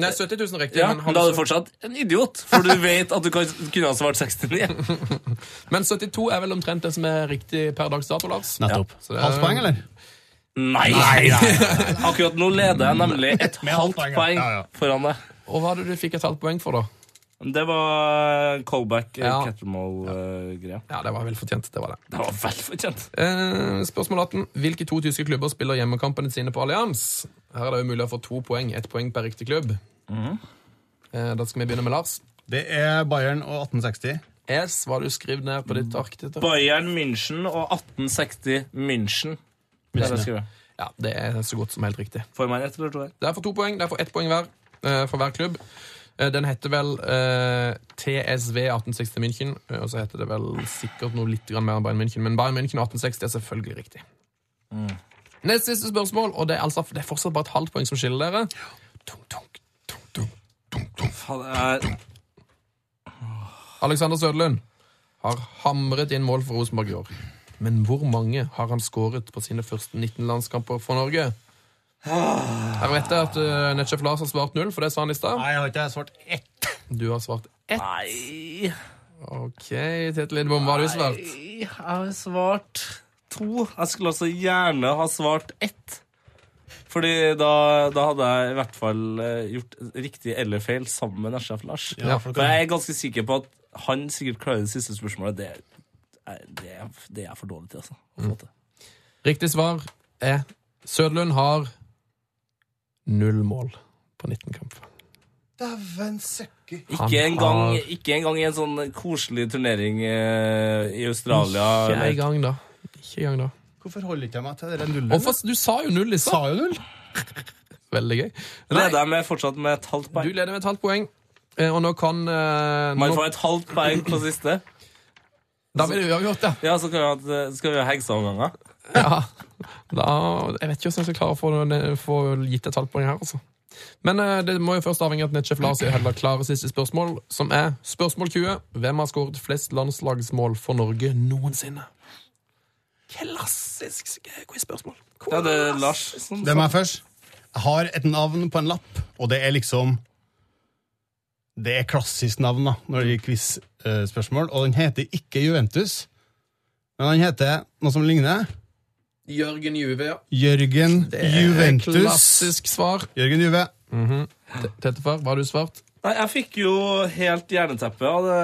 [SPEAKER 3] Nei, 70.000 er riktig,
[SPEAKER 4] Ja,
[SPEAKER 3] men, han-
[SPEAKER 4] men da er du fortsatt en idiot, for du vet at du kan, kunne ha svart 69.
[SPEAKER 3] men 72 er vel omtrent det som er riktig per dags dato, Lars.
[SPEAKER 5] Nettopp.
[SPEAKER 3] Så det er-
[SPEAKER 5] Halvt poeng, eller?
[SPEAKER 4] Nei! Akkurat nå leder jeg nemlig et
[SPEAKER 5] Med halvt
[SPEAKER 4] halvt
[SPEAKER 5] poeng, ja.
[SPEAKER 4] poeng
[SPEAKER 5] Ja, ja.
[SPEAKER 4] foran deg.
[SPEAKER 3] Og hva hadde du fikk et halvt poeng for, da?
[SPEAKER 4] Det var eh, callback
[SPEAKER 3] Ja.
[SPEAKER 4] Catermall-greia.
[SPEAKER 3] Ja, det var vel fortjent. Det var det.
[SPEAKER 4] Det var vel fortjent.
[SPEAKER 3] Eh, spørsmål 18. Hvilke to tyske klubber spiller hjemmekampene sine på Allianz? Her er det jo mulig å få to poeng. Ett poeng per riktig klubb. Eh, da skal vi begynne med Lars.
[SPEAKER 5] Det er Bayern og 1860.
[SPEAKER 3] S, hva har du skrevet ned på ditt ark? dette?
[SPEAKER 4] Bayern München og 1860 München. Det er det jeg skriver.
[SPEAKER 3] Ja, Det er så godt som helt riktig.
[SPEAKER 4] Får jeg meg ett eller to her?
[SPEAKER 3] Det er for to poeng. Det er for ett poeng hver eh, for hver klubb. Eh, den heter vel eh, TSV 1860 München, eh, og så heter det vel sikkert noe litt grann mer enn Bayern München, men Bayern München 1860 er selvfølgelig riktig. Nest siste spørsmål, og det er, altså, det er fortsatt bare et halvt poeng som skiller dere. Tung, tung, tung, tung, tung, tung.
[SPEAKER 4] Faen, jeg-
[SPEAKER 3] Alexander Søderlund har hamret inn mål for Rosenborg i år. Men hvor mange har han skåret på sine første 19 landskamper for Norge? Her vet jeg at uh, Netchef Lars har svart null, for det sa han i stad.
[SPEAKER 5] Nei, jeg har ikke svart ett.
[SPEAKER 3] Du har svart ett.
[SPEAKER 4] Nei
[SPEAKER 3] OK, Tete Lidbom, hva har du svart?
[SPEAKER 4] Jeg har svart to. Jeg skulle altså gjerne ha svart ett. Fordi da, da hadde jeg i hvert fall eh, gjort riktig eller feil sammen med Nesjef Lars.
[SPEAKER 5] Ja, for
[SPEAKER 4] For
[SPEAKER 5] det
[SPEAKER 4] jeg er ganske sikker på at han sikkert klarer det siste spørsmålet. Det, er- det, er- det er jeg for dårlig til, altså. Å
[SPEAKER 3] Mm.
[SPEAKER 4] få til.
[SPEAKER 3] Riktig svar er Søderlund har null mål på 19 kamper.
[SPEAKER 5] Dæven søkker.
[SPEAKER 3] Han
[SPEAKER 4] Ikke engang
[SPEAKER 3] har-
[SPEAKER 4] ikke engang i en sånn koselig turnering eh, i Australia.
[SPEAKER 3] Ikke i
[SPEAKER 4] eller-
[SPEAKER 3] gang, da. Ikke i gang, da.
[SPEAKER 5] Hvorfor holder ikke jeg meg til det nullet?
[SPEAKER 3] Hvorfor, du sa jo null i
[SPEAKER 5] Sa
[SPEAKER 3] stad.
[SPEAKER 5] jo null.
[SPEAKER 3] Veldig gøy. Nei,
[SPEAKER 4] Leder jeg med fortsatt med et halvt
[SPEAKER 3] du
[SPEAKER 4] poeng.
[SPEAKER 3] leder med et halvt poeng, eh, og nå kan eh,
[SPEAKER 4] Man
[SPEAKER 3] nå-
[SPEAKER 4] får et halvt poeng på siste.
[SPEAKER 3] Da blir det uavgjort, ja.
[SPEAKER 4] Ja, så kan vi ha, et- skal vi ha hekseomganger.
[SPEAKER 3] ja. Da, jeg vet ikke hvordan jeg skal klare å få, noen- få gitt et halvt poeng her, altså. Men eh, det må jo først avhenge av at Netchef Lars er heller klare siste spørsmål, som er spørsmål 20. Hvem har skåret flest landslagsmål for Norge noensinne? Klassisk quiz-spørsmål.
[SPEAKER 4] Ja, det er Lars som
[SPEAKER 5] Det må jeg først. Jeg har et navn på en lapp, og det er liksom Det er klassisk navn da, når det gjelder quiz-spørsmål, og den heter ikke Juventus, men han heter noe som ligner.
[SPEAKER 3] Jørgen Juve, ja.
[SPEAKER 5] Jørgen Juventus.
[SPEAKER 3] Klassisk svar.
[SPEAKER 5] Jørgen Juve.
[SPEAKER 3] Tettefar, hva har du svart?
[SPEAKER 4] Nei, jeg fikk jo helt jerneteppe av det,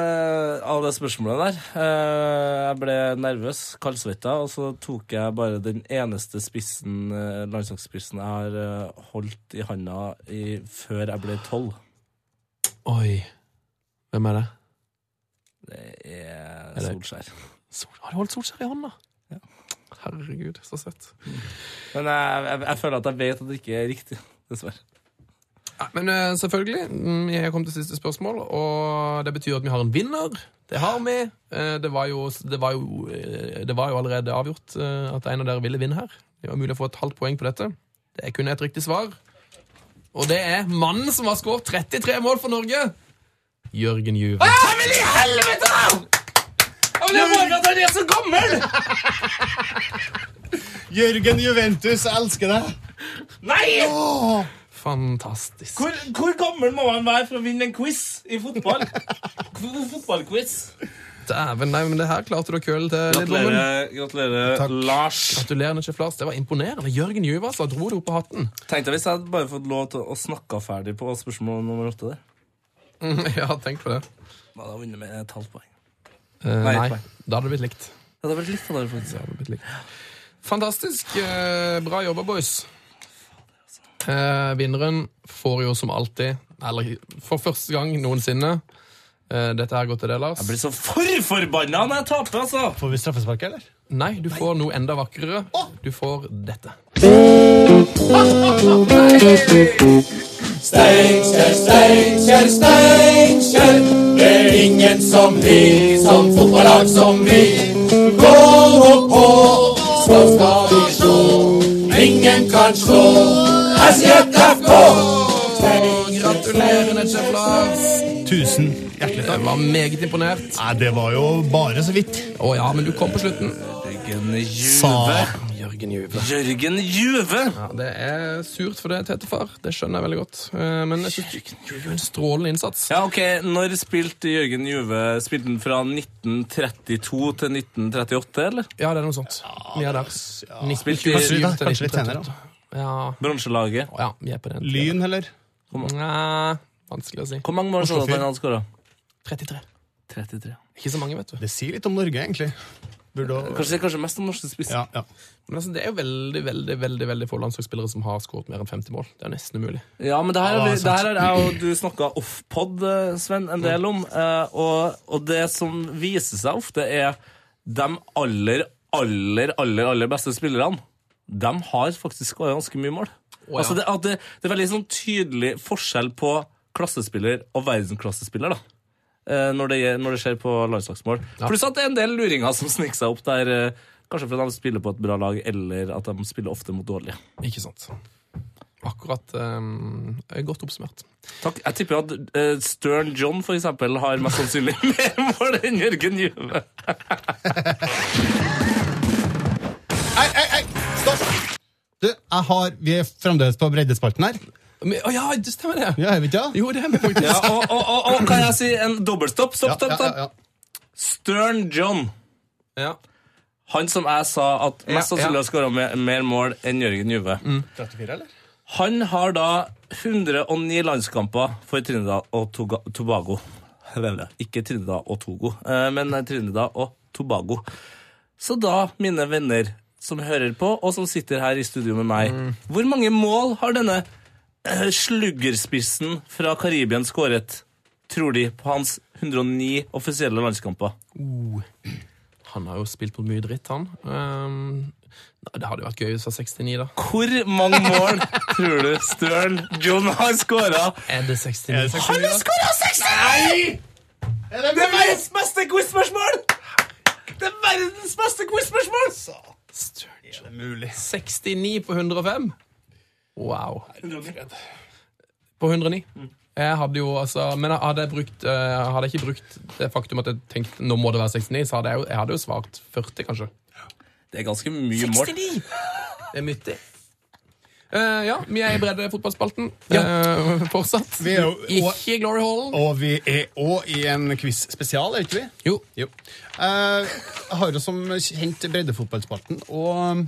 [SPEAKER 4] av det spørsmålet der. Eh, Jeg ble nervøs, kaldsvetta, og så tok jeg bare den eneste spissen, eh, landslagsspissen jeg har eh, holdt i handa i, før jeg ble tolv.
[SPEAKER 3] Oi. Hvem er det?
[SPEAKER 4] Det er
[SPEAKER 3] det-
[SPEAKER 4] Solskjær.
[SPEAKER 3] Sol har du holdt Solskjær i hånda? Herregud, så søtt.
[SPEAKER 4] Men jeg, jeg, jeg føler at jeg vet at det ikke er riktig, dessverre.
[SPEAKER 3] Nei, men eh, selvfølgelig, mm, jeg kom til siste spørsmål, og det betyr at vi har en vinner. Det har vi. Eh, Det var jo, det var jo, eh, det var jo allerede avgjort eh, at en av dere ville vinne her. Det var mulig å få et halvt poeng på dette. Det er kun et riktig svar. Og det er mannen som har skåret 33 mål for Norge. Jørgen Juve. Ah, men i helvete! Jeg vil bare at han er så gammel!
[SPEAKER 5] Jørgen Juventus, jeg elsker deg!
[SPEAKER 4] Nei!
[SPEAKER 5] Åh,
[SPEAKER 3] Fantastisk.
[SPEAKER 4] Hvor, hvor gammel må man være for å vinne en quiz i fotball? Fotballquiz.
[SPEAKER 3] Dæven, nei, men det her klarte du å køle til litt. Gratulerer.
[SPEAKER 4] Gratulerer, gratulerer
[SPEAKER 5] Takk.
[SPEAKER 4] Lars.
[SPEAKER 3] Gratulerende, sjef Lars. Det var imponerende. Jørgen Juve, altså. Dro det opp av hatten.
[SPEAKER 4] Tenkte jeg hvis jeg hadde bare fått lov til å snakke ferdig på spørsmål nummer åtte der.
[SPEAKER 3] ja, tenk på det.
[SPEAKER 4] Da hadde jeg vunnet med et halvt poeng.
[SPEAKER 3] Eh,
[SPEAKER 4] Nei,
[SPEAKER 3] nei,
[SPEAKER 4] poeng.
[SPEAKER 3] da hadde det blitt likt.
[SPEAKER 4] Det hadde vært litt for
[SPEAKER 3] Det
[SPEAKER 4] dårlig, faktisk.
[SPEAKER 3] hadde det blitt likt. Fantastisk. eh, bra jobba, boys. Eh, vinneren får jo som alltid, eller for første gang noensinne eh, Dette her går til deg, Lars.
[SPEAKER 4] Jeg blir så forforbanna når jeg taper, altså!
[SPEAKER 5] Får vi straffespark, eller?
[SPEAKER 3] Nei, du får noe enda vakrere. Du får dette.
[SPEAKER 7] Steinkjer, Steinkjer, Steinkjer. Det er ingen som vi, som fotballag som vi. Gå nå på, så skal vi slå. Ingen kan slå SJFK.
[SPEAKER 3] Gratulerer, Netsjef Lars.
[SPEAKER 5] Tusen
[SPEAKER 3] Jeg
[SPEAKER 5] hjertelig takk.
[SPEAKER 3] var meget imponert.
[SPEAKER 5] Nei, det var jo bare så vidt.
[SPEAKER 3] Å ja, men du kom på slutten.
[SPEAKER 4] Jørgen Juve.
[SPEAKER 5] Sa
[SPEAKER 3] Jørgen Juve.
[SPEAKER 4] Jørgen Juve.
[SPEAKER 3] Ja, det er surt for deg, tetefar. Det skjønner jeg veldig godt. Eh, Men jeg synes du gjorde jo en strålende innsats.
[SPEAKER 4] Ja, ok, Når spilte Jørgen Juve Spilte han fra 1932 til 1938, eller?
[SPEAKER 3] Ja, det er noe sånt. Vi er der.
[SPEAKER 5] ja.
[SPEAKER 3] 1927
[SPEAKER 4] Spilte i
[SPEAKER 5] Kanskje,
[SPEAKER 3] til
[SPEAKER 5] kanskje litt senere.
[SPEAKER 3] 1938. Ja.
[SPEAKER 4] bronselaget.
[SPEAKER 3] Å ja, vi er på den. tiden.
[SPEAKER 5] Lyn, heller?
[SPEAKER 3] Nja, vanskelig å si.
[SPEAKER 4] Hvor mange mål så du at han hadde skåra?
[SPEAKER 3] 33.
[SPEAKER 4] 33.
[SPEAKER 3] Ikke så mange, vet du.
[SPEAKER 5] Det sier litt om Norge, egentlig. Burde å-
[SPEAKER 4] Kanskje, kanskje mest om norske spissen.
[SPEAKER 5] ja, ja.
[SPEAKER 3] Men altså, det er jo veldig veldig, veldig, veldig få landslagsspillere som har skåret mer enn 50 mål. Det er jo nesten umulig.
[SPEAKER 4] Ja, men det her,
[SPEAKER 5] Ja,
[SPEAKER 4] har vi-
[SPEAKER 5] sant.
[SPEAKER 4] det her har jeg og du snakka off-pod, eh, Sven, en del om. eh, Og, og det som viser seg ofte, er de aller, aller, aller, aller beste spillerne. De har faktisk skåra ganske mye mål.
[SPEAKER 3] ja.
[SPEAKER 4] Altså det, at det, det er veldig sånn tydelig forskjell på klassespiller og verdensklassespiller, da. eh, Når det, når det skjer på landslagsmål. Pluss at det er en del luringer som sniker seg opp der. eh, Kanskje fordi de spiller på et bra lag, eller at de spiller ofte mot dårlige.
[SPEAKER 3] Ikke sant. Akkurat eh, godt oppsummert.
[SPEAKER 4] Takk. Jeg tipper at eh, Stern John for eksempel har mest sannsynlig mer mål enn Jørgen Juve.
[SPEAKER 5] Ei, ei, ei! Stopp! Du, jeg har, vi er fremdeles på breddespalten her.
[SPEAKER 3] Men- Å ja, det stemmer det!
[SPEAKER 5] Ja, er vi ikke det?
[SPEAKER 3] Jo, det er vi faktisk.
[SPEAKER 4] Ja, og, og, og, og kan jeg si en dobbeltstopp? Stopp,
[SPEAKER 5] Ja,
[SPEAKER 4] stopp,
[SPEAKER 5] ja,
[SPEAKER 4] stopp.
[SPEAKER 5] ja, ja.
[SPEAKER 4] Stern John,
[SPEAKER 3] Ja.
[SPEAKER 4] han som jeg sa at mest
[SPEAKER 3] Ja, ja.
[SPEAKER 4] sannsynlig har skåra mer mål enn Jørgen Juve,
[SPEAKER 5] 34, eller?
[SPEAKER 4] han har da 109 landskamper for Trinidad og Toga Tobago. Ikke Trinidad og Togo, eh, men Trinidad og Tobago. Så da, mine venner som hører på, og som sitter her i studio med meg, hvor mange mål har denne eh, sluggerspissen fra Karibien skåret, tror de, på hans 109 offisielle landskamper?
[SPEAKER 3] Han har jo spilt mot mye dritt, han. Ehm, nei, det hadde jo vært gøy hvis det var 69, da.
[SPEAKER 4] Hvor mange mål tror du Støren John har skåra?
[SPEAKER 3] Er det 69?
[SPEAKER 5] Er det 69, da?
[SPEAKER 4] skåra 69!
[SPEAKER 5] Er det mulig?
[SPEAKER 4] Verdens beste quiz-spørsmål! Det er verdens beste quiz-spørsmål!
[SPEAKER 5] Er det mulig?
[SPEAKER 3] 69 på 105? Wow. På 109. Jeg hadde jo, altså, men hadde jeg, brukt, eh, hadde jeg ikke brukt det faktum at jeg tenkte nå må det være 69, så hadde jeg jo, jeg hadde jo svart 40, kanskje.
[SPEAKER 4] Det er ganske mye mål.
[SPEAKER 3] Det er myttig. Eh, ja, vi er i bredde fotballspalten eh, fortsatt.
[SPEAKER 5] Vi er jo-
[SPEAKER 3] ikke i Glory Hall.
[SPEAKER 5] Og vi er òg i en quiz-spesial, er ikke vi?
[SPEAKER 3] Jo.
[SPEAKER 5] Jo. Eh, Jeg har jo som kjent breddefotballspalten, og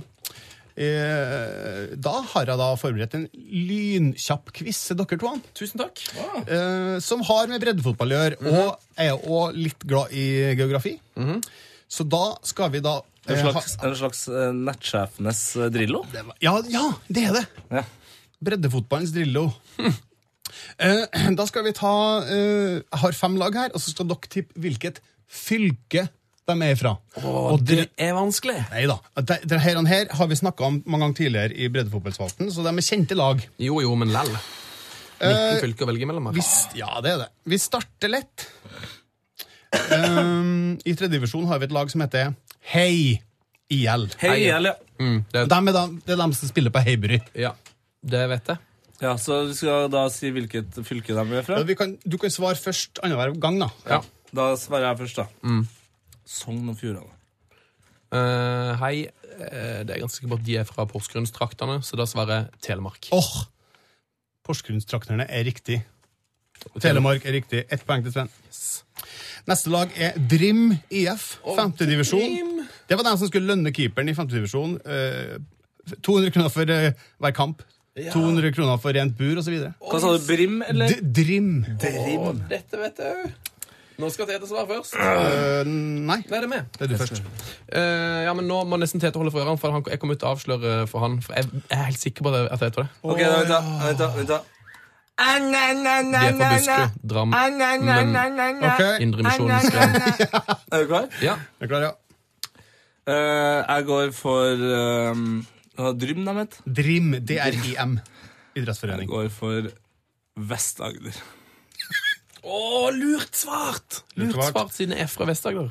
[SPEAKER 5] Eh, Da har jeg da forberedt en lynkjapp quiz til dere to,
[SPEAKER 3] Tusen takk.
[SPEAKER 5] eh, som har med breddefotball å gjøre.
[SPEAKER 4] Mhm.
[SPEAKER 5] Og jeg er òg litt glad i geografi. Så da skal vi da
[SPEAKER 4] En
[SPEAKER 5] eh,
[SPEAKER 4] slags,
[SPEAKER 5] ha-
[SPEAKER 4] en slags eh, nettsjefenes eh, Drillo?
[SPEAKER 5] Ja, ja, det er det!
[SPEAKER 4] Ja.
[SPEAKER 5] Breddefotballens Drillo. Eh, Da skal vi ta eh, Jeg har fem lag her, og så skal dere tippe hvilket fylke de er fra. og dere-
[SPEAKER 3] er vanskelig.
[SPEAKER 5] Nei da. De, de her, her har vi snakka om mange ganger tidligere i breddefotballspalten, så de er kjente lag.
[SPEAKER 3] Jo, jo, men lell. 19 fylker å velge mellom. her.
[SPEAKER 5] Vi, s- ja, det er det. Vi starter lett. Um, I tredje divisjon har vi et lag som heter Hei IL.
[SPEAKER 4] Hei,
[SPEAKER 3] Hei, ja.
[SPEAKER 4] eller?
[SPEAKER 3] Mm, det,
[SPEAKER 5] Og dem er dem- det er dem som spiller på Heibury.
[SPEAKER 3] ja, det vet jeg.
[SPEAKER 4] Ja, så du skal da si hvilket fylke de er fra?
[SPEAKER 5] Og vi kan- Du kan svare først annenhver gang, da.
[SPEAKER 3] Ja.
[SPEAKER 4] Da svarer jeg først, da. Sogn og Fjordane.
[SPEAKER 3] Eh, hei, eh, det er ganske sikkert at de er fra Porsgrunnstraktene, så da svarer jeg Telemark.
[SPEAKER 5] Åh! Porsgrunnstrakterne er riktig. Telemark er riktig. Ett poeng til Sven. Neste lag er Drim IF, femtedivisjon. Det var den som skulle lønne keeperen i femtedivisjon. 200 kroner for eh, hver kamp. 200 kroner for rent bur, osv.
[SPEAKER 4] Hva sa du? Brim, eller?
[SPEAKER 5] Drim.
[SPEAKER 3] Åh, dette vet jeg òg. Nå skal Tete svare først.
[SPEAKER 5] Eh, nei,
[SPEAKER 3] Nei, det er med.
[SPEAKER 5] det er du først.
[SPEAKER 3] Eh, ja, men Nå må nesten Tete holde for ørene, for han, jeg kommer ut og avsløre for han. For jeg, jeg er helt sikker på at jeg- at jeg tror det.
[SPEAKER 4] Ok, da, vent, da. Vent, da. Vent, da.
[SPEAKER 3] De er fra Buskerud, Dram, men
[SPEAKER 5] OK,
[SPEAKER 3] Indre Misjon Skrein.
[SPEAKER 4] Er du klar?
[SPEAKER 3] Ja.
[SPEAKER 5] jeg er klar, ja.
[SPEAKER 4] Eh, jeg går for um, hva Drym, de het.
[SPEAKER 5] Drim. D-R-I-M.
[SPEAKER 4] Jeg
[SPEAKER 5] Idrettsforening.
[SPEAKER 4] går for Vest-Agder.
[SPEAKER 3] Å, lurt svart! Lurt
[SPEAKER 5] Lurt svart.
[SPEAKER 3] svart siden jeg er fra Vest-Agder.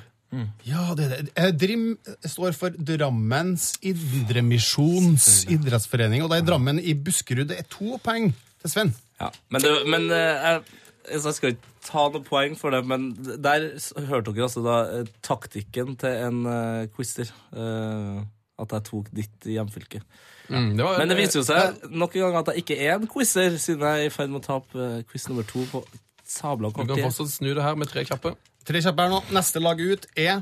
[SPEAKER 5] Ja, det er det. Eh, Drim står for Drammens Indremisjons idrettsforening, og det er Drammen i Buskerud. Det er to poeng til Sven.
[SPEAKER 4] Ja. Men, det, men eh, jeg, så jeg skal ikke ta noe poeng for det, men der s- hørte dere altså da eh, taktikken til en eh, quizer. eh, at jeg tok ditt hjemfylke.
[SPEAKER 3] Mm, det var,
[SPEAKER 4] Men det viser jo seg nok en gang at jeg ikke er en quizer, siden jeg er i ferd med å tape eh, quiz nummer to på sabla
[SPEAKER 3] Du kan
[SPEAKER 4] kvarter.
[SPEAKER 3] fortsatt snu det her med tre kjappe.
[SPEAKER 5] Tre kjappe her nå. Neste lag ut er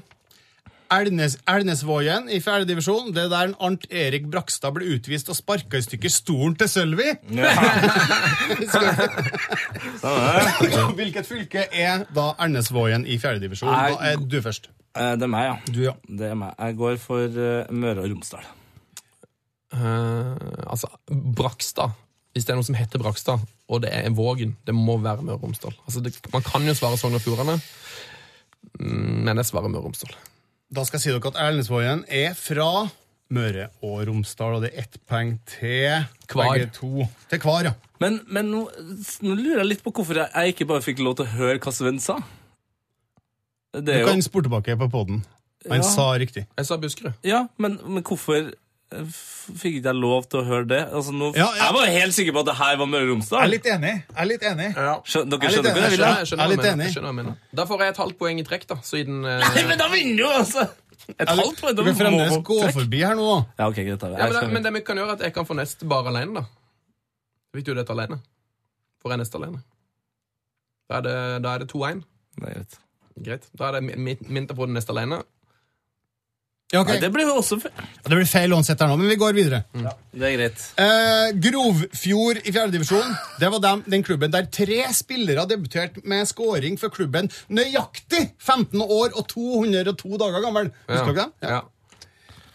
[SPEAKER 5] Elnes, Elnesvågen i fjerde divisjon. Det er der en Arnt Erik Brakstad ble utvist og sparka i stykker stolen til Sølvi. Hvilket fylke er da Elnesvågen i fjerde divisjon?
[SPEAKER 4] Nei.
[SPEAKER 5] Da er du først.
[SPEAKER 4] Eh, det er meg, ja.
[SPEAKER 5] Du, ja.
[SPEAKER 4] Det er meg. Jeg går for eh, Møre og Romsdal.
[SPEAKER 3] Eh, altså, Brakstad. Hvis det er noe som heter Brakstad, og det er Vågen, det må være Møre og Romsdal. Altså, det, man kan jo svare Sogn og Fjordane, mm, men jeg svarer Møre og Romsdal.
[SPEAKER 5] Da skal jeg si dere at Erlendsvågen er fra Møre og Romsdal, og det er ett poeng til
[SPEAKER 3] Kvar.
[SPEAKER 5] begge to. Til hver, ja.
[SPEAKER 4] Men, men nå, nå lurer jeg litt på hvorfor jeg, jeg ikke bare fikk lov til å høre hva Sven sa. Det
[SPEAKER 5] Du
[SPEAKER 4] er jo,
[SPEAKER 5] kan spore tilbake på poden. Han
[SPEAKER 4] Ja.
[SPEAKER 5] sa riktig.
[SPEAKER 3] Jeg sa Buskerud.
[SPEAKER 4] ja, men, men hvorfor eh, f- fikk ikke jeg lov til å høre det? Altså, nå,
[SPEAKER 5] Ja, ja.
[SPEAKER 4] Jeg var jo helt sikker på at det her var Møre og
[SPEAKER 8] Jeg er
[SPEAKER 4] Romsdal.
[SPEAKER 8] litt enig. Jeg er litt enig.
[SPEAKER 4] Skjøn, dere
[SPEAKER 5] Jeg er litt
[SPEAKER 4] skjønner hva jeg vil? da?
[SPEAKER 5] enig.
[SPEAKER 3] Jeg
[SPEAKER 5] Jeg
[SPEAKER 3] skjønner
[SPEAKER 5] er
[SPEAKER 3] hva
[SPEAKER 5] litt
[SPEAKER 3] jeg mener.
[SPEAKER 5] enig.
[SPEAKER 3] Jeg skjønner hva jeg mener. Da får jeg et halvt poeng i trekk, da, siden eh,
[SPEAKER 4] Nei, men da vinner du, altså! Et halvt poeng.
[SPEAKER 5] Du
[SPEAKER 4] da
[SPEAKER 5] kan fremdeles
[SPEAKER 4] må-
[SPEAKER 5] gå forbi her nå.
[SPEAKER 4] Ja, ok, greit.
[SPEAKER 3] ja,
[SPEAKER 4] da. Jeg
[SPEAKER 3] men, det,
[SPEAKER 4] skal-
[SPEAKER 3] men det vi kan gjøre, er at jeg kan få neste bare alene, da. Fikk du dette alene? Får jeg neste alene? Da er det, da er det 2-1.
[SPEAKER 4] Nei, greit.
[SPEAKER 3] Greit. Da er det min- min min til å få den neste alene.
[SPEAKER 5] Ja, ok.
[SPEAKER 4] Nei, det Mm. blir jo også fe-
[SPEAKER 5] Det blir feil uansett her nå, men vi går videre.
[SPEAKER 4] Det er greit.
[SPEAKER 5] Eh, Grovfjord i fjerdedivisjon. Det var dem, den klubben der tre spillere debuterte med scoring for klubben nøyaktig 15 år og 202 dager gammel. Husker dere det?
[SPEAKER 3] Ja.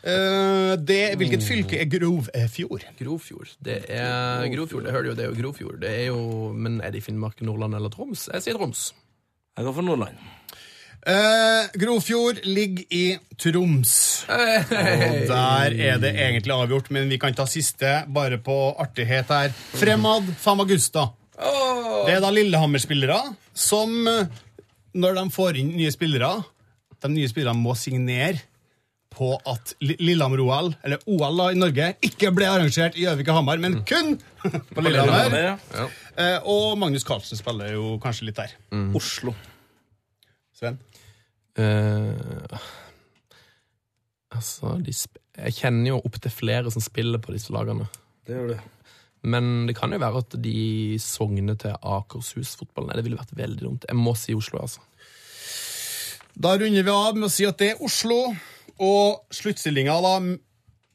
[SPEAKER 5] Eh, det? Hvilket fylke er Grovfjord?
[SPEAKER 3] Grofjord. Det
[SPEAKER 4] Mm,
[SPEAKER 3] er Grofjord, jeg hører jo det er jo Grofjord. Det er jo, men er det i Finnmark, Nordland eller Troms? Jeg sier Troms.
[SPEAKER 4] Jeg går for Nordland.
[SPEAKER 5] Eh, Grofjord ligger i Troms. Og der er det egentlig avgjort, men vi kan ta siste bare på artighet her. Fremad Famagusta. Det er da Lillehammer-spillere som, eh, når de får inn nye spillere De nye spillerne må signere på at Li- Lillehammer-OL, eller OL da i Norge, ikke ble arrangert i Gjøvik og Hamar, men kun på Lillehammer.
[SPEAKER 4] Ja.
[SPEAKER 5] Eh, Og Magnus Carlsen spiller jo kanskje litt der.
[SPEAKER 4] Oslo.
[SPEAKER 5] Sven?
[SPEAKER 3] Eh, altså, de sp jeg kjenner jo opp til flere som spiller på disse lagene.
[SPEAKER 4] Det gjør du.
[SPEAKER 3] Men det kan jo være at de sogner til Akershus-fotballen. Nei, det ville vært veldig dumt. Jeg må si Oslo, altså.
[SPEAKER 5] Da runder vi av med å si at det er Oslo, og sluttstillinga da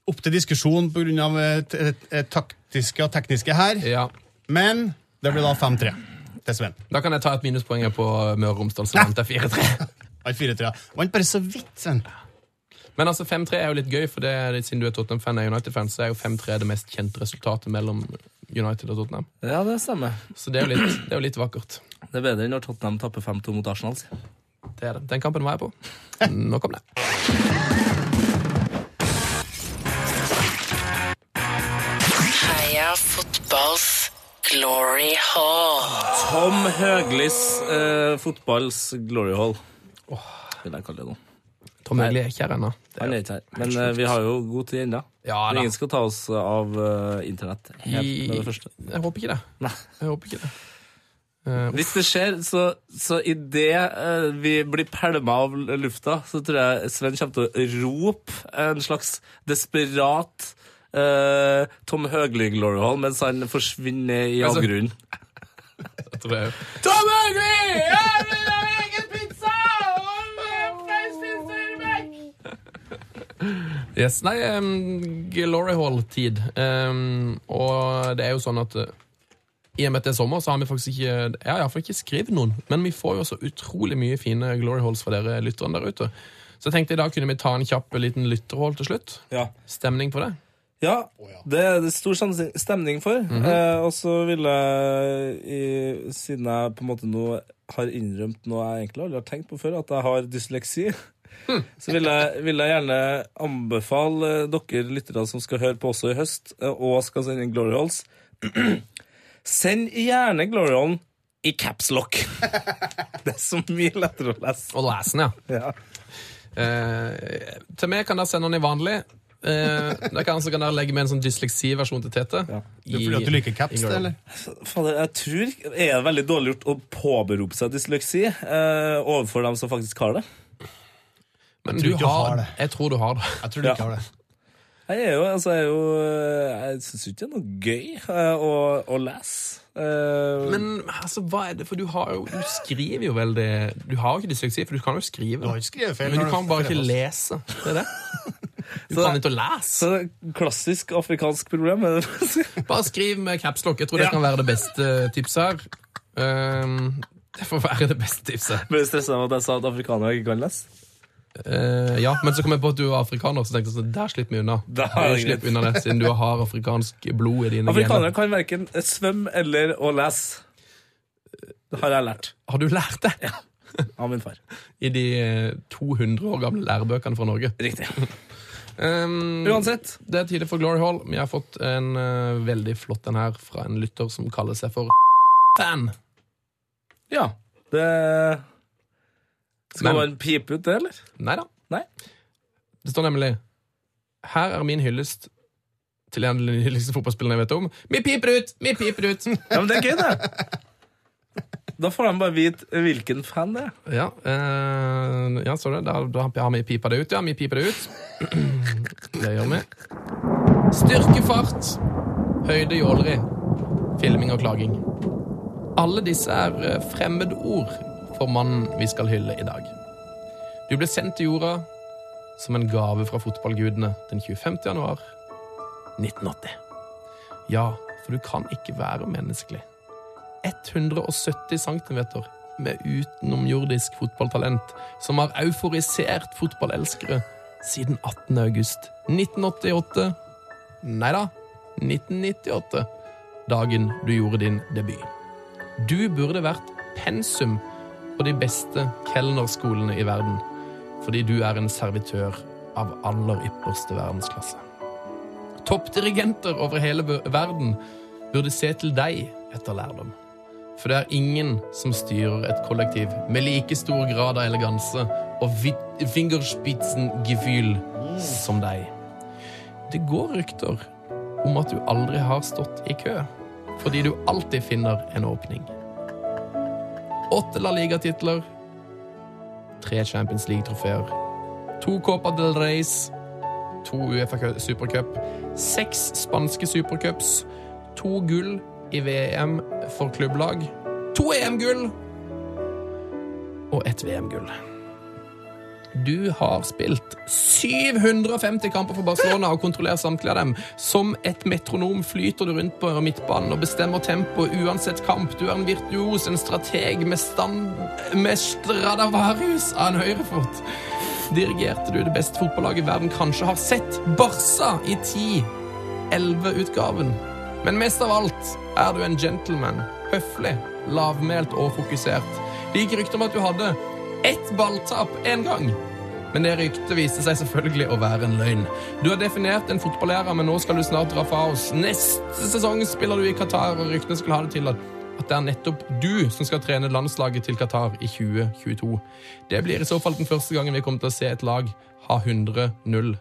[SPEAKER 5] opp til diskusjon pga. eh, taktiske og tekniske her,
[SPEAKER 3] Ja.
[SPEAKER 5] men det blir da 5-3 til Sven.
[SPEAKER 3] Da kan jeg ta et minuspoeng her på Møre og Romsdal, som vant 4-3.
[SPEAKER 5] Alt 4-3. Vant bare så vidt, Sven.
[SPEAKER 3] Men altså 5-3 er jo litt gøy, for det, er- siden du er Tottenham-fan og er United-fan, så er jo 5-3 det mest kjente resultatet mellom United og Tottenham.
[SPEAKER 4] Ja, det stemmer.
[SPEAKER 3] Så det er jo litt, det er jo litt vakkert.
[SPEAKER 4] Det er bedre enn når Tottenham tapper 5-2 mot Arsenal. si.
[SPEAKER 3] Det er det. Den kampen var jeg på. Nå kom det.
[SPEAKER 8] Heia fotballs Glory Hall.
[SPEAKER 4] Tom Høglis eh, fotballs glory hall. vil jeg kalle det nå.
[SPEAKER 3] Tom Høgli er ikke her ennå.
[SPEAKER 4] Han er ikke her. Men eh, vi har jo god tid ennå.
[SPEAKER 3] Ja, da.
[SPEAKER 4] Ingen skal ta oss av eh, internett helt med det første.
[SPEAKER 3] Jeg håper ikke det.
[SPEAKER 4] Nei.
[SPEAKER 3] Jeg håper ikke det.
[SPEAKER 4] Hvis det skjer, så, så idet uh, vi blir pælma av l- lufta, så tror jeg Sven kommer til å rope en slags desperat eh, Tom Høgli-glory hall mens han forsvinner i
[SPEAKER 3] Altså-
[SPEAKER 4] avgrunnen.
[SPEAKER 3] Jeg tror jeg...
[SPEAKER 4] Tom Høgli!
[SPEAKER 3] Yes, nei, em, Glory Hall-tid. Em, og det er jo sånn at eh, i og med at det er sommer, så har vi faktisk ikke Jeg har iallfall ikke skrevet noen, men vi får jo så utrolig mye fine Glory Halls fra dere lytterne der ute. Så jeg tenkte i dag kunne vi ta en kjapp liten lytterhall til slutt.
[SPEAKER 4] Ja.
[SPEAKER 3] Stemning på det?
[SPEAKER 4] Ja, det er det stor samsing- stemning for. eh, og så vil jeg, i, siden jeg på en måte nå har innrømt noe jeg egentlig aldri har tenkt på før, at jeg har dysleksi, så vil jeg, vil jeg gjerne anbefale eh, dere lyttere som skal høre på også i høst, eh, og skal sende inn Glory Halls Send gjerne Glory Hallen i caps lock. det er så mye lettere å lese.
[SPEAKER 3] Og lesen, ja.
[SPEAKER 4] Ja.
[SPEAKER 3] Eh, til meg kan dere sende den i vanlig. Eh, dere kan, så kan dere legge med en sånn dysleksi-versjon til Tete. Ja.
[SPEAKER 5] Det er fordi at du liker caps, det, eller?
[SPEAKER 4] Fader, jeg tror ikke- er det veldig dårlig gjort å påberope seg dysleksi eh, overfor dem som faktisk har det.
[SPEAKER 3] Men
[SPEAKER 5] Jeg
[SPEAKER 3] du
[SPEAKER 5] tror ikke du har
[SPEAKER 3] har,
[SPEAKER 5] det.
[SPEAKER 3] jeg tror du har det.
[SPEAKER 5] Jeg tror du
[SPEAKER 4] Ja.
[SPEAKER 5] ikke har det.
[SPEAKER 4] Jeg er jo, altså, jeg er jo eh, Jeg syns ikke det er noe gøy eh, å, å lese. Eh,
[SPEAKER 3] Men altså, hva er det? For du har jo Du skriver jo veldig Du har jo ikke dysleksi, for du kan jo skrive.
[SPEAKER 5] Du har ikke skrevet feil.
[SPEAKER 3] men
[SPEAKER 5] når
[SPEAKER 3] du kan bare ikke
[SPEAKER 5] skrevet.
[SPEAKER 3] lese. Det er det. Du kan ikke lese.
[SPEAKER 4] så det er et klassisk afrikansk problem. er det det du sier?
[SPEAKER 3] Bare skriv med capslock. Jeg tror det kan være det beste tipset her. Ehm, det får være det beste tipset.
[SPEAKER 4] Ble du stressa av at jeg sa at afrikanere ikke kan lese?
[SPEAKER 3] Eh, ja, Men så kom jeg på at du var afrikaner, så tenkte jeg sånn, der slipper vi unna.
[SPEAKER 4] Da er det
[SPEAKER 3] Slipp
[SPEAKER 4] greit.
[SPEAKER 3] unna det, Siden du har afrikansk blod i dine
[SPEAKER 4] Afrikanere
[SPEAKER 3] gener.
[SPEAKER 4] kan verken svømme eller å lese. Det har jeg lært
[SPEAKER 3] Har du lært det
[SPEAKER 4] av min far.
[SPEAKER 3] i de eh, 200 år gamle lærebøkene fra Norge?
[SPEAKER 4] Riktig.
[SPEAKER 3] Um,
[SPEAKER 4] Uansett.
[SPEAKER 3] Det er tide for Glory Hall. Vi har fått en eh, veldig flott en her fra en lytter som kaller seg for Fan.
[SPEAKER 4] Ja. Det Skal
[SPEAKER 3] Men-
[SPEAKER 4] man pipe ut det, eller?
[SPEAKER 3] Nei da.
[SPEAKER 4] Nei.
[SPEAKER 3] Det står nemlig Her er min hyllest til en av de hylligste fotballspillerne jeg vet om. Vi piper ut! Vi piper ut!
[SPEAKER 4] Ja, men det er gøy, det. Da får de bare vite hvilken fan det er.
[SPEAKER 3] ja, eh, ja, så du. Da, da har vi pipa det ut, ja. Vi piper det ut. det gjør vi. Styrke, fart, høyde, jåleri, filming og klaging. Alle disse er eh, fremmedord for mannen vi skal hylle i dag. Du ble sendt til jorda som en gave fra fotballgudene den 25. januar 1980. Ja, for du kan ikke være menneskelig. 170 cm med utenomjordisk fotballtalent som har euforisert fotballelskere siden 18. august 1988 Nei da, 1998. Dagen du gjorde din debut. Du burde vært pensum på de beste kelnerskolene i verden fordi du er en servitør av aller ypperste verdensklasse. Toppdirigenter over hele bu- verden burde se til deg etter lærdom. For det er ingen som styrer et kollektiv med like stor grad av eleganse og vi- fingerspitzengefühl som deg. Det går rykter om at du aldri har stått i kø, fordi du alltid finner en åpning. Åtte La Liga-titler, tre Champions League-trofeer, to Copa del Reis, to UEFA Cup- Supercup, seks spanske supercups, to gull i VM for klubblag, E to EM-gull og ett VM-gull. Du har spilt 750 kamper for Barcelona og kontrollerer samtlige av dem. Som et metronom flyter du rundt på midtbanen og bestemmer tempo uansett kamp. Du er en virtuos, en strateg med stand... med Stradivarius av en høyrefot. Dirigerte du det beste fotballaget verden kanskje har sett, Barca, i 10-11-utgaven. Men mest av alt er du en gentleman. Høflig, lavmælt og fokusert. Det gikk rykter om at du hadde ett balltap én gang. Men det ryktet viste seg selvfølgelig å være en løgn. Du har definert en fotballærer, men nå skal du snart dra fra oss. Neste sesong spiller du i Qatar, og ryktene skulle ha det til at at det er nettopp du som skal trene landslaget til Qatar i 2022. Det blir i så fall den første gangen vi kommer til å se et lag ha 100-0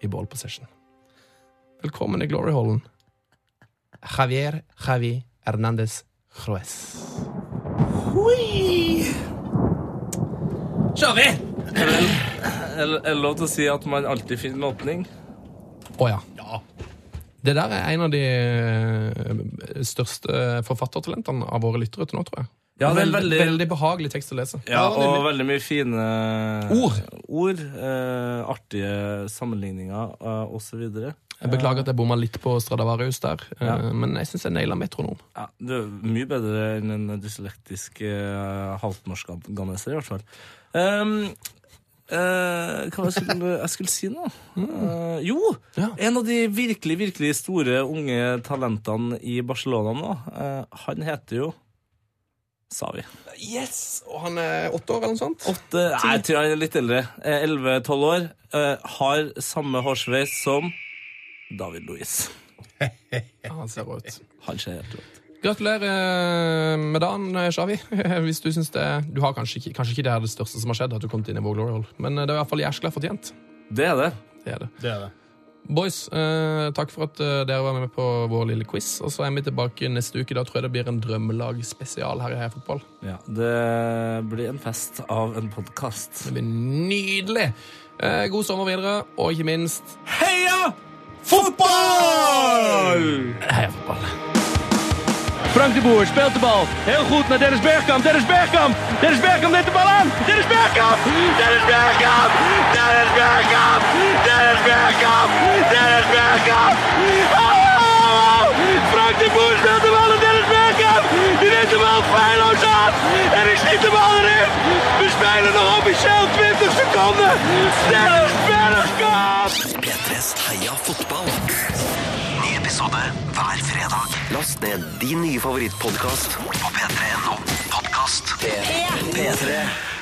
[SPEAKER 3] i ball possession. Velkommen i Glory Hallen. Javier Javi Hernández Juez. Kjører vi!
[SPEAKER 4] Er det lov til å si at man alltid finner en åpning?
[SPEAKER 3] Å ja. Det der er en av de eh, største forfattertalentene av våre lyttere til nå, tror jeg.
[SPEAKER 4] Ja, det er
[SPEAKER 3] Veld-
[SPEAKER 4] veldig,
[SPEAKER 3] veldig behagelig tekst å lese.
[SPEAKER 4] ja, og veldig mye fine
[SPEAKER 3] Ord.
[SPEAKER 4] ord eh, artige sammenligninger eh, osv.
[SPEAKER 3] Jeg beklager at jeg bomma litt på Stradivarius der, eh,
[SPEAKER 4] Ja.
[SPEAKER 3] men jeg syns jeg naila metronom.
[SPEAKER 4] Ja, det er mye bedre enn en dyslektisk uh, halvnorsk-ganeser, i hvert fall. Ehm, eh, hva var det jeg skulle jeg skulle si nå? Eh, jo!
[SPEAKER 3] Ja.
[SPEAKER 4] En av de virkelig, virkelig store unge talentene i Barcelona nå, eh, han heter jo Savi.
[SPEAKER 3] Yes! Og han er åtte år, eller noe sånt?
[SPEAKER 4] Åtte, nei, jeg tror han er litt eldre. Elleve-tolv år. eh, har samme hårsveis som David Louis.
[SPEAKER 3] Ja, han ser bra ut.
[SPEAKER 4] Han ser helt rått
[SPEAKER 3] Gratulerer eh, med dagen, Shawi. Hvis du syns det Du har kanskje ikke, kanskje ikke det er det største som har skjedd, at du kom inn i vår glory hall, men eh, det er i hvert fall jæskla fortjent.
[SPEAKER 4] Det er det.
[SPEAKER 3] Det er det.
[SPEAKER 5] Det er det.
[SPEAKER 3] Boys, eh, takk for at eh, dere var med på vår lille quiz. Og så er vi tilbake neste uke. Da tror jeg det blir en drømmelag-spesial her i Heia Fotball.
[SPEAKER 4] Ja, det blir en fest av en podkast.
[SPEAKER 3] Det blir nydelig! Eh, god sommer videre, og ikke minst
[SPEAKER 4] Heia fotball!
[SPEAKER 1] Frank de Boer speelt de bal. Heel goed naar Dennis Bergkamp. Dennis Bergkamp. Dennis Bergkamp neemt de bal aan. Dennis Bergkamp. Dennis Bergkamp. Dennis Bergkamp. Dennis Bergkamp. Dennis Bergkamp. Oh! Frank de Boer speelt de bal aan Dennis Bergkamp. Die neemt de bal feilloos aan. En ik schiet de bal erin. We spelen nog officieel 20 seconden. Dennis Bergkamp.
[SPEAKER 2] P3s Heia fotball. Ny episode hver fredag. Last ned din nye favorittpodkast på p3.no. Podkast P3.